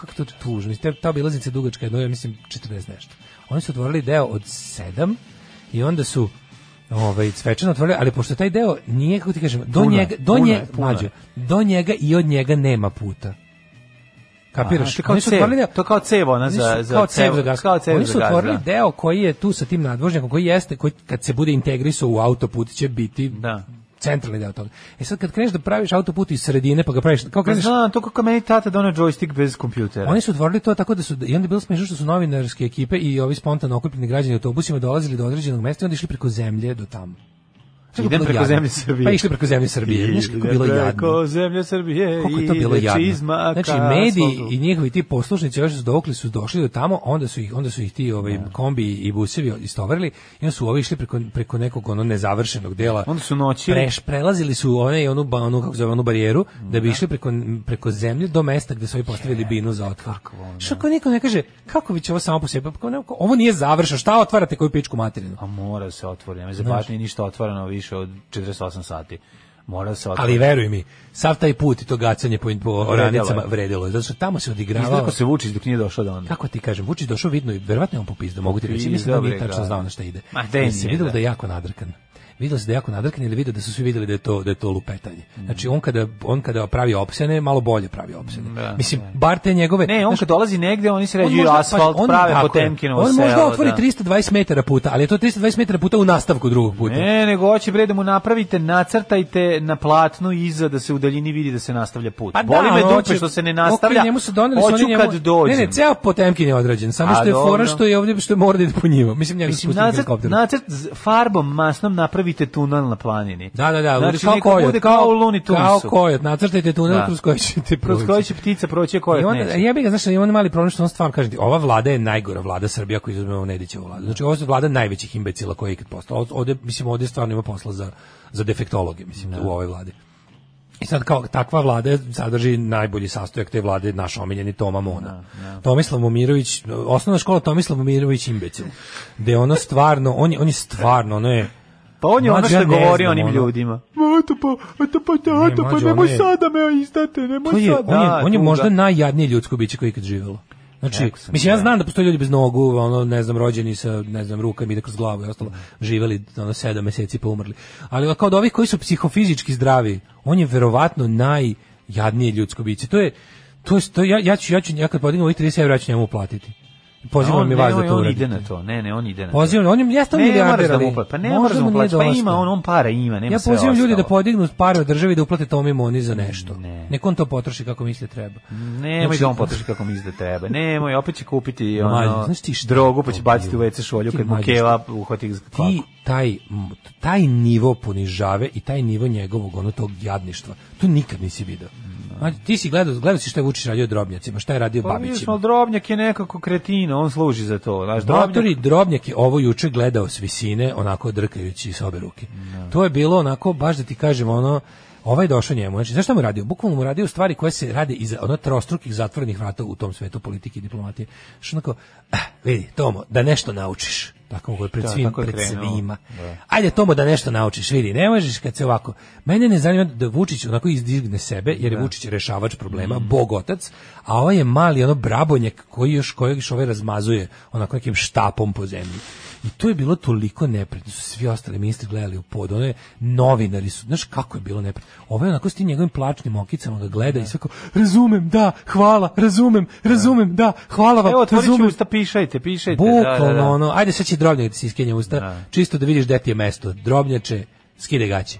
Kako to tužno. Mislim, Ta, ta obilaznica je dugačka, jedno je, mislim, 40 nešto. Oni su otvorili deo od 7 i onda su ovaj svečano otvorili, ali pošto taj deo nije kako ti kažem, do
Puno je,
njega do
puno je,
njega
puno je.
mlađe, do njega i od njega nema puta.
Aha,
Kapiraš?
to je kao
Oni su
cev.
otvorili deo-
To je kao cev, ona
Oni su
za- za
kao
cev-
cev za gas.
kao cev
Oni
za
su
gas,
otvorili
da.
deo koji je tu sa tim nadvožnjakom, koji jeste, koji kad se bude integrisao u autoput će biti
Da.
centralni deo toga. E sad kad kreneš da praviš autoput iz sredine, pa ga praviš, kao
Pa
kreneš,
znam, to kako meni tata donio joystick bez kompjutera.
Oni su otvorili to tako da su i onda je bilo smešno što su novinarske ekipe i ovi spontano okupljeni građani autobusima dolazili do određenog mesta i onda išli preko zemlje do tamo. Znaš kako
Idem
bilo
preko
jadno?
zemlje Srbije.
Pa išli preko zemlje Srbije. Znaš kako bilo jadno.
Kako zemlja Srbije
Koliko je to bilo
ide
jadno.
čizma
Znači
ka
mediji
asfaltu.
i njihovi ti poslušnici još su dokli su došli do tamo, onda su ih onda su ih ti ovaj kombi i busevi istovarili i onda su ovi išli preko preko nekog ono nezavršenog dela.
Onda su noći-
preš prelazili su one i onu ba- onu kako se zove onu barijeru da bi išli preko preko zemlje do mesta gde su ovi postavili binu za otvor. Što ako niko ne kaže kako bi će ovo samo po sebi Pa kao ne, ovo nije završeno. Šta otvarate koju pičku materinu?
A mora se otvori, nema zabaš nije ništa otvoreno više od 48 sati. Mora se otvori.
Ali veruj mi, sav taj put i to gacanje po, po
Vredelo je.
oranicama vredilo je. Zato što tamo se
Izgleda
odigravalo.
kako se vuči dok nije došao do onda.
kako ti kažem, Vučić došao vidno i verovatno je on popizda, mogu ti reći, mislim da
Popizdao,
nije
bre,
tačno
da.
znao na šta ide.
Ma, gde
Jer se
nije,
videlo
da.
da je jako nadrkan. Videlo se da je jako nadrkan ili video da su svi videli da je to da je to lupetanje. Znači on kada on kada pravi opsene, malo bolje pravi opsene.
Da,
mislim bar te njegove
Ne, on
znaš,
kad dolazi negde, oni se
on
ređuju
možda-
asfalt,
pazi, on-
prave
tako je.
Potemkinovo selo.
On možda otvori
da.
320 metara puta, ali je to 320 metara puta u nastavku drugog puta.
Ne, E, nego hoće bre da mu napravite, nacrtajte na platnu iza da se u daljini vidi Pa da se nastavlja put. Boli me
ono,
dupe
hoće-
što se ne nastavlja.
okej, njemu su doneli su
Hoću
oni njemu.
kad dođem.
Ne, ne, ceo Potemkin je odrađen, samo
A,
što je fora
dobro.
što je ovdje što mora da ide po njima. Mislim njega
Mislim,
spustili
nacrt,
helikopterom.
nacrt s farbom masnom napravite tunel na planini.
Da, da, da,
Znači,
znači, kao
neka
kojot,
bude
kao,
kao u Looney
Kao
Tunesu.
kojot, nacrtajte tunel
Da.
kroz koji ćete proći.
Kroz koji će ptica proći, a kojot
I onda,
neće.
ja bih ga, znaš, imam mali problem što on stvarno kaže ti, ova vlada je najgora vlada Srbija koju izuzmemo Nedićevu vladu. Znači, ovo je vlada najvećih imbecila koja je ikad postala. Ovde- Ovde, mislim, ovde stvarno ima posla za, za defektologe, mislim, u ovoj vladi. I sad kao takva vlada sadrži najbolji sastojak te vlade, naš omiljeni Toma Mona. Tomislav Momirović, osnovna škola Tomislav Momirović imbecil. Gde ono stvarno, on je, on je stvarno, ono je,
Pa on je ono
Mlađe,
što
ja
je
ne
govorio
znam,
onim
ono.
ljudima. Ma, eto pa, eto pa, eto pa,
mlađe,
nemoj
ono je-
sada me izdate, nemoj
To Pa je, on
sada.
je,
Pa Da,
on je
tuga.
možda najjadnije ljudsko biće koje je ikad živelo. Znači,
Rekao sam ti,
mislim, ja
da.
znam da postoje ljudi bez nogu, ono, ne znam, rođeni sa, ne znam, rukama ide kroz glavu i ostalo, živeli, ono, sedam meseci pa umrli. Ali kao od ovih koji su psihofizički zdravi, on je verovatno najjadnije ljudsko biće. To je, to je, to je- ja, ja ću, ja ću, ja kad podignem ovih 30 evra, ja ću njemu platiti.
A on,
Pozivam i
ne,
vas
on-
da to
on
uradite.
ide na to. Ne, ne, on ide na to.
Pozivam, on je, jeste on
Ne,
milijarder,
moraš da mu
ali
uplaćaš. Pa ne
možda
moraš da
mu
mu
nije
uplaćaš. Pa
dosta.
ima, on, on para ima, nema
Ja
sve
pozivam ljude da
ostalo.
podignu pare od države i da uplate Tomi Moni za nešto.
Ne.
Nek on to potroši kako misli treba.
Nemoj
Znači,
da on potroši kako misli da treba. Nemoj, opet će kupiti ono,
Mlađe, znaš ti šta?
drogu, pa će baciti u WC šolju
Ti
kad mu
mlađe,
keva uhvati za kvaku.
Ti taj, m, taj nivo ponižave i taj nivo njegovog ono tog jadništva, to nikad nisi video. Mlađe, ti si gledao, gledao si šta je Vučić radio drobnjacima, šta je radio
Pa vidiš,
babićima.
malo drobnjak je nekako kretina, on služi za to. Znaš,
Matori
drobnjak,
Drobnjak je ovo juče gledao s visine, onako drkajući s obe ruke. To je bilo onako, baš da ti kažem, ono, ovaj došao njemu. Znači, znaš šta mu je radio? Bukvalno mu je radio stvari koje se rade iz ono trostrukih zatvorenih vrata u tom svetu politike i diplomatije. Što onako, eh, vidi, Tomo, da nešto naučiš. Tako mu je pred,
Da,
svim,
tako je
pred
krenuo.
svima.
Da.
Ajde, Tomo, da nešto naučiš, vidi, ne možeš kad se ovako... Mene ne zanima da Vučić onako izdigne sebe, jer je Vučić rešavač problema,
Mm.
bog otac, a ovo je mali ono brabonjak koji još kojeg još ovaj razmazuje onako nekim štapom po zemlji. I to je bilo toliko neprijatno, su svi ostali ministri gledali u pod, ono je, novinari su, znaš kako je bilo neprijatno. Ovo je onako s tim njegovim plačnim okicama ga gleda i sve kao, razumem, da, hvala, razumem, razumem, da, hvala vam,
evo, otvorit ću
razumem.
usta, pišajte, pišajte. da, da,
Bukvalno
da.
ono, ajde sad će drobnjak da se iskenja usta, čisto da vidiš gde ti je mesto. Drobnjače, skide gaće.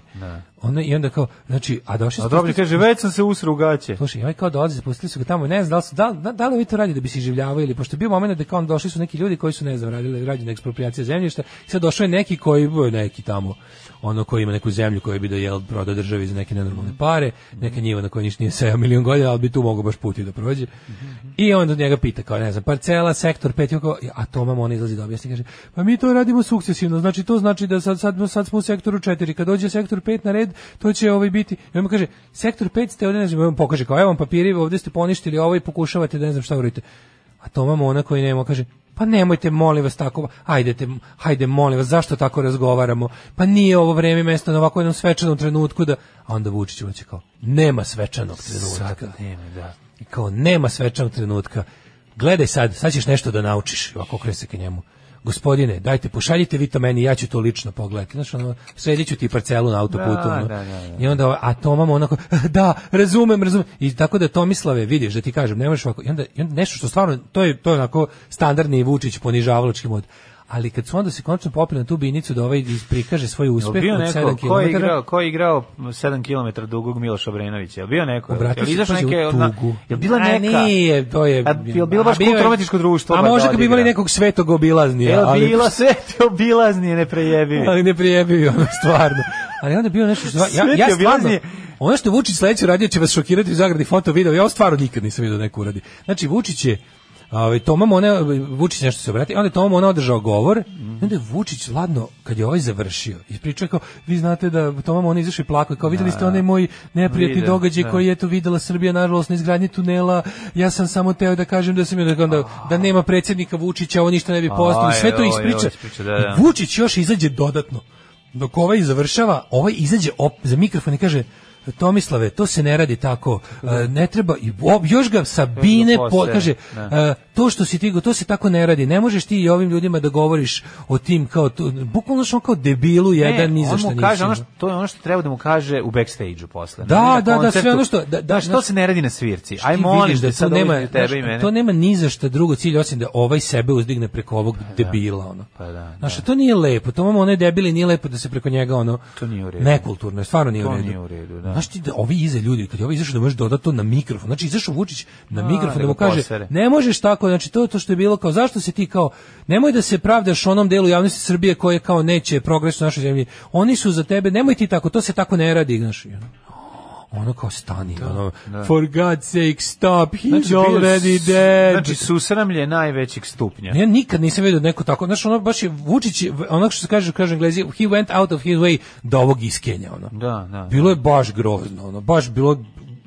Ono, I onda kao, znači, a došli
A drobnjak kaže, već sam se usru u gaće.
Slušaj, ovaj kao dolazi, spustili su ga tamo, ne znam da li su, da, li- da, da li ovi to radi da bi se življavao ili, pošto je bio moment da kao on došli su neki ljudi koji su, ne znam, radili, rađena ekspropriacija zemljišta, i sad došao je neki koji, neki tamo, ono koji ima neku zemlju koju bi da jel proda državi za neke nenormalne pare, neka njiva na kojoj ništa nije sejao milion godina, ali bi tu mogao baš puti da prođe. I onda njega pita kao, ne znam, parcela, sektor, pet, i on kao, a Toma on izlazi da objasni, kaže, pa mi to radimo sukcesivno, znači to znači da sad, sad, sad smo u sektoru 4, kad dođe sektor 5 na red, to će ovaj biti, i on mu kaže, sektor 5 ste ovdje, ne znam, i on pokaže kao, evo vam papiri, ovdje ste poništili ovo i pokušavate da ne znam šta uradite. A Toma Mona koji nema, kaže, pa nemojte, molim vas, tako, hajdete, hajde, molim vas, zašto tako razgovaramo? Pa nije ovo vreme i mesto na ovako jednom svečanom trenutku da... A onda Vučić uvaće kao, nema svečanog trenutka. I kao, nema svečanog trenutka. Gledaj sad, sad ćeš nešto da naučiš. I Ovako okreće se ka njemu. gospodine, dajte, pošaljite vi to meni, ja ću to lično pogledati. Znaš, ono, sredit ću ti parcelu na autoputu.
Da,
ono.
da, da, da.
I onda, a Tomam onako, da, razumem, razumem. I tako da Tomislave, vidiš, da ti kažem, ne možeš ovako. I onda, i onda nešto što stvarno, to je, to je onako standardni Vučić ponižavaločki mod. Ali kad su onda se konačno popili na tu binicu da ovaj iz- prikaže svoj
Jel
uspeh
bio
od 7
neko ko je
kilometara,
igrao, ko je igrao 7 km dugog Miloša Obrenovića? Jel bio neko?
Obratio
Jel
se
izašao
pazi, u
neke na-
tugu.
Jel bila
A
neka?
nije, to je...
A jel bilo
a
baš
bio je-
kulturno-umetničko društvo,
A
ba, da
možda kad bi imali
odigra?
nekog svetog obilaznija.
Jel
ali-
bila sve te obilaznije neprejebive?
ali ne prijebio ono stvarno. Ali onda je bio nešto što ja
Sve ti
ja stvarno
objasni.
ono što Vučić sledeće radio će vas šokirati u zagradi foto video. Ja ovo stvarno nikad nisam video da neko uradi. Znači Vučić je Ovaj Tomam ona Vučić nešto se obrati, onda je Tomam ona održao govor,
Mhm.
i onda je Vučić ladno kad je ovaj završio ispričao je kao vi znate da Tomam ona izašao i plakao kao videli ste onaj moj neprijatni
Video,
događaj
da.
koji je eto videla Srbija nažalost na izgradnji tunela. Ja sam samo teo da kažem da sam da, da nema predsjednika Vučića, ovo ništa ne bi postalo.
Aj,
Sve to
ovo je,
ispriča.
ovo ispriča, da, da.
Vučić još izađe dodatno. Dok ovaj završava, ovaj izađe op, za mikrofon i kaže Tomislave, to se ne radi tako. e, Ne treba i ob- još ga Sabine
Još ga
po,
posere,
kaže
da.
e, to što si ti go- to se tako ne radi. Ne možeš ti i ovim ljudima da govoriš o tim kao to, bukvalno što kao debilu jedan ni za
on
šta
mu
nisi.
kaže ono što, to je ono što treba da mu kaže u backstage-u posle.
Da,
Na
da, da,
koncertu.
sve ono što- da, da,
Znaš, to
znaš-
se ne radi na svirci. Aj
Ti
molim
vidiš
da
da
sad
tu
nema,
nema
tebe i
znaš,
mene.
to nema ni za šta drugo cilj osim da ovaj sebe uzdigne preko ovog debila ono.
pa da,
Znaš, to nije lepo. To imamo onaj debili nije lepo da se preko njega ono
To nije u redu.
Nekulturno, je, stvarno nije
To
u redu.
nije u redu, da.
Znaš ti da ovi iza ljudi kad je ovaj izašao da možeš dodatno na mikrofon. Znači izašao Vučić na mikrofon
da
da mu
ga
kaže
posere.
ne možeš tako, znači to je to što je bilo kao zašto se ti kao nemoj da se pravdaš onom delu javnosti Srbije koje kao neće progres u našoj zemlji. Oni su za tebe, nemoj ti tako, to se tako ne radi, znaš. i ono ono kao stani, ono, for God's sake, stop, he's
Znači, bio je
already
s-
dead.
Znači, susramlje najvećeg stupnja.
Ja nikad nisam vidio neko tako, znaš, ono baš je Vučić, je, ono što se kaže, kaže Englezi, he went out of his way da ovog iskenja, ono.
Da, da.
Bilo je baš grozno, ono, baš bilo je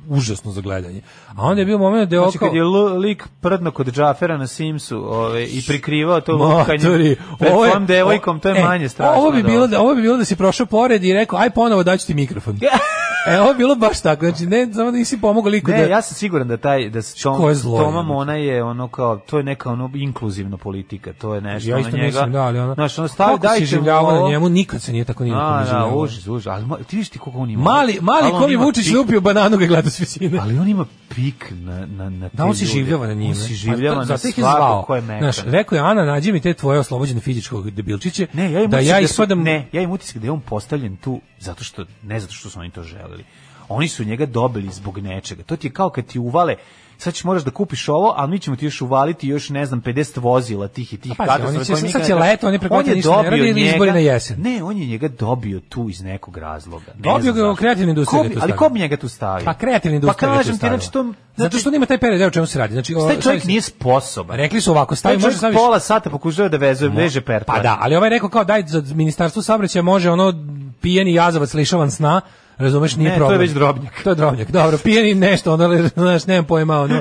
užasno za gledanje. A onda je bio moment da je
Znači,
oko...
kad je lu- lik prdno kod Džafera na Simsu ove, i prikrivao to lukanje
Maturi,
pred
ovo je-
tvojom devojkom, to je
e,
manje strašno.
Ovo bi
od
bilo da ovo bi bilo da si prošao pored i rekao aj ponovo daću ti mikrofon. e, ovo je bilo baš tako. Znači ne samo da nisi pomogao liku da
Ne, ja sam siguran da taj da s Tom,
Ko je zlo,
Toma
je.
Mona je ono kao to je neka ono inkluzivna politika, to je nešto
Ja
ono
isto
njega.
mislim, da, ali ono...
znaš, ono stavi
Kako si
dajte mu
življavao
ovo.
na njemu, nikad se nije tako nije
A, da,
življavao.
užas, užas. Ali ma- ti vidiš ti koliko on ima.
Mali, mali
Ali on
ko mi
ima
Vučić
pik-
lupio bananu ga gleda s visine.
Ali on ima pik na, na, na te
Da, on si
ljude.
življava na njime.
On si življava
Pa to-
na
zato ih je
svakog
zvao.
ko je mekan.
Znaš, rekao je, Ana, nađi mi te tvoje oslobođene fizičkog debilčiće,
Ne, ja imam
da
utisak
ja
su-
ispadam...
ne, ja imam utisak da je on postavljen tu zato što ne zato što su oni to želeli. Oni su njega dobili zbog nečega. To ti je kao kad ti uvale sad ćeš moraš da kupiš ovo, ali mi ćemo ti još uvaliti još, ne znam, 50 vozila tih i tih
A pazi,
katastrofa
oni će-
koje
sad
nikad
će
ne-
leto, oni preko
On je
leta ništa ne
dobio
rade ili
njega-
izbori na jesen.
Ne, on je njega dobio tu iz nekog razloga. Ne
Dobio
znam
ga je u
zašto.
kreativnoj industriji
Ko bi-
ga tu
ali
stavio.
ko bi njega tu stavio?
Pa kreativna industrija
Pa
ga je
kažem ti,
stavila.
znači to...
Zato što nema taj period, evo o čemu se radi. Znači, o-
Taj
stavi
čovjek
se-
nije sposoban.
Rekli su ovako,
Taj
stavi, može
čovjek
staviš...
pola sata pokušava da vezuje, veže pertvar.
Pa da, ali ovaj je rekao kao daj za ministarstvo saobraćaja može ono pijeni jazavac lišavan sna, razumeš, nije
Ne, to je
problem.
već drobnjak.
To je drobnjak, dobro, pijeni nešto, ono, ali, znaš, nemam pojma, ono,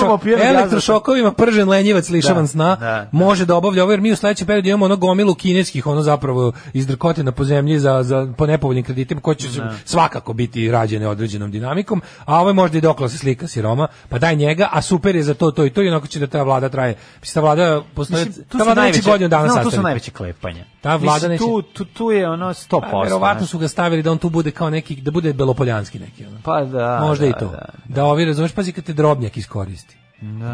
imamo pijenog jazavca.
elektrošokovima pržen lenjivac lišavan
Da,
sna,
da.
može da obavlja ovo, jer mi u sledećem periodu imamo ono gomilu kineskih, ono zapravo izdrkotina po zemlji za, za, po nepovoljnim kreditima, koji će se svakako biti rađene određenom dinamikom, a ovo je možda i dokla se slika siroma, pa daj njega, a super je za to, to i to, i onako će da ta vlada traje. Mislim, ta vlada postoje,
Mislim,
ta vlada neće godinu dana
no, tu su
sastaviti.
najveće klepanja.
Ta vlada
Mislim, Tu, tu, tu je ono 100%.
Pa, verovatno
znaš.
su ga stavili da on tu bude kao neki, da bude belopoljanski neki. Ono.
Pa da,
Možda
da,
i to.
da,
Da, ovi, razumeš, pazi kad te drobnjak iskoristi.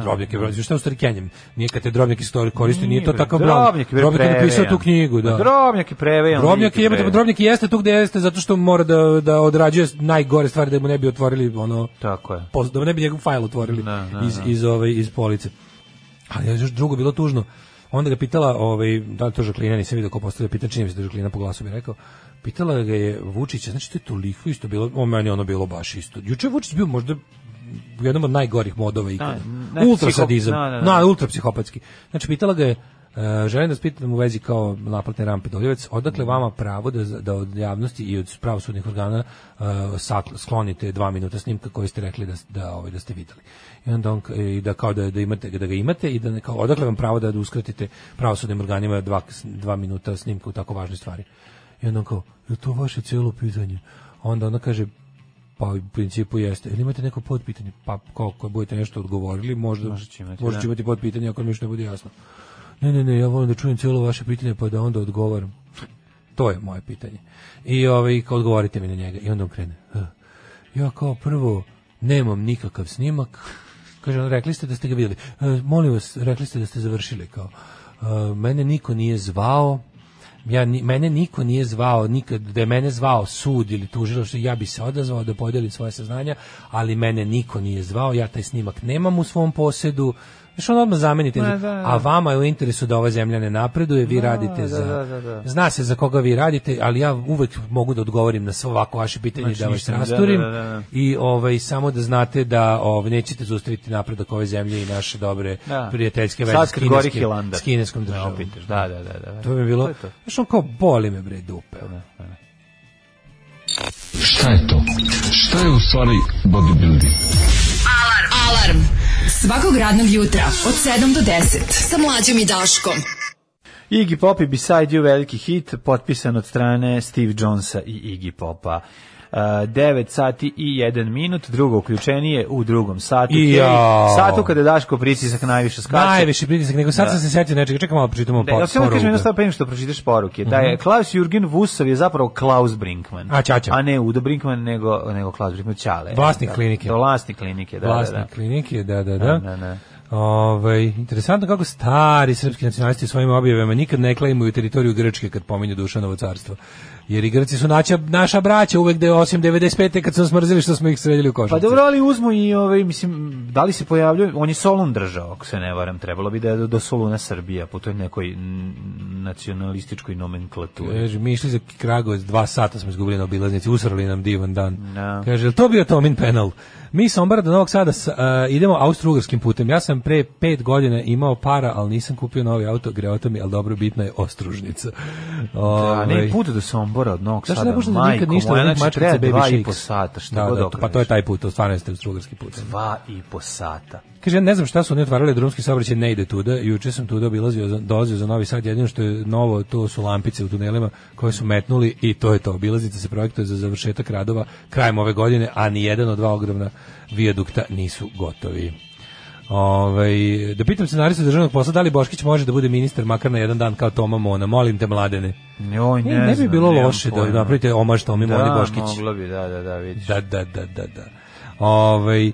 Drobnjak je broj, šta je u stvari Kenjem? Nije kad te drobnjak istori koristi, nije to
bre,
takav brown.
pa Drobnjak je bre
Drobnjak je napisao
prevejan.
tu knjigu, da.
Drobnjak je prevejan.
Drobnjak
lik
je, jebote, pa
prevejan.
drobnjak jeste tu gde jeste zato što mora da, da odrađuje najgore stvari da mu ne bi otvorili ono
Tako je.
poz- da mu ne bi njegov fajl otvorili
Da, da,
iz iz ove iz police. Ali još drugo bilo tužno. Onda ga pitala, ovaj, da li to Žaklina, nisam vidio ko postavlja pitanje, čini mi se da je Žaklina po glasu bi rekao, pitala ga je Vučića, znači to je toliko isto bilo, o meni je ono bilo baš isto. Juče je Vučić bio možda u jednom od najgorih modova ikada.
Da, ne,
ultra
psiho-
sadizam.
da, da, da.
Na, ultra psihopatski. Znači, pitala ga je, e, želim da vas pitam u vezi kao naplatne rampe Doljevac, odakle vama pravo da, da od javnosti i od pravosudnih organa e, sakl- sklonite dva minuta snimka koje ste rekli da, da, ovaj, da ste videli. I onda on, k- i da kao da, da, imate, da ga imate i da ne, kao, odakle vam pravo da, da uskratite pravosudnim organima dva, dva minuta snimka u tako važnoj stvari. I onda on kao, je to vaše cijelo pitanje? A Onda ona kaže, pa u principu jeste. Ili imate neko podpitanje? Pa kao ako budete nešto odgovorili, možda,
Možda će imati,
možda
da.
će imati podpitanje ako mi još ne bude jasno. ne, ne, ne, ja volim da čujem cijelo vaše pitanje pa da onda odgovaram. To je moje pitanje. I ovaj, kao odgovorite mi na njega. I onda on krene. "Eh, Ja kao prvo nemam nikakav snimak. Kaže, on, rekli ste da ste ga vidjeli. "E, molim vas, rekli ste da ste završili. Kao, "E, mene niko nije zvao. Ja, ni- mene niko nije zvao nikad, da je mene zvao sud ili tužilaštvo, ja bi se odazvao da podelim svoje saznanja, ali mene niko nije zvao, ja taj snimak nemam u svom posedu. Znaš, on odmah zamenite. A vama je u interesu da ova zemlja ne napreduje, vi radite za...
da, da, da.
Zna se za koga vi radite, ali ja uvek mogu da odgovorim na svako vaše pitanje
Znači,
da vas
ništa ne- da,
rasturim
da, da, da.
i ovaj samo da znate da ovaj nećete zaustaviti napredak ove zemlje i naše dobre
Da.
prijateljske veze
Sad
s
kad gori
kineskim,
Hilandar.
s kineskom
Da,
državom.
opitaš, Da, da, da. da.
To bi bilo,
to.
znaš on kao boli me bre dupe. ono.
Šta je to? Šta je u stvari bodybuilding?
Alarm. Alarm. Svakog radnog jutra od 7 do 10 sa mlađom i Daškom.
Iggy Pop i Beside You veliki hit potpisan od strane Steve Jonesa i Iggy Popa. Uh, 9 sati i 1 minut, drugo uključenije u drugom satu.
I jao.
Satu kada Daško pritisak najviše skače.
Najviši pritisak, nego sad sam se setio nečega, čekaj malo pročitamo
Da, ja
po,
samo kažem jedno
poruku.
stvar pre nego što pročitaš poruke. Da je Klaus Jürgen Vusov je zapravo Klaus Brinkman.
Mhm. A, Ćaća.
A ne Udo Brinkman, nego, nego Klaus Brinkman Ćale.
Vlasnik
da.
klinike.
Da, vlasnik klinike, da, Pa
Vlasnik
da, da.
klinike, da, da, da.
Da, da, da.
Ovaj, interesantno kako stari srpski nacionalisti u svojim objavama nikad ne klaimuju teritoriju Grčke kad pominju Dušanovo carstvo. Jer i Grci su naša, naša braća uvek de, osim 95. kad su nas mrzili što smo ih streljali u
Pa
košnice.
dobro, ali uzmu i ovaj, mislim, da li se pojavljuje, on je Solun držao, ako se ne varam, trebalo bi da je do, do Soluna Srbija, po toj nekoj mm, nacionalističkoj nomenklaturi.
Kaže, mi išli za Kragovac, dva sata smo izgubili na obilaznici, usrali nam divan dan.
Da.
Kaže, jel to bio Tomin penal? Mi sa Ombara do Novog Sada s- a, idemo austro-ugarskim putem. Ja sam pre pet godina imao para, ali nisam kupio novi auto, greo mi, ali dobro, bitna je ostružnica.
Da, ne,
Ovaj.
put do Sombora od Novog
Zašto
Sada,
ne puštate
majko
nikad ništa
moja,
od onih
znači, treba
mačkica Baby
dva
Shakes?
i po sata, šta
da,
god
da, to- pa to je
okreneš.
taj put, to stvarno jeste strugarski put.
Dva i po sata.
Kaže, ja ne znam šta su oni otvarali, drumski saobraćaj ne ide tuda, juče sam tuda obilazio, za- dolazio za Novi Sad, jedino što je novo, to su lampice u tunelima koje su metnuli i to je to, obilaznica se projektuje za završetak radova krajem ove godine, a ni jedan od dva ogromna vijadukta nisu gotovi. Ovaj, da pitam scenaristu državnog posla, da li Boškić može da bude ministar makar na jedan dan kao Toma Mona, molim te mladene.
Joj,
Ne,
ne,
ne bi
znam,
bilo
nemam
loše da
pojma.
napravite omaž Tomi Moni
Da,
Boškić.
moglo bi, da, da, da, vidiš.
Da, da, da, da, da. Ovaj, e,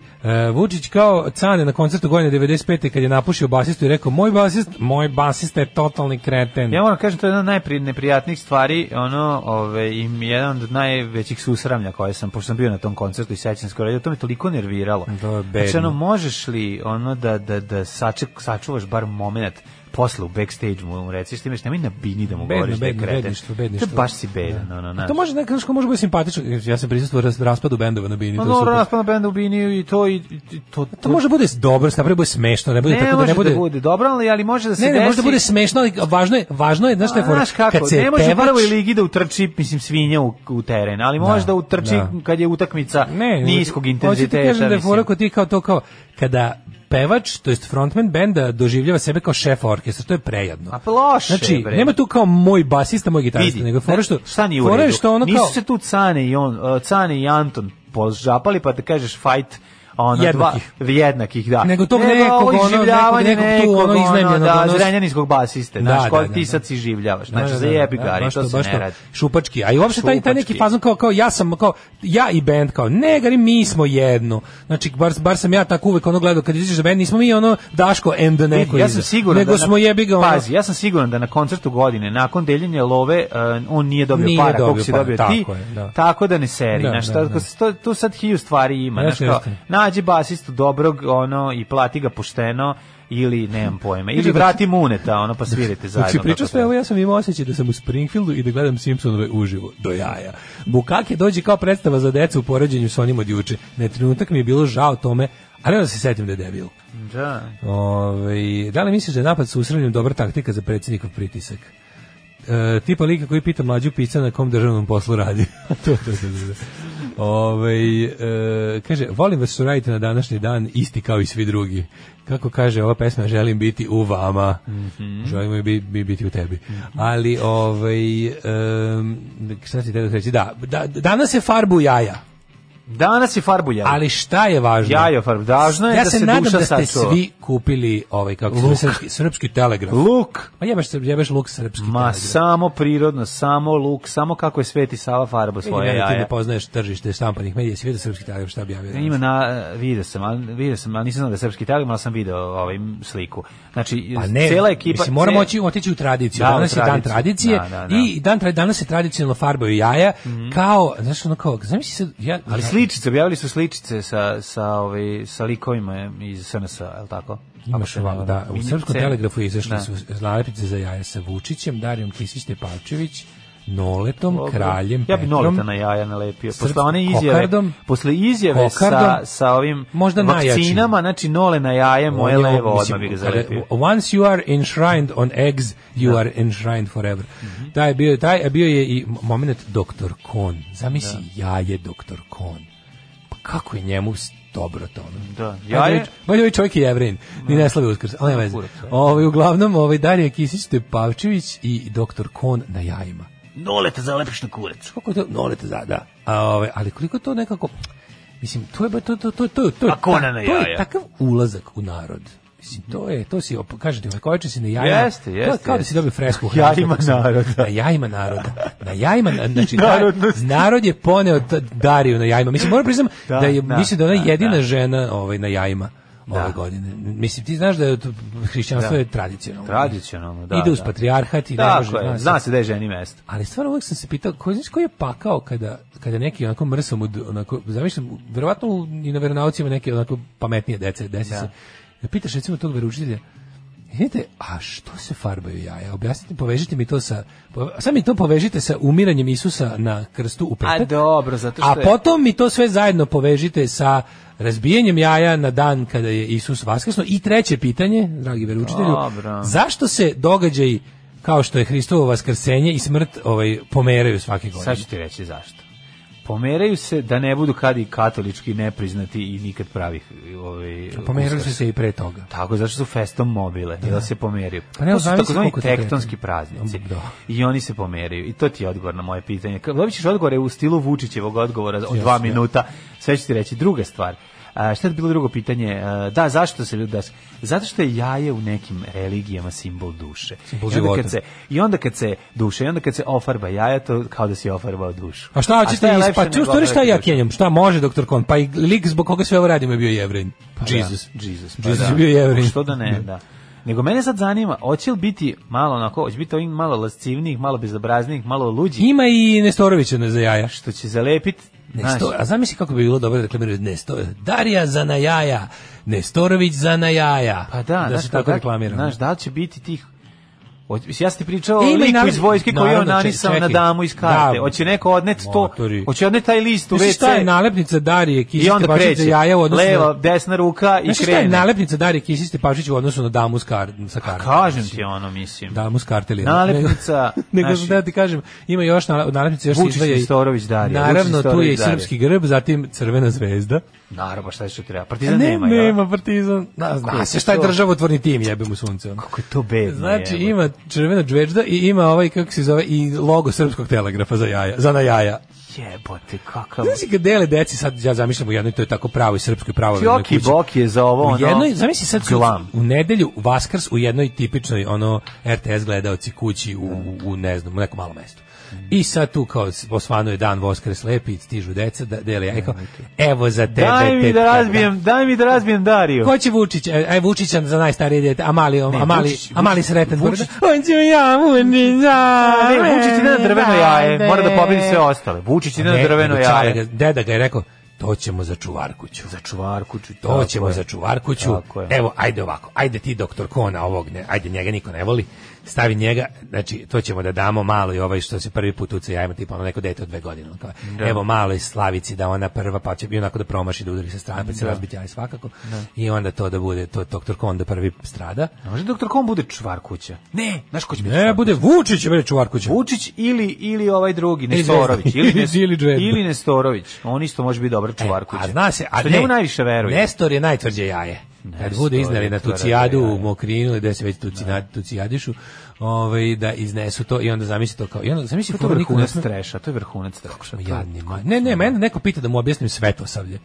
Vučić kao Cane na koncertu godine 95. kad je napušio basistu i rekao, moj basist, moj basista je totalni kreten.
Ja moram kažem, to je jedna od najneprijatnijih stvari, ono, ove, i jedan od najvećih susramlja koje sam, pošto sam bio na tom koncertu i sećam se skoro, to me toliko nerviralo.
To je bedno.
znači, ono, možeš li, ono, da, da, da saček, sačuvaš bar moment posle u backstage mu mu reci što imaš, nemoj na bini da mu
Bedno,
govoriš da je
bedno,
kreten.
bedništvo, bedništvo.
To je baš si bedan, ono,
A
znaš.
to može nekako znaš, ko može biti simpatično. Ja sam prisustvovao ras, raspadu bendova na Bini.
Ma
to je
dobro,
super.
raspad na bendu ono, u bini i to, i, i- i to,
To može bude dobro, napravi bude smešno, ne bude
ne
tako da
može
ne bude...
da bude dobro, ali, ali može da se
Ne, ne,
desi.
može da bude smešno, ali važno je, važno je, znaš šta je
A,
fora?
znaš kako,
kad se
ne može u
pevač-
prvoj ligi da utrči, mislim, svinja u, u teren, ali može da,
Da,
utrči
da.
kad je utakmica
ne,
niskog
Hoću ti
intenziteta.
kažem da je
mislim.
fora kod ti kao to kao kada pevač, to jest frontman benda doživljava sebe kao šef orkestra, to je prejadno.
A pa loše,
Znači,
bre.
nema tu kao moj basista, moj gitarista,
Vidi,
nego je fora što
šta nije u
fora je
redu?
što ono kao
Nisu se tu Cane i, on, uh, Cane i Anton požapali, pa da kažeš fight ono,
Jednakih.
Dva, jednakih, da.
Nego tog nekog,
ovo
ono,
iživljavanje
nekog- nekog tu, ono, iznajmljenog,
Da,
ono-
zrenjaninskog basiste,
Da,
znaš,
da,
koji
da,
ti
da.
sad si življavaš.
Da,
Znači,
da,
za
da,
jebi
da,
gari,
baš
to se
baš
ne radi.
Šupački, a i uopšte taj, taj neki
Šupački.
fazon kao, kao ja sam, kao ja i band, kao ne, gari, mi smo jedno. Znači, bar, bar sam ja tako uvek ono gledao, kad iziđeš za band, nismo mi ono Daško and the neko
ja
iza.
sam siguran
nego
da na-
smo jebi ga ono,
pazi ja sam siguran da na koncertu godine nakon deljenja love uh, on nije dobio
Nije
para koliko
dobio
si
para,
dobio
tako
ti
je, da.
tako da ne seri
Da,
znaš,
da,
tako-
da.
sto- tu sad hiju stvari ima
Jeste,
znaš, kao,
jeste.
nađi basistu dobrog ono i plati ga pošteno ili nemam pojma ili
Znači,
vrati muneta ono pa svirajte zajedno
Dok si Znači, pričao
kako
sve ovo,
treba.
ja ovaj- sam imao osjećaj da sam u Springfieldu i da gledam Simpsonove uživo, do jaja. Bukake dođe kao predstava za decu u poređenju s onim od juče. Na trenutak mi je bilo žao tome, ali onda se setim da je debil.
da.
Ovaj, da li misliš da je napad sa usrednjom dobra taktika za predsjednikov pritisak? E, tipa lika koji pita mlađu pisa na kom državnom poslu radi. to, to, to, to, to. Ovaj, e, kaže, volim vas što radite na današnji dan isti kao i svi drugi. Kako kaže ova pesma, želim biti u vama. Želimo i bi, bi- biti u tebi. Ali, e, ovaj, em, šta si te reći? Da, da, danas se farbu jaja.
Danas je farbu jajo.
Ali šta je važno?
Jajo farbu. Važno je
ja
da
se,
se
nadam
duša
da ste
sačuva.
svi kupili ovaj kako se zove, srpski, srpski telegraf.
Luk.
Ma jebeš, se- jebeš luk srpski
Ma
telegraf.
samo prirodno, samo luk, samo kako je Sveti Sava farba
Vidi
svoje
mene, ti ne
jaja.
poznaješ tržište štampanih medija, si vidio srpski telegraf šta objavio.
Ima na e, video sam, ali video sam, ali nisam znao da je srpski telegram, ali sam video ovaj sliku. Znači,
Pa ne,
cela ekipa...
mislim, moramo
ce-
oći, otići u tradiciju.
Da, u
danas je dan
tradiciju.
tradicije
Da, da, da.
i dan, tra- danas se tradicionalno farbaju jaja kao, znaš, ono kao, znaš si sad, ja,
Ali sličice, objavili su sličice sa, sa, ovaj, sa likovima iz SNS-a, je li tako? Ako
Imaš
se ne
ovako, da,
varam.
u
Mini
Srpskom
scene.
telegrafu izašli
Da.
su nalepnice za jaja sa Vučićem, Darijom Kisić Tepavčević, Noletom, Kraljem,
Ja bi
Petrom,
Noleta na jaja nalepio. Posle
Srpskim
one izjave,
kokardom.
posle izjave sa,
Kokardom.
sa ovim
Možda najjači.
vakcinama, znači Nole na jaje, moje
On je,
levo,
mislim,
odmah bi ga
kada-
zalepio.
Once you are enshrined on eggs, you are enshrined forever.
Mhm.
Taj je bio, taj je bio je i moment Dr. Kon. Zamisli, jaje Dr. Kon. Pa kako je njemu s- dobro to ono.
Da,
Valja
jaje-
ovaj- Valja ovaj čovjek je jevrin, ni ne slavi uskrs, ali ne veze.
kurac, a?
Ovaj, uglavnom, ovaj Darija Kisić Tepavčević i Dr. Kon na jajima.
Nole te zalepiš na kurac.
Kako je to? Nolete za, da. A, ove, ali koliko je to nekako... Mislim, to je, ba- to, to, to, to, to,
A kona Pa na
to je
jaja.
takav ulazak u narod. Mislim, to je, to si, op- kažete, Vojkoviće si na jajima.
Jeste,
To je
jeste,
Kao da si
jeste.
dobio fresku. u
Jajima
Hrvatskoj, kako se-
naroda.
Na jajima naroda. Na jajima, na- znači,
I narodnosti.
da- narod je poneo t- Dariju na jajima. Mislim, moram priznam
Da,
da, je,
da,
mislim da je ona
da,
jedina
da.
žena ovaj, na jajima ove godine. Mislim, ti znaš da je to- hrišćanstvo
Da.
je tradicionalno.
Tradicionalno, da,
Ide uz
da.
patrijarhat i ne može,
Tako je,
znaš,
zna se da je ženi mesto.
ali stvarno uvek sam se pitao, ko, znaš ko je pakao kada, kada neki onako mrsom, od, onako, zamišljam, verovatno u- i na veronaucima neke onako pametnije dece, desi se. Da pitaš recimo tog veroučitelja, Vidite, a što se farbaju jaja? Objasnite, povežite mi to sa... po- Sad mi to povežite sa umiranjem Isusa na krstu u petak.
A dobro, zato
A
što je-
potom mi to sve zajedno povežite sa razbijanjem jaja na dan kada je Isus vaskrsno. I treće pitanje, dragi veroučitelju,
Dobro.
zašto se događaji kao što je Hristovo vaskrsenje i smrt ovaj, pomeraju svake godine?
Sad ću ti reći zašto. Pomeraju se da ne budu kad i katolički nepriznati i nikad pravih ovaj,
Pomerali
Uskrs.
su se i pre toga.
Tako, zašto su festom mobile, da. se pomeraju.
Pa ne,
to su
zamisli
takozvani
koliko to
tektonski
tektonski.
praznici.
Da.
I oni se pomeraju. I to ti je odgovor na moje pitanje. Ka- Dobit ćeš odgovore u stilu Vučićevog odgovora od dva minuta. Sve ću ti reći. Druga stvar, a, šta je bilo drugo pitanje? E, Da, zašto se ljudi... da se- Zato što je jaje u nekim religijama simbol duše.
Simbol
I onda
života.
kad se, I onda kad se duše, i onda kad se ofarba jaja, to kao da si ofarbao dušu.
A šta hoćete
je
iz...
lepše
Pa
nego
ču, stvari šta ja
ofarati dušu?
kenjam? Šta može, doktor Kon? Pa i lik zbog koga sve ovo radimo je bio jevrin. Jesus.
Pa Da, Jesus,
Jesus je bio jevrin.
Što da ne, da. Nego mene sad zanima, hoće li biti malo onako, hoće biti ovim malo lascivnijih, malo bezobraznijih, malo luđih,
Ima i Nestorovića na za jaja.
što će zalepiti, znaš,
Nesto, a zamisli kako bi bilo dobro da reklamiraju Nesto, Darija za na jaja, Nestorović za na jaja.
pa da,
da
znaš,
se
kao
tako
da-
reklamira.
Znaš, da li će biti tih hoće- mislim, ja sam ti pričao o
E, ima i
liku
narod-
iz vojske koji je
naravno,
onanisao na
čekaj,
damu iz karte.
da.
hoće neko odnet to,
Motori.
hoće odnet taj list u
Znaš šta je
WC
nalepnica Darije Kisić
i onda
Tepavčić
kreće.
za jaja u odnosu
Leva,
na...
desna ruka i
Znaš šta je
krene.
nalepnica Darije Kisić Tepavčić u odnosu na damu s kar, sa kartom?
Kažem ti ono, mislim.
Damu s kartelija.
Nalepnica,
Nego,
znaš-
nego da ti kažem, ima još na, u nalepnici još se
Vučić
izdvaja i-
Nestorović Darija,
Naravno,
Vučić
tu je i
Nestorović Darija.
srpski grb, zatim crvena zvezda.
Naravno, pa šta je što treba?
A
Partizan
ne,
nema, jel?
E, nema partizan. Na,
Kako
zna
je
se šta je
to?
državotvorni tim, jebe mu sunce. ono.
Kako je to bedno,
Znači
jebote.
ima crvena džvežda i ima ovaj kako se zove i logo srpskog telegrafa za jaja, za na jaja.
Jebote, kakav...
Znači kad dele deci sad ja zamišljam u jednoj to je tako pravo i srpskoj pravo.
Joki Bok je za ovo,
U
ono...
jednoj, zamisli sad su-
glam.
u nedelju Vaskrs u jednoj tipičnoj ono RTS gledaoci kući u, u, u, ne znam, u nekom malom mestu. I sad tu kao s- osvanuje dan Voskres lepi, stižu deca, da, dele jaja i kao, evo za tebe.
Daj mi da
tetka."
razbijem, daj mi da razbijem Dariju.
Ko će Vučić? E, Aj Vučića za najstarije dete, a mali, a mali,
Vučić-
a mali
Vučić-
sretan
Vučić-
Vučić. On će ja Vučića.
Ne, Vučić ide na drveno jaje, mora da pobedi sve ostale. Vučić ide na
Ne,
drveno
nego Čale
jaje.
ga- Deda ga je rekao, to ćemo za čuvarkuću.
Za čuvarku ću...
To ćemo za čuvarkuću.
Tako je.
Evo, ajde ovako. Ajde ti doktor Kona ovog, ne, ajde njega niko ne voli. Stavi njega, znači to ćemo da damo malo i ovaj što se prvi put uca jajima, tipa ono neko dete od dve godine. ono kao, Evo malo i Slavici da ona prva, pa će i onako da promaši, da udari sa strane, pa će se razbiti jaje svakako. I onda to da bude, to doktor Kon da prvi strada.
Ne Može doktor Kon bude čvarkuća. Ne, znaš ko će biti
Ne,
čvarkuća?
bude Vučić, bude čuvarkuća.
Vučić ili ili ovaj drugi
Ili
Nestorović
Zvezda.
ili Nes-
Ili Zvezda.
ili Nestorović on isto može biti dobar čuvarkuć
E, A zna se, a
Što
ne,
njemu najviše veruje
Nestor je najtvrđe jaje. kad budu izneli na
stoji,
tucijadu
otvara
u Mokrinu ili gde se već tuci, na, tucijadišu, ovaj, da iznesu to i onda zamisli to kao... I onda zamisli
To je
to Pa niko ne
vrhunac
sme...
treša, to je vrhunac treša.
Ma Jadni, ma. Ne, ne, mene neko pita da mu objasnim svetosavlje.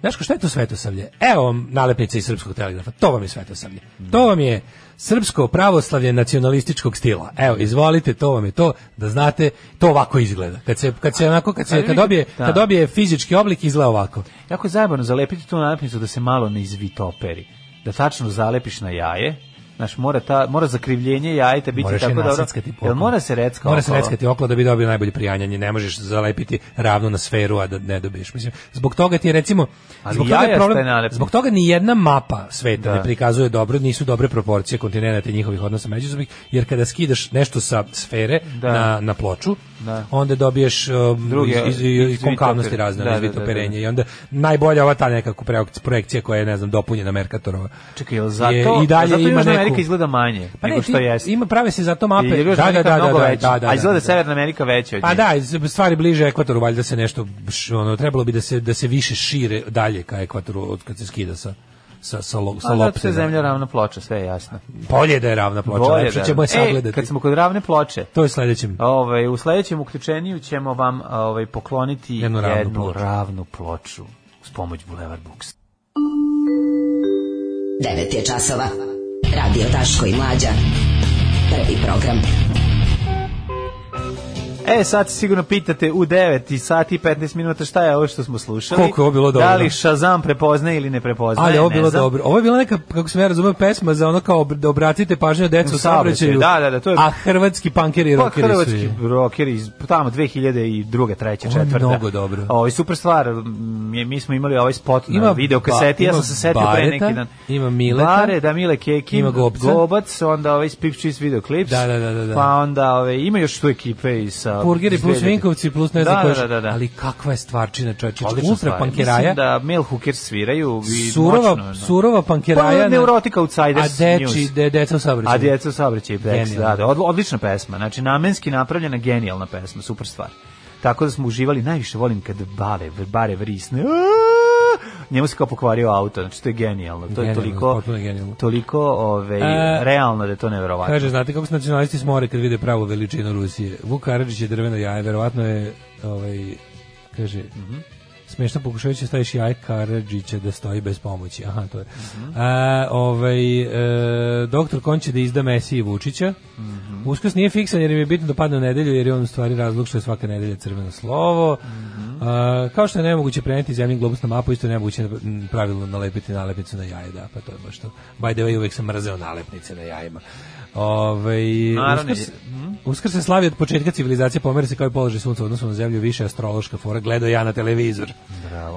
Znaš ko, šta je to svetosavlje? Evo vam nalepnica iz srpskog telegrafa. To vam je svetosavlje. To vam je srpsko pravoslavlje nacionalističkog stila. Evo, izvolite, to vam je to, da znate, to ovako izgleda. Kad se, kad se onako, kad se, kad dobije, kad dobije fizički oblik, izgleda ovako.
Jako je zajebano zalepiti tu nalepnicu da se malo ne izvitoperi. Da tačno zalepiš na jaje. Znaš, mora, ta, mora zakrivljenje jajeta biti
Moraš je
tako dobro.
naseckati po
Jel
okolo.
mora se recka
Mora se
okolo?
reckati okolo da bi dobio najbolje prijanjanje. Ne možeš zalepiti ravno na sferu, a da ne dobiješ. Mislim, zbog toga ti je recimo...
Ali
zbog toga, je
jajasta je
problem,
nalepnica.
zbog toga ni jedna mapa sveta
Da.
ne prikazuje dobro, nisu dobre proporcije kontinenta i njihovih odnosa međusobnih, jer kada skidaš nešto sa sfere
Da.
na, na ploču,
Da.
onda dobiješ um,
Druge-
iz, iz, iz,
izvitoper-
konkavnosti razne,
Da, da,
da,
da, da.
i onda najbolja ova ta nekako projek- projekcija koja je, ne znam, dopunjena Merkatorova.
Čekaj, jel zato,
je
je,
i dalje
zato
ima
Južna
neku-
Amerika izgleda manje
Pa ne,
nego što
ti-
jeste?
Ima prave se zato
I
mape.
Južna
Da, da,
Amerika
da, da,
mnogo
da,
veća,
da, da,
a izgleda
da,
da,
da.
Severna Amerika veća od
Pa
nje.
da, iz- stvari bliže ekvatoru, valjda se nešto, š- ono, trebalo bi da se, da se više šire dalje ka ekvatoru od kad se skida sa, sa, sa, lo, sa
A zato se
lopte.
zemlja ravna ploča, sve je jasno.
Bolje da je ravna ploča, znači, Bolje lepše
da-
ćemo je
E,
sagledati.
kad smo kod ravne ploče,
To je sledećem.
Ovaj u sledećem uključenju ćemo vam ovaj pokloniti
Jednu
jednu
ravnu
ravnu,
ploču.
ploču uz pomoć Boulevard Books.
9 je časova. Radio Daško i Mlađa. Prvi program.
E, sad se sigurno pitate u 9 i sati i 15 minuta šta je ovo što smo slušali.
Koliko je ovo bilo dobro.
Da li Shazam prepoznaje ili ne prepoznaje,
Ali ovo je
ne
bilo
znam.
dobro. Ovo je bila neka, kako sam ja razumio, pesma za ono kao ob- da obratite pažnju na decu
U
u saobraćaju.
saobraćaju, da, da, da, to je-
A hrvatski pankeri i
Pa
rockeri su
hrvatski
je.
rockeri iz tamo 2002. 3.
Ovo je
4.
mnogo dobro.
Ovo je super stvar. m, je- Mi smo imali ovaj spot na
Ima
video kaseti.
ba-
Ja
ima
sam se setio pre
Bareta,
neki dan.
ima Mileta,
Bare, da Mile Kekin,
ima Gobca.
Gobac, onda ovaj Spip Cheese video klips.
Da, da, da, da, da.
Pa onda ovaj ima još tu ekipe i sa
Burgeri
iz
plus
2000.
Vinkovci plus ne znam
da,
ko
da,
još.
da, da, da.
Ali kakva je stvarčina, čovječe.
Odlična
Ultra
stvar.
pankeraja.
Mislim da Mel Hooker sviraju i
surova,
moćno, da.
surova pankeraja.
Pa, Neurotic Outsiders
A deči,
News.
de, deca u saobraćaju.
A djeca u saobraćaju Bex,
Genijalno.
da, da, odl- odlična pesma. Znači namenski napravljena genijalna pesma, super stvar. Tako da smo uživali, najviše volim kad bare, bare vrisne. Aaaa! Njemu se kao pokvario auto, znači to je genijalno. To je
Genijalno,
toliko
potpuno genijalno.
toliko ovaj
E,
realno da je to neverovatno.
Kaže, znate kako se nacionalisti smore kad vide pravu veličinu Rusije. Vuk Karadžić je drveno jaje, verovatno je, ovaj, kaže,
Mhm.
smešno pokušavajući da staviš jaje Karadžića da stoji bez pomoći. Aha, to je. A, ovaj, e, doktor Kon će da izda Messi i Vučića. Uskrs nije fiksan jer im je bitno da padne u nedelju jer je on u stvari razlog što je svaka nedelja crveno slovo. A, kao što je nemoguće preneti zemlji globus na mapu, isto je nemoguće m, pravilno nalepiti nalepnicu na jaje, da, pa to je baš to. By the way, uvek sam mrzeo nalepnice na jajima. Ovaj,
Naravno,
uskrs,
je-
uskrs se slavi od početka civilizacije, pomeri se kao i položaj sunca u odnosu na zemlju, više astrološka fora, gledao ja na televizor.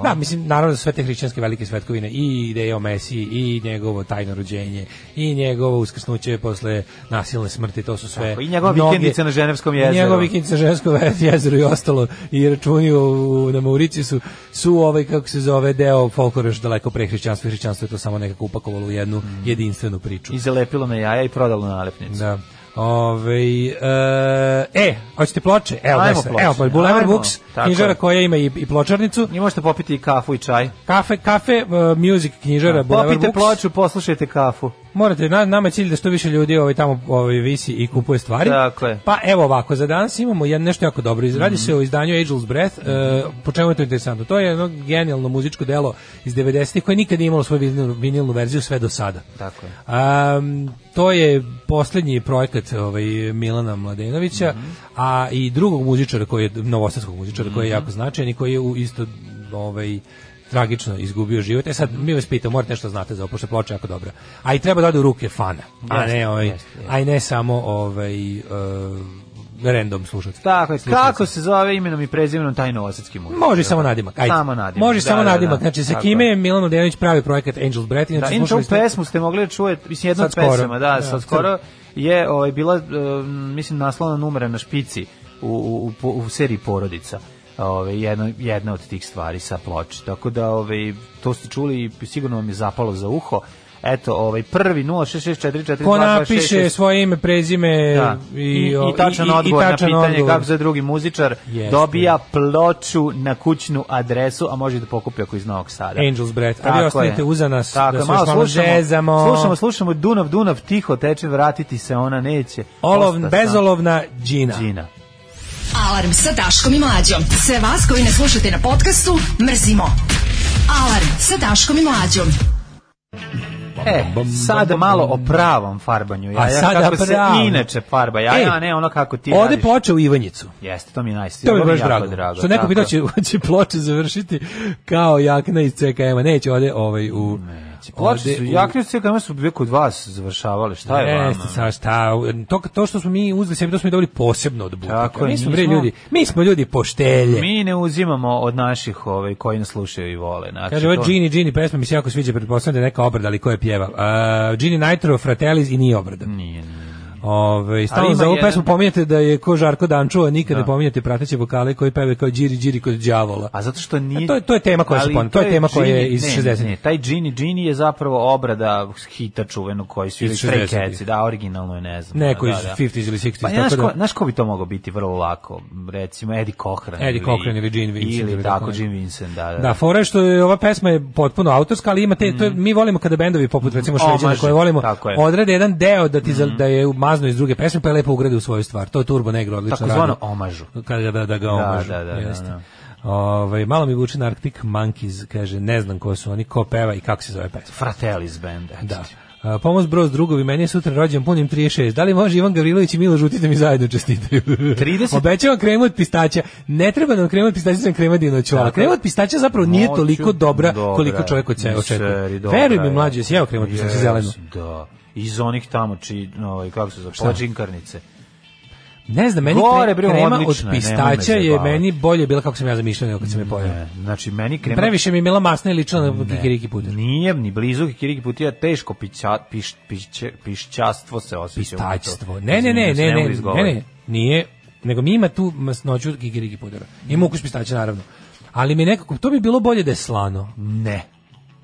Da, mislim, naravno da su sve te hrišćanske velike svetkovine i ideje o Mesiji, i njegovo tajno rođenje, i njegovo uskrsnuće posle nasilne smrti, to su sve...
Tako, i njegova
mnoge-
vikendica na Ženevskom
i
jezeru.
njegova vikendica na Ženevskom jezeru i ostalo, i računi u, na Maurici su, su ovaj, kako se zove, deo folklora još daleko pre hrišćanstva, i hrišćanstvo je to samo nekako upakovalo u jednu
Mm.
jedinstvenu priču.
I zalepilo na jaja i prodalo nalepnicu.
Da. Ove, e, e, hoćete ploče? Evo,
Ajmo
da se,
ploče.
evo, pa Boulevard
Ajmo.
Books,
Tako
knjižara
je.
koja ima i, i pločarnicu,
I možete popiti i kafu i čaj.
kafe, kafe, uh, music knjižara, Boulevard
Popite
Books.
ploču, poslušajte kafu.
Morate, na, nama je cilj da što više ljudi ovaj, tamo ovaj, visi i kupuje stvari.
Tako je. Mhm.
Pa evo ovako, za danas imamo jedno nešto jako dobro. Izradi se o izdanju Angel's Breath. E, po čemu je to interesantno? To je jedno genijalno muzičko delo iz 90-ih koje nikad nije imalo svoju vinilnu, vinilnu verziju sve do sada.
Tako je.
Um, to je posljednji projekat ovaj, Milana Mladenovića, a i drugog muzičara koji je novosadskog muzičara koji je
Mhm.
jako značajan i koji je u isto ovaj tragično izgubio život. E sad mi vas pitamo, morate nešto znate za ovo, pošto je ploča jako dobra. A i treba da ode u ruke fana, a ne ovaj, a i ne samo ovaj e, random slušatelj.
Tako je. Kako se zove imenom i prezimenom taj novosadski muzičar?
Može samo nadimak. Ajde.
Samo nadimak.
Može
Da,
samo
da,
nadimak.
da.
Znači sa
Tako
kime
je.
je Milan Mladenović pravi projekat Angel Breath? Inače,
Da,
slušali
inače ovu
ste-
pesmu ste mogli da čujete, mislim jedna
Sad
od pesama, da,
skoro. Da,
sad
sad.
skoro je ovaj, bila, e, mislim, naslovna numera na špici u, u, u, po- u seriji Porodica. Ove, jedna, jedna od tih stvari sa ploče. Tako da ove, to ste čuli i sigurno vam je zapalo za uho. E, Eto, ovaj prvi 06644
Ko napiše svoje ime, prezime
Da. I,
i,
i, tačan odgovor
tačan
na pitanje
odgovor.
kako se drugi muzičar
Jeste.
dobija ploču na kućnu adresu, a može da pokupi ako je iz Novog Sada.
Angels Breath. A vi
Tako
ostanite
je.
uza nas
Tako
da
je,
se još malo zezamo.
Slušamo, slušamo Dunav, Dunav, tiho teče, vratiti se ona neće.
Olov,
Osta
bezolovna
sam.
džina.
Đina.
Alarm sa Daškom i Mlađom. Sve vas koji ne slušate na podcastu, mrzimo. Alarm sa Daškom i Mlađom.
E, sad malo o pravom farbanju jaja,
A sada
kako
pravo.
se inače farba
E,
jaja, a ne ono kako ti
Ode
radiš.
počeo u Ivanjicu.
Jeste, to mi je najstil.
To mi je baš drago. Što neko
tako.
pitao će, će ploče završiti kao jakna iz CKM-a. Neće ode ovaj u... Neće,
Ploče su, jakne su kada su uvijek kod vas završavali, šta je vama?
Jeste, sa šta, to, to što smo mi uzeli sebi, to smo i dobili posebno od butika.
Tako je,
mi smo, bre,
nismo-
ljudi, mi smo ljudi poštelje.
Mi ne uzimamo od naših ovaj, koji nas slušaju i vole. Znači,
Kaže, ovo
to-
Gini, Gini, pesma mi se jako sviđa, pretpostavljam da je neka obrada, ali ko je pjeva. Uh, Gini Nitro, Fratellis i nije obrada.
Nije, nije.
Ove, stalno
ima
za ovu
jedan-
pesmu pominjate da je ko Žarko Danču, a nikad ne pominjate prateće vokale koji peve kao Điri Điri kod đavola.
A zato što nije...
A to je- to je tema koja se
Ali
pon- to je tema koja je
Gini-
iz
ne,
60-ih.
Ne, taj Gini Gini je zapravo obrada hita čuvenog koji su
Iz
ili Stray
60-ih.
Cats, da, originalno je, ne znam.
Neko
da,
iz
da.
50s ili 60s,
Pa,
tako
znaš, ko,
da-
znaš ko bi to mogao biti vrlo lako? Recimo, Eddie Cochran.
Eddie Cochran ili Gene Vincent
Ili
ili
tako,
tako neko.
Gene Vincent, da, da.
Da, fora je što je ova pesma je potpuno autorska, ali ima te, to je- mi volimo kada bendovi poput recimo Šveđana
Mhm. Omaži,
koje volimo,
tako je. Mhm.
odrade jedan deo da ti za- da je mazno iz druge pesme, pa je lepo ugrade u svoju stvar. To je Turbo Negro odlično
Tako zvano
radio.
omažu.
Kada ga- da, da ga omažu.
da, da, da,
jeste.
da.
Ovaj, malo mi vuče na Arctic Monkeys, kaže, ne znam ko su oni, ko peva i kako se zove pesma.
Fratellis band. eto
Da.
ti.
A, Pomoz Broz drugovi, meni je sutra rođen punim 36. Da li može Ivan Gavrilović i Milo Žutić da mi zajedno čestitaju?
30?
Obećavam kremu od pistaća. Ne treba nam krema od pistaća, sam krema dinoćola.
Tako.
Krema od pistaća zapravo nije
Noću,
toliko dobra,
dobra
koliko
je.
čovjek od se
Seri,
očekuje.
dobra
Veruj mi
je.
mlađe, jesi jeo kremu od pistaća
Jesam,
zelenu?
Da. Iz onih tamo, či, ovaj, kako se zove, plačinkarnice.
Ne znam, meni
Gore,
Gore,
bre,
krema od
odlična je, nemoj me
pistaća je
zajebavati.
meni bolje bila kako sam ja zamišljao nego kad sam je pojao.
E, Znači, meni krema...
Previše mi je bila masna i ličila na kikiriki puder.
Nije ni blizu Kikiriki putija, teško pića, piš, pišće, pišćastvo se osjeća.
pistaćstvo. Ne, ne, ne, ne, ne, ne, ne, nije, nego mi ima tu masnoću kikiriki pudera.
Mm.
Ima ukus pistaća, naravno. Ali mi je nekako, to bi bilo bolje da je slano.
Ne.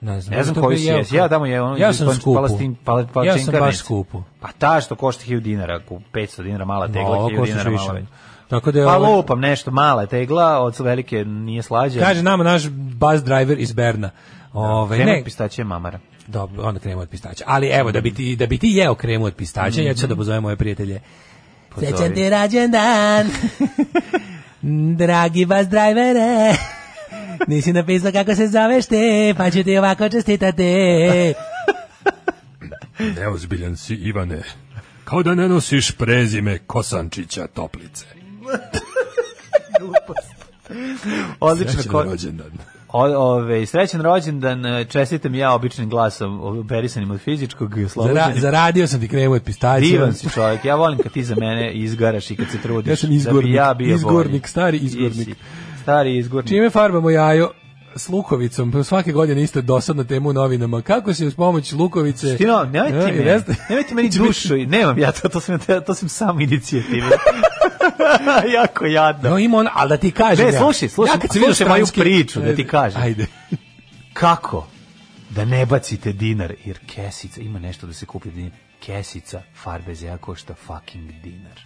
Ne znam,
Ne znam
to
koji
bi
si
jeo-
jesi. Ja tamo je ono
ja
iz
sam
Pan-
skupu.
Palastin- Pala-
ja sam baš
Palačinkarnice.
skupu.
Pa ta što košta 1000 dinara, ku 500 dinara mala tegla,
Ovo
1000
košta
dinara
više.
mala. već.
Tako da ovaj, je
Pa
ovo-
lupam nešto, mala tegla, od velike nije slađa.
Kaže nama naš bus driver iz Berna.
Pa
Ove,
Krema
ne,
od pistaća je mamara.
Dobro, onda kremu od pistaća. Ali evo, da bi ti, da bi ti jeo kremu od pistaća, ja ću sad da pozovem moje prijatelje.
Mhm. Pozovi.
Srećan ti rođendan, dragi vas drajvere. Nisi napisao kako se zoveš te, pa ću ti ovako čestitati.
Neozbiljan si, Ivane. Kao da ne nosiš prezime Kosančića Toplice.
Odlično,
Srećan
ko-
rođendan.
O, ove, srećan rođendan, e, čestitam ja običnim glasom, oberisanim od fizičkog i
Zara,
oslobođenim.
zaradio sam ti kremu od pistaća.
Divan si čovjek, ja volim kad ti za mene izgaraš i kad se trudiš.
Ja sam
da
izgornik,
bi ja bio
izgornik,
bolji.
stari izgornik.
Jesi, Stari izgornik.
Čime farbamo jajo? S lukovicom, Pa svake godine isto dosadna tema u novinama. Kako se uz pomoć lukovice...
Ti no, nemoj ti
Ja,
meni,
E, jeste.
nemoj ti meni dušu, i- nemam ja to, to sam, to sam sam inicijativno. jako jadno.
No ima on, ali da ti kažem
Ne,
ja.
slušaj, slušaj,
ja kad sam vidio
slušaj moju
stranski-
priču, da ti
Ajde,
kažem.
Ajde.
Kako? Da ne bacite dinar, jer kesica, ima nešto da se kupi dinar, kesica farbe za ja košta fucking dinar.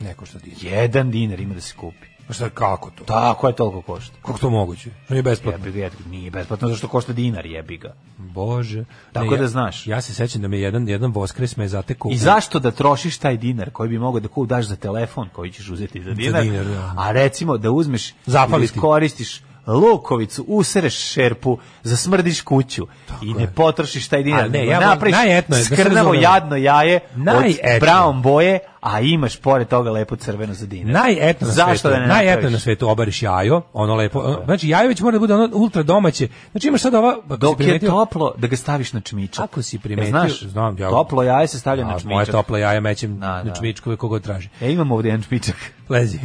Neko što diže.
Jedan dinar ima da se kupi.
Šta, kako to?
Tako je toliko košta.
Kako to moguće? To je besplatno.
Jebi ga, jebi ga, nije besplatno, zašto košta dinar, jebi ga.
Bože.
Tako
Ne, ja-
da znaš.
Ja se sećam da me jedan, jedan voskres me zatekao.
I zašto da trošiš taj dinar koji bi mogao da kup daš za telefon koji ćeš uzeti za dinar,
dinar, da.
a recimo da uzmeš
Zapali
da
ti.
iskoristiš lukovicu, usereš šerpu, zasmrdiš kuću i ne potrošiš taj dinar.
Ali ne,
nego
ja volim-
napraviš
najetno je, da se
skrnavo
razumemo.
jadno jaje
Najetno.
od brown boje, a imaš pored toga lepo crveno za dinar.
Najetno na
Zašto
svetu,
da ne
najetno
napraviš?
na svetu obariš jajo, ono lepo, ono- znači jajo već mora da bude ono ultra domaće. Znači imaš sad ova, ako si
Dok je
primetio-
toplo, da ga staviš na čmičak. E,
Ako si primetio,
znaš,
znam, ja-
toplo jaje se stavlja na
A,
čmičak. E,
Moje topla jaja mećem
Da,
na
da.
čmičkove koga traži.
Ja imam ovdje jedan čmičak.
Lezi.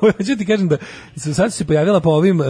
Hoću ti kažem da su sad su se pojavila po ovim uh,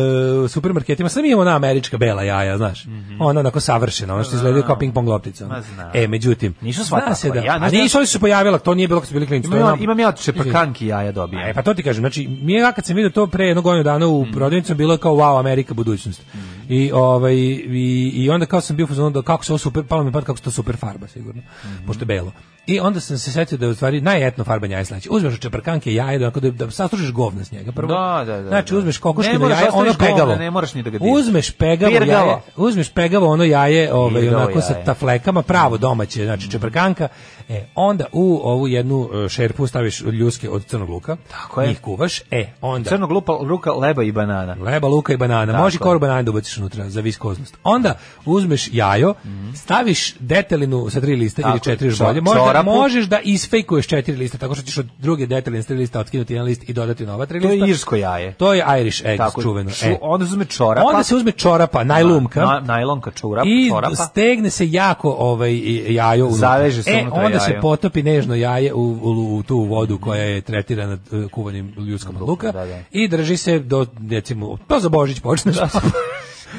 supermarketima, sad mi imamo ona američka bela jaja, znaš. Ona onako savršena, ona što izgleda kao ping pong loptica. ono.
Mhm. Ma znam.
E, međutim,
Nisu sva
zna se
takva.
da.
Ja,
Ja,
znaš
a
šta-
nisu oni su se pojavila, to nije bilo kad su bili klinci. to
Imam
je
ja,
nam-
imam ja od čeprkanki jaja dobijem. Mm.
E, pa to ti kažem, znači, mi je kad sam vidio to pre jednog godinu dana u prodavnicu, bilo je kao, wow, Amerika, budućnost. I, ovaj, i, I onda kao sam bio u fazonu da kako se ovo super, palo mi pad kako se to super farba, sigurno,
Mhm.
pošto je belo. I onda sam se setio da je u stvari najetno farbanje jaja sledeće. Uzmeš od čeprkanke jaje, da, da, da sastružiš govna s njega prvo.
Da, da, da,
Znači,
da.
uzmeš
Ne
kokoškino
moraš
jaje, ono
ostaviš govna,
pegavo.
ne moraš ni da ga diraš.
Uzmeš pegavo
Pirgavo.
jaje, uzmeš pegavo ono jaje, ovaj,
Pirgavo
onako sa
jaje.
ta flekama, pravo domaće, znači čeprkanka, e, onda u ovu jednu e, šerpu staviš ljuske od crnog luka,
Tako je.
njih kuvaš, e, onda
Crnog lupa, ruka, leba i banana.
leba, luka i banana,
Tako
može
je.
koru banana da ubaciš unutra za viskoznost. Onda uzmeš jajo, staviš detelinu sa tri lista ili
Mhm. Tako je,
četiri još
čo-
bolje, možda,
čorapu.
možeš da isfejkuješ četiri lista, tako što ćeš od druge deteline sa tri lista otkinuti jedan list i dodati nova tri
To
lista.
je irsko jaje.
To je Irish egg,
Tako,
čuveno.
ču-
E.
onda se uzme čorapa.
Onda se uzme čorapa, najlumka.
Na, najlonka čurap,
I
čorapa.
stegne se jako ovaj i- jajo unutra.
Zaveže se
e,
unutra
onda se
jajo.
potopi nežno jaje u, u, u tu vodu koja je tretirana e, kuvanjem ljudskom od luka
da, da.
i drži se do recimo pa za Božić počneš. Da,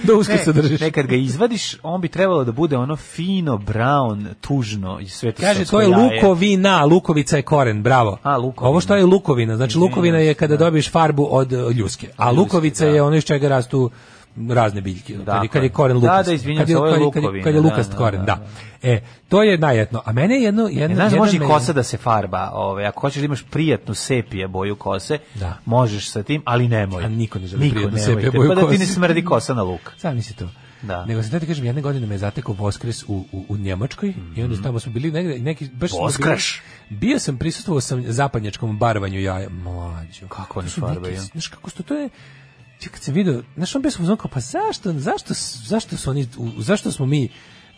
do Uskrsa držiš.
nekad ga izvadiš, on bi trebalo da bude ono fino, brown, tužno i sve to
Kaže,
srpsko
to je
jaje.
lukovina, lukovica je koren, bravo.
A, lukovina.
Ovo što je lukovina, znači
Izvinjam
lukovina je kada dobiješ farbu od e, ljuske, a
ljuske,
lukovica
da. Dakle,
je ono iz čega rastu razne biljke, kad, je- kad je koren
Da, da,
lukast.
izvinjam
kad
se, ovo je
kad kad
lukovina,
Kad je
da,
lukast
da, da,
koren, da. E, to je najjetno. A mene je jedno... jedno
E, znaš,
jedan
može i
me-
kosa da se farba. Ovaj, ako hoćeš da imaš prijatnu sepije boju kose,
Da.
možeš sa tim, ali nemoj.
A niko ne želi prijatnu
nemojte,
sepije boju
Pa da ti
kose.
ne smrdi kosa na luk.
Sam si to.
Da.
Nego sam tada kažem, jedne godine me je zatekao Voskres u, u, u Njemačkoj i
Mhm.
onda tamo smo bili negde, neki, baš smo bili-
Voskrš!
bio sam, prisustvovao sam zapadnjačkom barvanju jaja. Mlađo.
Kako oni
To su neke-
farbaju?
Znaš kako što to je, ti kad sam vidio, znaš on bio sam u fazonu kao, pa zašto, zašto, zašto su oni, u- zašto smo mi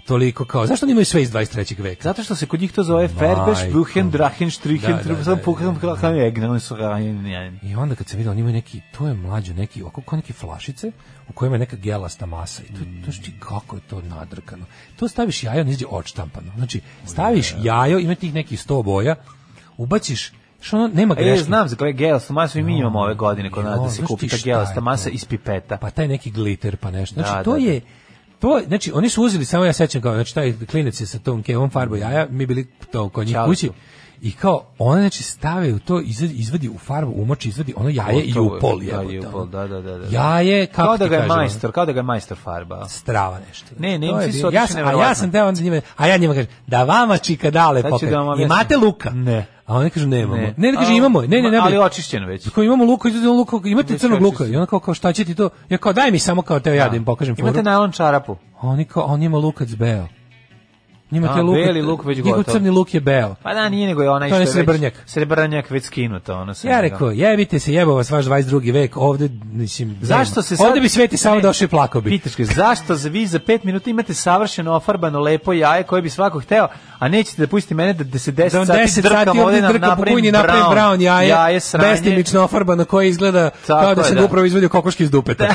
toliko kao, zašto oni imaju sve iz 23. veka?
Zato što se kod njih to zove Ferbeš, Buchen, Drachen, Strichen,
Da, da, da,
sam
da,
pukam
da,
kao
da.
kao egne, oni su kao, ajn, ajn.
I onda kad se vidio, oni imaju neki, to je mlađo, neki, oko kao neke flašice u kojima je neka gelasta masa. I to, to što ti kako je to nadrkano. To staviš jajo, nizđe odštampano. Znači, staviš jajo, ima tih nekih sto boja, ubaciš, što ono, nema
E,
greške.
znam za koje gelasta masa i mi imamo ove godine kod nas da
Jo,
se
znaš
kupi
ti
ta
šta je
gelasta
to?
masa iz pipeta.
Pa taj neki glitter, pa nešto. Znači,
Da,
to
da, da.
je, to, znači, oni su uzeli, samo ja sećam kao, znači, taj klinec je sa tom kevom farbo jaja, mi bili to kod njih
Čale
kući,
su.
i kao, ona, znači, stave u to, izvadi, izvadi u farbu, umoči, izvadi ono jaje i
Gotovo
u
je.
pol,
Da,
jebote,
i u
ono.
pol, da, da, da, da.
Jaje, kako
Kao da
ti
ga je
kažem, ono?
majstor, kao da ga je majstor farba.
strava nešto.
Ne, ne,
To je
Nemci su
bio-
otišli
ja sam, A ja
neverovatno.
sam teo onda njima, a ja njima kažem, da vama čika dale
Sad ću
popet.
da vam objasnim.
Imate luka?
Ne.
A oni kažu nemamo.
Ne.
Ne, ne, kaže
A,
imamo. je. Ne, ne, ne.
ma, ali
bre.
očišćen već.
Kao imamo luka, izuzeo luka, imate
Već
crnog luka.
očišćen.
I ona kao, kao šta će ti to? Ja kao daj mi samo kao teo ja da im pokažem foru.
Imate najlon čarapu.
A Oni kao, a on ima lukac beo. Njima
A,
te luka,
beli luk već
njihov
gotov.
crni luk je beo.
Pa da, nije nego je onaj
To
što
je
je već-
srebrnjak.
Srebrnjak već skinuto. Ono sa
Ja
njega.
rekao, jebite se, jebo vas vaš 22. vek, ovde, mislim,
Zašto
nema.
se sad...
Ovde bi sveti samo
Ne,
došao i plakao bi.
Pitaš ga, zašto za vi za 5 minuta imate savršeno ofarbano lepo jaje koje bi svako hteo, a nećete da pustite mene da, da se 10
da on
sati
10
drkam
sati
ovde
ovdje
nam
drka po
napravim
kujni napravim
brown,
brown jaje,
jaje sranje.
bestimično ofarbano koje izgleda
Tako
kao da
je,
se
da.
da. upravo izvadio kokoški iz dupeta.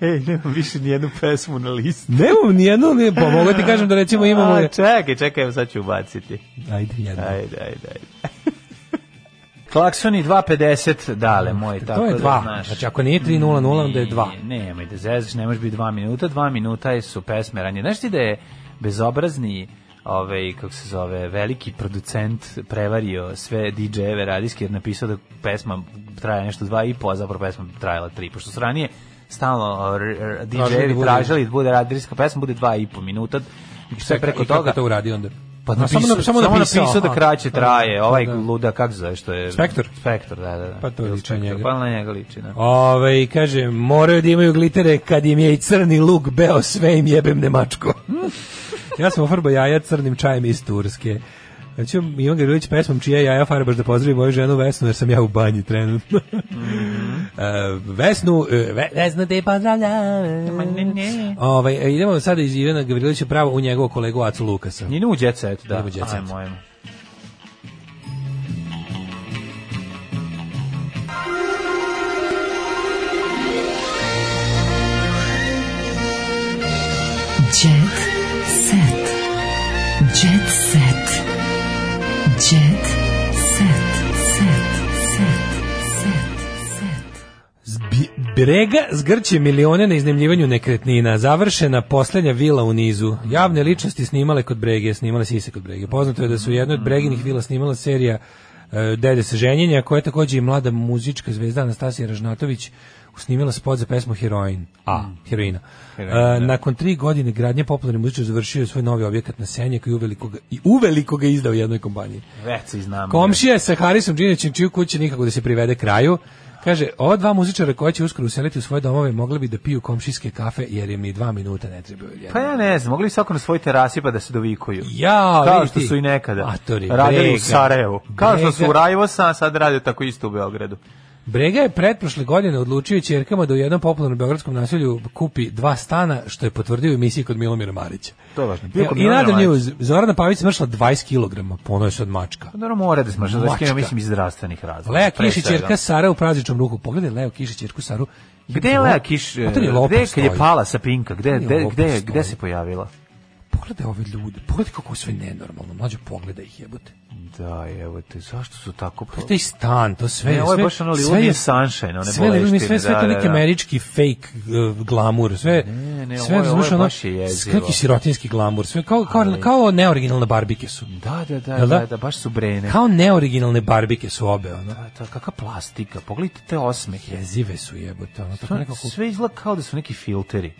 Ej, nemam više nijednu pesmu na listu.
Nemam nijedno, ne, pa mogu ti kažem da recimo imamo...
A, čekaj, čekaj, evo sad ću ubaciti.
Ajde, jedno.
Ajde, ajde, ajde. Klaksoni 2.50 dale, moj, tako
Mm, To je
da
dva.
znaš.
Znači ako nije 3.00, onda je dva.
Nije, Nemoj da zezaš, ne može biti dva minuta, dva minuta su pesme ranje. Znaš ti da je bezobrazni ovaj, kako se zove, veliki producent prevario sve DJ-eve radijske jer napisao da pesma traje nešto dva i po, a zapravo pesma trajala tri, pošto su ranije stalno r- r-
Tražili da
DJ-evi
bude-
tražili da bude radijska pesma, bude dva i po minuta, Znači, sve preko
I kako
toga.
to uradi onda?
Pa
A,
napisao,
samo,
samo,
na- samo, napisao,
da
aha.
kraće
Pa,
traje,
da,
ovaj
da.
luda, kako se zove što je...
Spektor?
Spektor, da, da. da.
Pa to
Ili
liči na
Spektor,
njega.
Pa na njega liči, da.
Ove, kaže, moraju da imaju glitere kad im je i crni luk beo sve im jebem nemačko. ja sam ofarbao jaja crnim čajem iz Turske. Znači, Ivan Gavrilović pesmom čija jaja farbaš da pozdravi moju ženu Vesnu, jer sam ja u banji trenutno.
Mhm.
E, Vesnu, e, ve, Vesnu te pozdravljam.
Ma ne, ne.
Ovaj, e, idemo sada iz Ivana Gavrilovića pravo u njegovog kolegu Acu Lukasa.
Njenu u Jet Set, da.
Idemo u Jet Set.
Ajmo, ajmo.
Jet set. Jet set. Jet set.
Drega zgrće milione na iznajmljivanju nekretnina. Završena poslednja vila u nizu. Javne ličnosti snimale kod Brege, snimale sise kod Brege. Poznato je da su u jednoj od Breginih vila snimala serija e, Dede se ženjenja, koja je takođe i mlada muzička zvezda Anastasija Ražnatović snimila spot za pesmu Heroin. A, heroina. E, nakon tri godine gradnje popularni muzičar završio je svoj novi objekat na Senjaku i uveliko ga, i uveliko ga izdao jednoj kompaniji.
Već se znam.
Komšija je sa Harisom Đinićem čiju kuće nikako da se privede kraju. Kaže, ova dva muzičara koja će uskoro useliti u svoje domove mogli bi da piju komšijske kafe jer im ni dva minuta ne trebaju.
Pa ja ne znam, mogli bi svako na svoj terasi pa da se dovikuju.
Ja,
kao
vidi
što
ti.
su i nekada.
Atori,
radili u
brega.
Sarajevu. Kao što su u
Brega.
Rajvosa, a sad rade tako isto u Beogradu.
Brega je pretprošle godine odlučio ćerkama da u jednom popularnom beogradskom naselju kupi dva stana, što je potvrdio u emisiji kod Milomira Marića.
To je važno. Bio
Evo,
kod
I
Milomira
nadam
Marića.
news, Zorana Pavić smršla 20 kg, ponoje se od mačka.
Pa Naravno mora da smažem, da
Mačka.
skinem, mislim, iz zdravstvenih razloga.
Lea
pre
Kišić
svega.
ćerka Sara u prazničnom ruhu. Pogledaj Leo Kišić ćerku Saru.
Gde je Lea Kiš,
A Pa to ni lopov
gde je kad je
stoji.
pala sa Pinka, gde,
Ni
gde,
lopov
gde,
stoji.
gde se pojavila?
Pogledaj ove ljude, pogledaj kako je sve nenormalno. Mlađe, pogledaj ih jebote.
Da, evo te, zašto su tako... pro-
Taj stan, to sve,
Ne, ovo je
sve,
baš ono Little
sve je
Miss Sunshine, one
sve, Little Miss,
boleštine,
sve, sve
da,
to
da,
neki
da.
američki fake uh, glamur, sve,
Ne, ne,
sve,
ovo je- ovo je
znaš, ono,
baš je jezivo.
Neki sirotinski glamur, sve kao, kao, kao neoriginalne barbike su.
Da, da, da,
Jel da?
da, da, baš su brene.
Kao neoriginalne barbike su obe, ono.
Da, da, kakva plastika, pogledajte te osmehe.
Jezive su jebote, ono, tako
To
nekako...
sve izgleda kao da su neki filteri.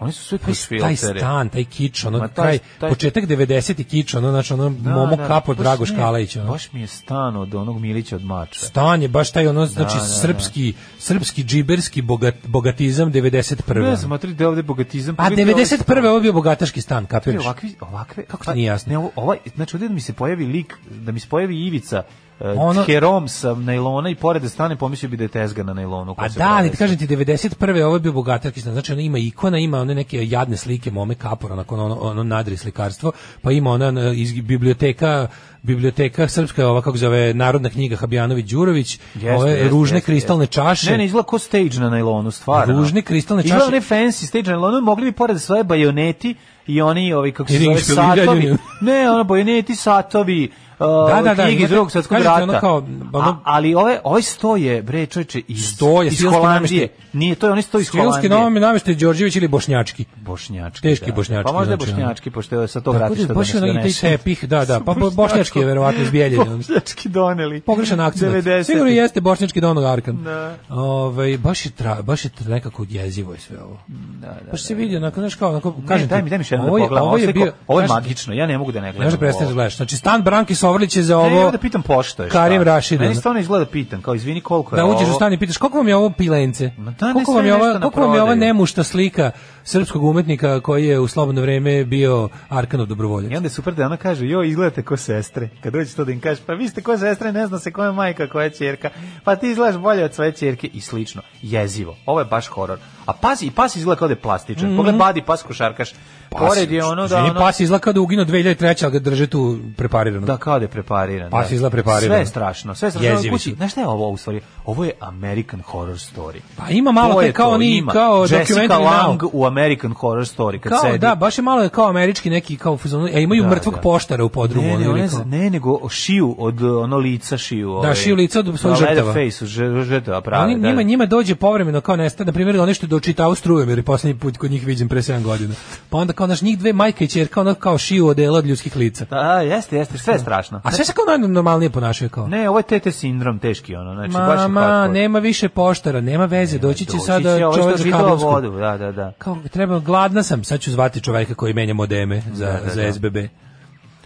Oni su sve
taj,
kroz
taj
filtere.
stan, taj kič, ono,
Ma taj-
kraj,
taj-
početak 90. kič, ono, znači, ono,
Da,
Momo
da,
Kapo,
baš
Dragoš
mi je-
Kalajić, ono.
Baš mi je stan od onog Milića od Mača.
Stan je baš taj, ono, znači,
da, da.
srpski, srpski džiberski bogat, bogatizam ono. 91.
Ne znam, matri, da je ovde bogatizam.
A
pogledajte ovaj stan.
91. ovo bio bogataški stan,
Čekaj,
kapiraš?
ovakvi, ovakve,
Kako ti
pa,
nije jasno?
Ne, ovo- ovaj, znači ovdje da mi se pojavi lik, da mi se pojavi Ivica,
Ono-
ono, herom sa najlona i pored da stane pomislio bi da je tezga na najlonu. koja
A
se
Pa da, ali ti
prodesa.
kažem ti, 91. ovo je bio bogatarski stan. Znači, ono ima ikona, ima one neke jadne slike Mome Kapora, nakon ono, ono nadri slikarstvo, pa ima ona na- iz biblioteka, biblioteka srpska, ova kako zove, Narodna knjiga Habijanović Đurović,
Jeste,
ove
jeste,
ružne
jeste,
kristalne
jeste.
čaše.
Ne, ne, izgleda ko stage na najlonu, stvarno.
Ružne kristalne
Izgleda
čaše.
one fancy stage na najlonu, mogli bi pored svoje bajoneti i oni, ovi, kako
I
se zove,
ringšpil,
satovi.
vidjeli.
ne, ono, bajoneti, satovi, uh,
Da, da, da,
knjige iz
imate-
drugog svetskog
kažete
rata.
ono kao, ono-
A, ali ove, ovaj sto je, bre, čovječe, iz,
Sto je,
iz
stilski
Holandije.
namještaj.
Nije, to je oni sto iz
Stilski
Holandije.
novom nameštaj Đorđević ili Bošnjački.
Bošnjački.
Teški
da.
bošnjački,
Pa možda je
znači, ono.
bošnjački, pošto je sa tog
Tako da je
ratišta
baš
da
ono
nas
i taj
donese.
tepih, da, da, pa bošnjački je verovatno izbijeljen. ono.
Bošnjački doneli.
Pogrešan akcent.
90.
Sigurno jeste bošnjački Donald Arkan.
Da.
Ovaj baš je tra, baš je tra- nekako jezivo je sve ovo. Da, da, baš se vidi onako, znaš kao, onako,
Ne,
kažem ti,
daj mi, daj mi še jedno
ovo
da
je-
pogledam.
Ovo je, bio,
ovo je
znaš,
magično, ja ne mogu da ne
Ne možeš
gledam.
prestati da
ovo.
gledaš. Znači, stan Branki Sovrlić je za
Ne,
ovo...
ja da pitam pošto je. šta.
Karim Rašid.
Meni
ono.
stvarno izgleda pitan, kao izvini koliko Pa je
Da uđeš
ovo?
u stan i pitaš koliko vam je ovo pilence?
Ma da, ne,
koliko
sve
vam je
je
ova
nešto na
koliko vam je ova
prodaju.
nemušta slika srpskog umetnika koji je u slobodno vreme bio Arkanov dobrovoljac?
I onda je super da ona kaže, jo, izgledate ko sestre. Kad dođeš to da im kažeš, pa vi ste ko sestre, ne zna se koja je majka, koja je čerka. Pa ti izgledaš bolje od svoje čerke i slično. Jezivo. Ovo je baš horor. A pas, i pas izgleda kao da je
Mhm.
plastičan. Pogled, badi pas košarkaš. Pored je ono da...
Ženi
ono-
Znači, pas izgleda kao da je uginuo 2003. ali ga drže tu preparirano.
Da, kao da je prepariran.
Pa si
da.
izgleda prepariran.
Sve je strašno. Sve je strašno.
Jezivi
Kući,
su.
znaš šta je ovo u stvari? Ovo je American Horror Story.
Pa ima malo
To
te
je
kao
to,
oni,
ima.
kao
Jessica
documentary
Lang
now.
u American Horror Story. Kad
Kao,
sedi.
da, baš je malo kao američki neki kao fuzon, a imaju
Da,
mrtvog
da.
poštara u podrumu.
Ne,
ono,
ne,
ili
one,
kao-
z- ne, nego šiju od uh, ono lica šiju. ovaj,
šiju lica od svojih
da,
žrtava.
Leatherface, ž- žrtava prave.
Oni,
da,
njima,
da.
njima dođe povremeno kao nestane, na primjer, ono što dočitao strujem, jer je poslednji put kod njih viđen pre 7 godina. Pa onda kao naš njih dve majka i čerka, ono kao šiju odela od ljudskih lica.
Da, da, jeste, jeste, sve je strašno.
A sve se kao najnormalnije ponašaju kao.
Ne, ovo je tete sindrom teški, ono, znači baš je
Mama,
hardcore.
nema više poštara, nema veze, doći će
Doći
sada
će ovo što
čovjek
je
za
video
kablovsku.
vodu, da, da, da.
Kao treba, gladna sam, sad ću zvati čoveka koji menja modeme za,
da,
za
da.
SBB.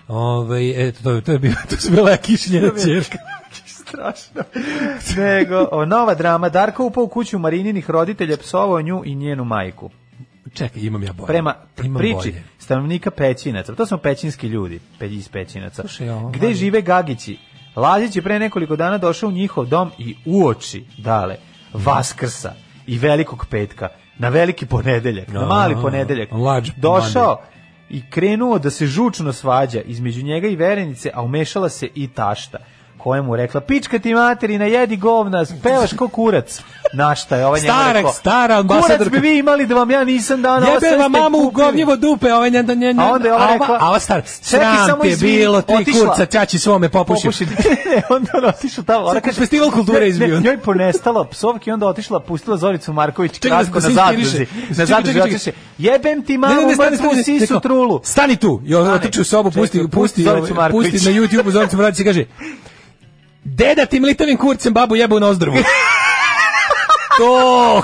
Ovaj eto, to, je- to je bio, to su bila kišljenja ćerka.
strašno. Nego, o, nova drama, Darko upao u kuću Marininih roditelja, psovao nju i njenu majku.
Čekaj, imam ja bolje.
Prema
Imam
priči
bolje.
stanovnika Pećinaca, to smo pećinski ljudi, pe- iz Pećinaca,
Slušaj, ovo,
gde
Mlađe.
žive Gagići. Lazić je pre nekoliko dana došao u njihov dom i uoči dale Vaskrsa i Velikog petka, na veliki ponedeljak, na mali
A,
ponedeljak,
large
došao i krenuo da se žučno svađa između njega i verenice, a umešala se i tašta kojemu rekla pička ti materina, jedi govna, pevaš ko kurac. Na šta je ovaj njemu
Stara-
rekao?
stara
Kurac
ambasadorka.
bi vi imali da vam ja nisam dana. ovo sve
Jebe vam
ste
mamu u
kupili."
govnjevo dupe, ovaj njen, njen,
A onda je
a
ona
ova-
rekla...
a ova stara,
"Čekaj,
sram
samo
ti je
izvini,
bilo, tri
otišla."
kurca, ćaći svome popuši.
Popuši. ne, onda ona otišla tamo. Ona
Sad festival kulture
Ne, ne,
izbio.
Njoj ponestalo psovki, onda otišla, pustila Zoricu Marković
Čekaj, da-
kratko
da
na
se
zadruzi.
inspiriše.
Na
Čekaj,
zadruzi
čekaj,
otiše.
čekaj.
Jebem ti mamu, mrtvu Pa, sisu
rekao,
trulu.
Stani tu. I on otiče u sobu,
Čekaj,
pusti,
pusti
pusti,
Zoricu
ovaj,
Marković.
pusti na YouTube Zoricu Marković i kaže Deda tim litavim kurcem babu jebe u nozdrvu. to,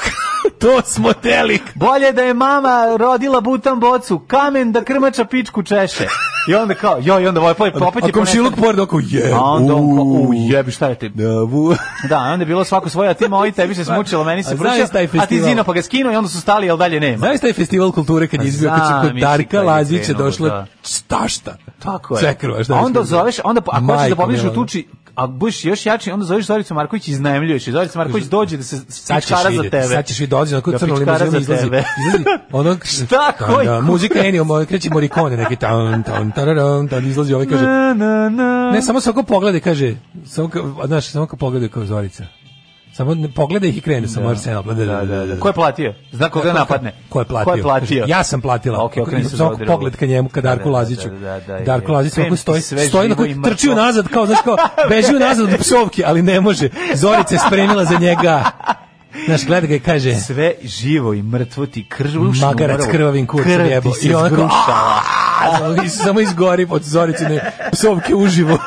to smo teli.
Bolje da je mama rodila butan bocu, kamen da krmača pičku češe. I onda kao, joj, i onda ovaj poj, opet
A
je ponestalo.
komšiluk pored oko je.
A onda on kao, u
u,
jebi, šta je ti?
da, vu.
Da, onda je bilo svako svoje, a ti moji, tebi se smučilo, meni
Pa, A
se pručio,
znaš taj
a ti
festival?
zino pa ga skinuo i onda su stali, jel dalje nema.
Znaš taj festival kulture kad je izbio, kad
Pa Znam,
će kod
mislim, kad
Darka
je
Lazića
krenulo,
došla
da.
stašta.
Tako je.
Cekrva, šta
a
je
onda
sve bilo.
zoveš, onda po- ako hoćeš da
Majko
pobediš u
mila.
tuči, a budeš još jači, onda zoveš Zoricu Marković i iznajmljuješ. I Zorica Marković dođe da se
Sad ćeš
pičkara za
vidjeti,
tebe.
Sad ćeš vidjeti, dolazi onako
Da
crno
pičkara
limuzina
za
izlazi.
tebe.
izlazi ono,
Šta,
Da,
koji
Da, muzika Ennio, moj, kreće Morikone, neki tam, tam, tararam, tam, izlazi ovaj, kaže,
Na, na, na.
ne, samo svako pogleda, kaže, samo, ka, znaš, samo ka pogledaju kao Zorica. Samo ne, pogleda ih i krene da. samo Arsenal. pa Da, da, da, da, da.
Ko je platio? Zna koga napadne?
Ko je platio?
Ko je platio?
Ja sam platila.
Ok, okreni se
Samo
za odrebu.
pogled ka njemu, ka Darku
Da, da,
Laziću.
da, da, da,
Darko
je.
Lazić
Pemti
tako stoji,
sve
stoji,
živo
onako
i mrtvo.
trči nazad, kao, znaš, kao, beži nazad od psovki, ali ne može. Zorica je spremila za njega. Znaš, gleda ga i kaže,
Sve živo i mrtvo ti krvušnu
magarac
mrvu.
krvavim kurcem
Krv
jebo.
ti se zgrušala.
"Aaa!" I samo izgori od Zoricine psovke uživo.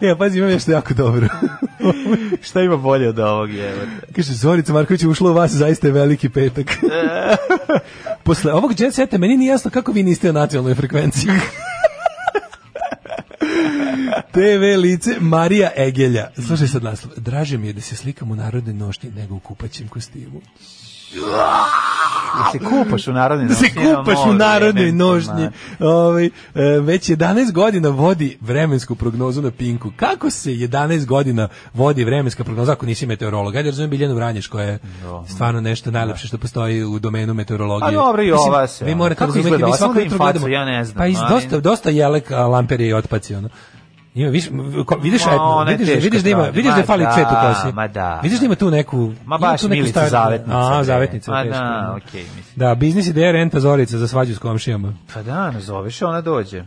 Ja, pazi, imam nešto jako dobro.
Šta ima bolje od ovog jebote?
Kaže, Zorica Marković je ušla u vas, zaista je veliki petak. Posle ovog jet seta meni nije jasno kako vi niste na nacionalnoj frekvenciji. TV lice Marija Egelja. Slušaj sad naslov. Draže mi je da se slikam u narodnoj nošnji nego u kupaćem kostimu.
Da se kupaš u narodnoj
da se
nošnji, ima
kupaš u
more,
narodnoj
jebem ti,
nošnji.
ma.
Ovaj, e, već 11 godina vodi vremensku prognozu na Pinku. Kako se 11 godina vodi vremenska prognoza ako nisi meteorolog? Ajde, razumijem Biljanu Vranješ koja je stvarno nešto najlepše što postoji u domenu meteorologije.
A dobro, i
Mislim,
ova se,
Vi
ono,
morate
kako
razumeti,
izgleda?
mi
Samo
svako
da im
jutro
faca,
gledamo.
ja ne znam,
Pa iz,
ali-
dosta, dosta jelek, a, lamperije i otpaci, ono. Ima, viš, ko- vidiš,
Ma,
etno,
ona je
vidiš, da-
teška
vidiš da ima,
stvar.
vidiš da
Ma
fali
da,
cvet u klasi.
ma da.
Vidiš da ima tu neku,
Ma
ima
baš
tu neku
Milica
staru-
Zavetnica.
A,
bre.
zavetnica.
Ma
teška,
da,
da.
okej, mislim.
Da, biznis ideja renta Zorica za svađu s komšijama.
Pa da, nazoveš, ona dođe.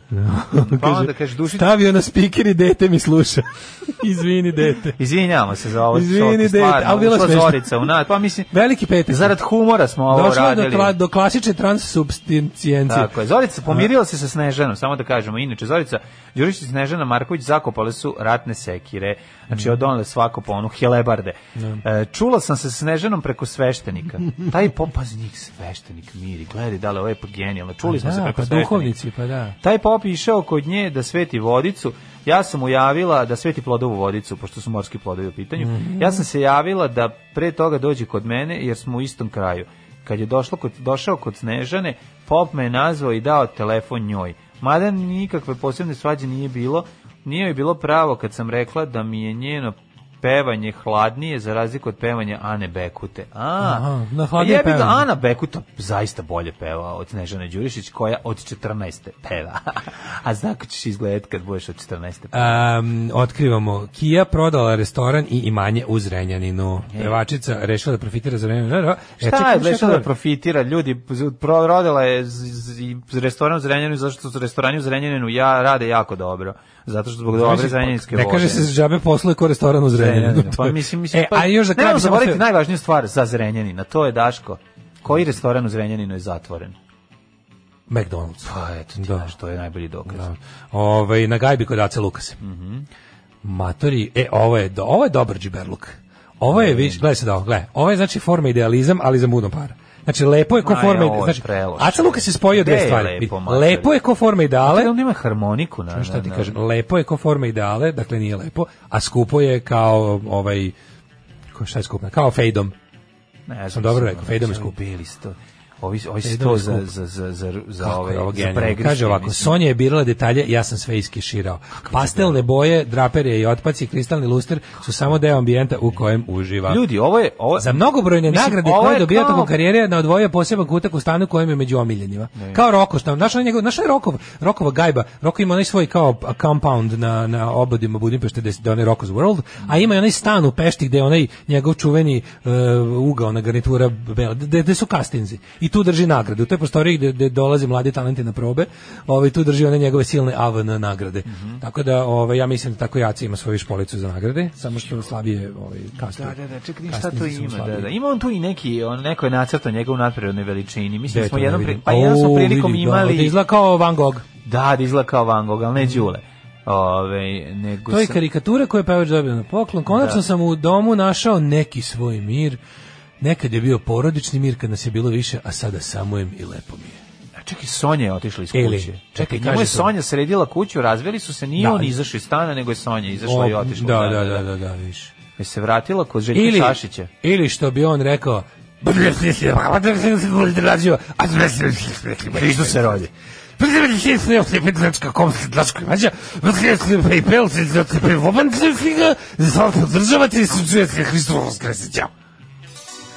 Pa onda kažeš, duši
Stavio na speaker i dete mi sluša. Izvini dete.
Izvinjavamo se za ovo.
Izvini,
šoke,
dete,
stvarno,
ali bilo
ušla
smešno.
Zorica u nas, pa mislim,
Veliki petak.
zarad humora smo ovo
Došlo je do,
radili.
tla, do klasične transsubstancijencije.
Tako je. Zorica pomirila se sa Snežanom, samo da kažemo. Inače, Zorica Đurišić i Snežana Marković zakopale su ratne sekire.
Mm.
Znači, odonele svako po onu helebarde. E, čula sam se sa Snežanom preko sveštenika. Taj popaz njih sveštenik miri. Gledaj, da li ovo je pa genijalno. Čuli smo se
Da,
preko
pa
sveštenika.
duhovnici, pa da.
Taj pop je išao kod nje da sveti vodicu. Ja sam mu javila da sveti plodovu vodicu, pošto su morski plodovi u pitanju.
Mhm.
Ja sam se javila da pre toga dođe kod mene, jer smo u istom kraju. Kad je došlo kod, došao kod Snežane, pop me je nazvao i dao telefon njoj. Mada nikakve posebne svađe nije bilo, nije joj bilo pravo kad sam rekla da mi je njeno pevanje hladnije za razliku od pevanja Ane Bekute. A,
Aha, na hladnije
jebi ga,
pevanje.
Ana Bekuta zaista bolje peva od Snežane Đurišić koja od 14. peva. A znako ćeš izgledati kad budeš od 14. peva.
Um, otkrivamo, Kija prodala restoran i imanje u Zrenjaninu. Pevačica rešila da profitira za vreme. E,
E. Šta
čekaj,
je došla da
dobro?
profitira? Ljudi, z- pro- rodila je z- z- i restoran u Zrenjaninu, zato što su restorani u Zrenjaninu ja, rade jako dobro. Zato što zbog dobre zrenjaninske vode.
Ne kaže se džabe posluje ko restoran u Zrenjaninu.
Zrenjaninu. Pa mislim, mislim,
e,
pa,
a još za kraj
nemamo
bi samo
zaboraviti
htio-
najvažniju stvar za Zrenjanina, to je Daško. Koji restoran u Zrenjaninu je zatvoren?
McDonald's.
Pa eto, ti
Da.
znaš, to je najbolji dokaz.
Da. Ovaj na gajbi kod Ace Lukase.
Mhm.
Matori, e ovo je do, ovo je dobar džiberluk. Ovo je viš, gledaj se da ovo, gledaj. Ovo je znači forma idealizam, ali za budno para. Znači lepo je ko
Aj,
forma,
ovo je
znači
preloše.
Aca Lukas je spojio
Gde
dve
je
stvari.
lepo,
Vidi, Lepo,
matori?
je ko forma ideale.
Ali on ima harmoniku, na,
Šta ti
na- na-
kažem, lepo je ko forma ideale, dakle nije lepo, a skupo je kao ovaj ko šta je skupno, kao fejdom.
Ne,
Sam dobro rekao, fejdom je skup.
Bili ono, sto. Ovi, ovi su
Jedan
to
je
za,
skup.
za, za, za, za,
Kako
ove,
je ovo
za
genijalno.
pregriške.
Kaže ovako,
mislim.
Sonja je birala detalje, ja sam sve iskeširao. Pastelne boje, draperije i otpaci, kristalni luster su samo deo ambijenta u kojem uživa.
Ljudi, ovo je... Ovo,
Za mnogobrojne
Mislim,
nagrade
ovo
koje
je
dobija
kao-
tokom karijere na odvojio poseban kutak u stanu kojem je među omiljenima. Kao Roko, što naš njegov, naš Rokov, Rokova gajba. Roko ima onaj svoj kao compound na na obodima Budimpešte gde je onaj Roko's World, a ima i onaj stan u Pešti gde je onaj njegov čuveni e, ugao na garnitura bela, gde, gde su kastinzi. I tu drži nagradu. U toj prostoriji gde, gde dolaze mladi talenti na probe, ovaj tu drži one njegove silne AVN nagrade.
Mhm.
Tako da ovaj ja mislim da tako Jaci ima svoju špolicu za nagrade, samo što slabije ovaj kastuju.
Da, da, da, čekaj, šta to
Kastinci su
ima? Da,
slabiji.
da. Ima on tu i neki, on, neko je nacrtao njega u nadprirodnoj veličini. Mislim, da
Gde
smo
to ne
jednom, pri,
vidim?
pa jednom smo
O,
prilikom
vidi, Da, da
imali...
izgleda kao Van Gogh.
Da, da izgleda kao Van Gogh, ali ne Đule. Ove, nego
Mm. To je
sam-
karikatura koju je pevač dobio na poklon. Konačno sam u domu našao neki svoj mir. Nekad je bio porodični mir kad nas je bilo više, a sada samo je i lepo mi je.
A čekaj, Sonja je otišla iz
Eli,
kuće.
čekaj,
Čekaj, njemu je
kaže to.
Sonja sredila kuću, razveli su se, nije
Da.
on izašao iz stana, nego je Sonja izašla i
O,
otišla.
Da, da, da, da, da, više.
Je se vratila kod Željka
Ili,
Šašića.
ili što bi on rekao,
Krišto se rodi.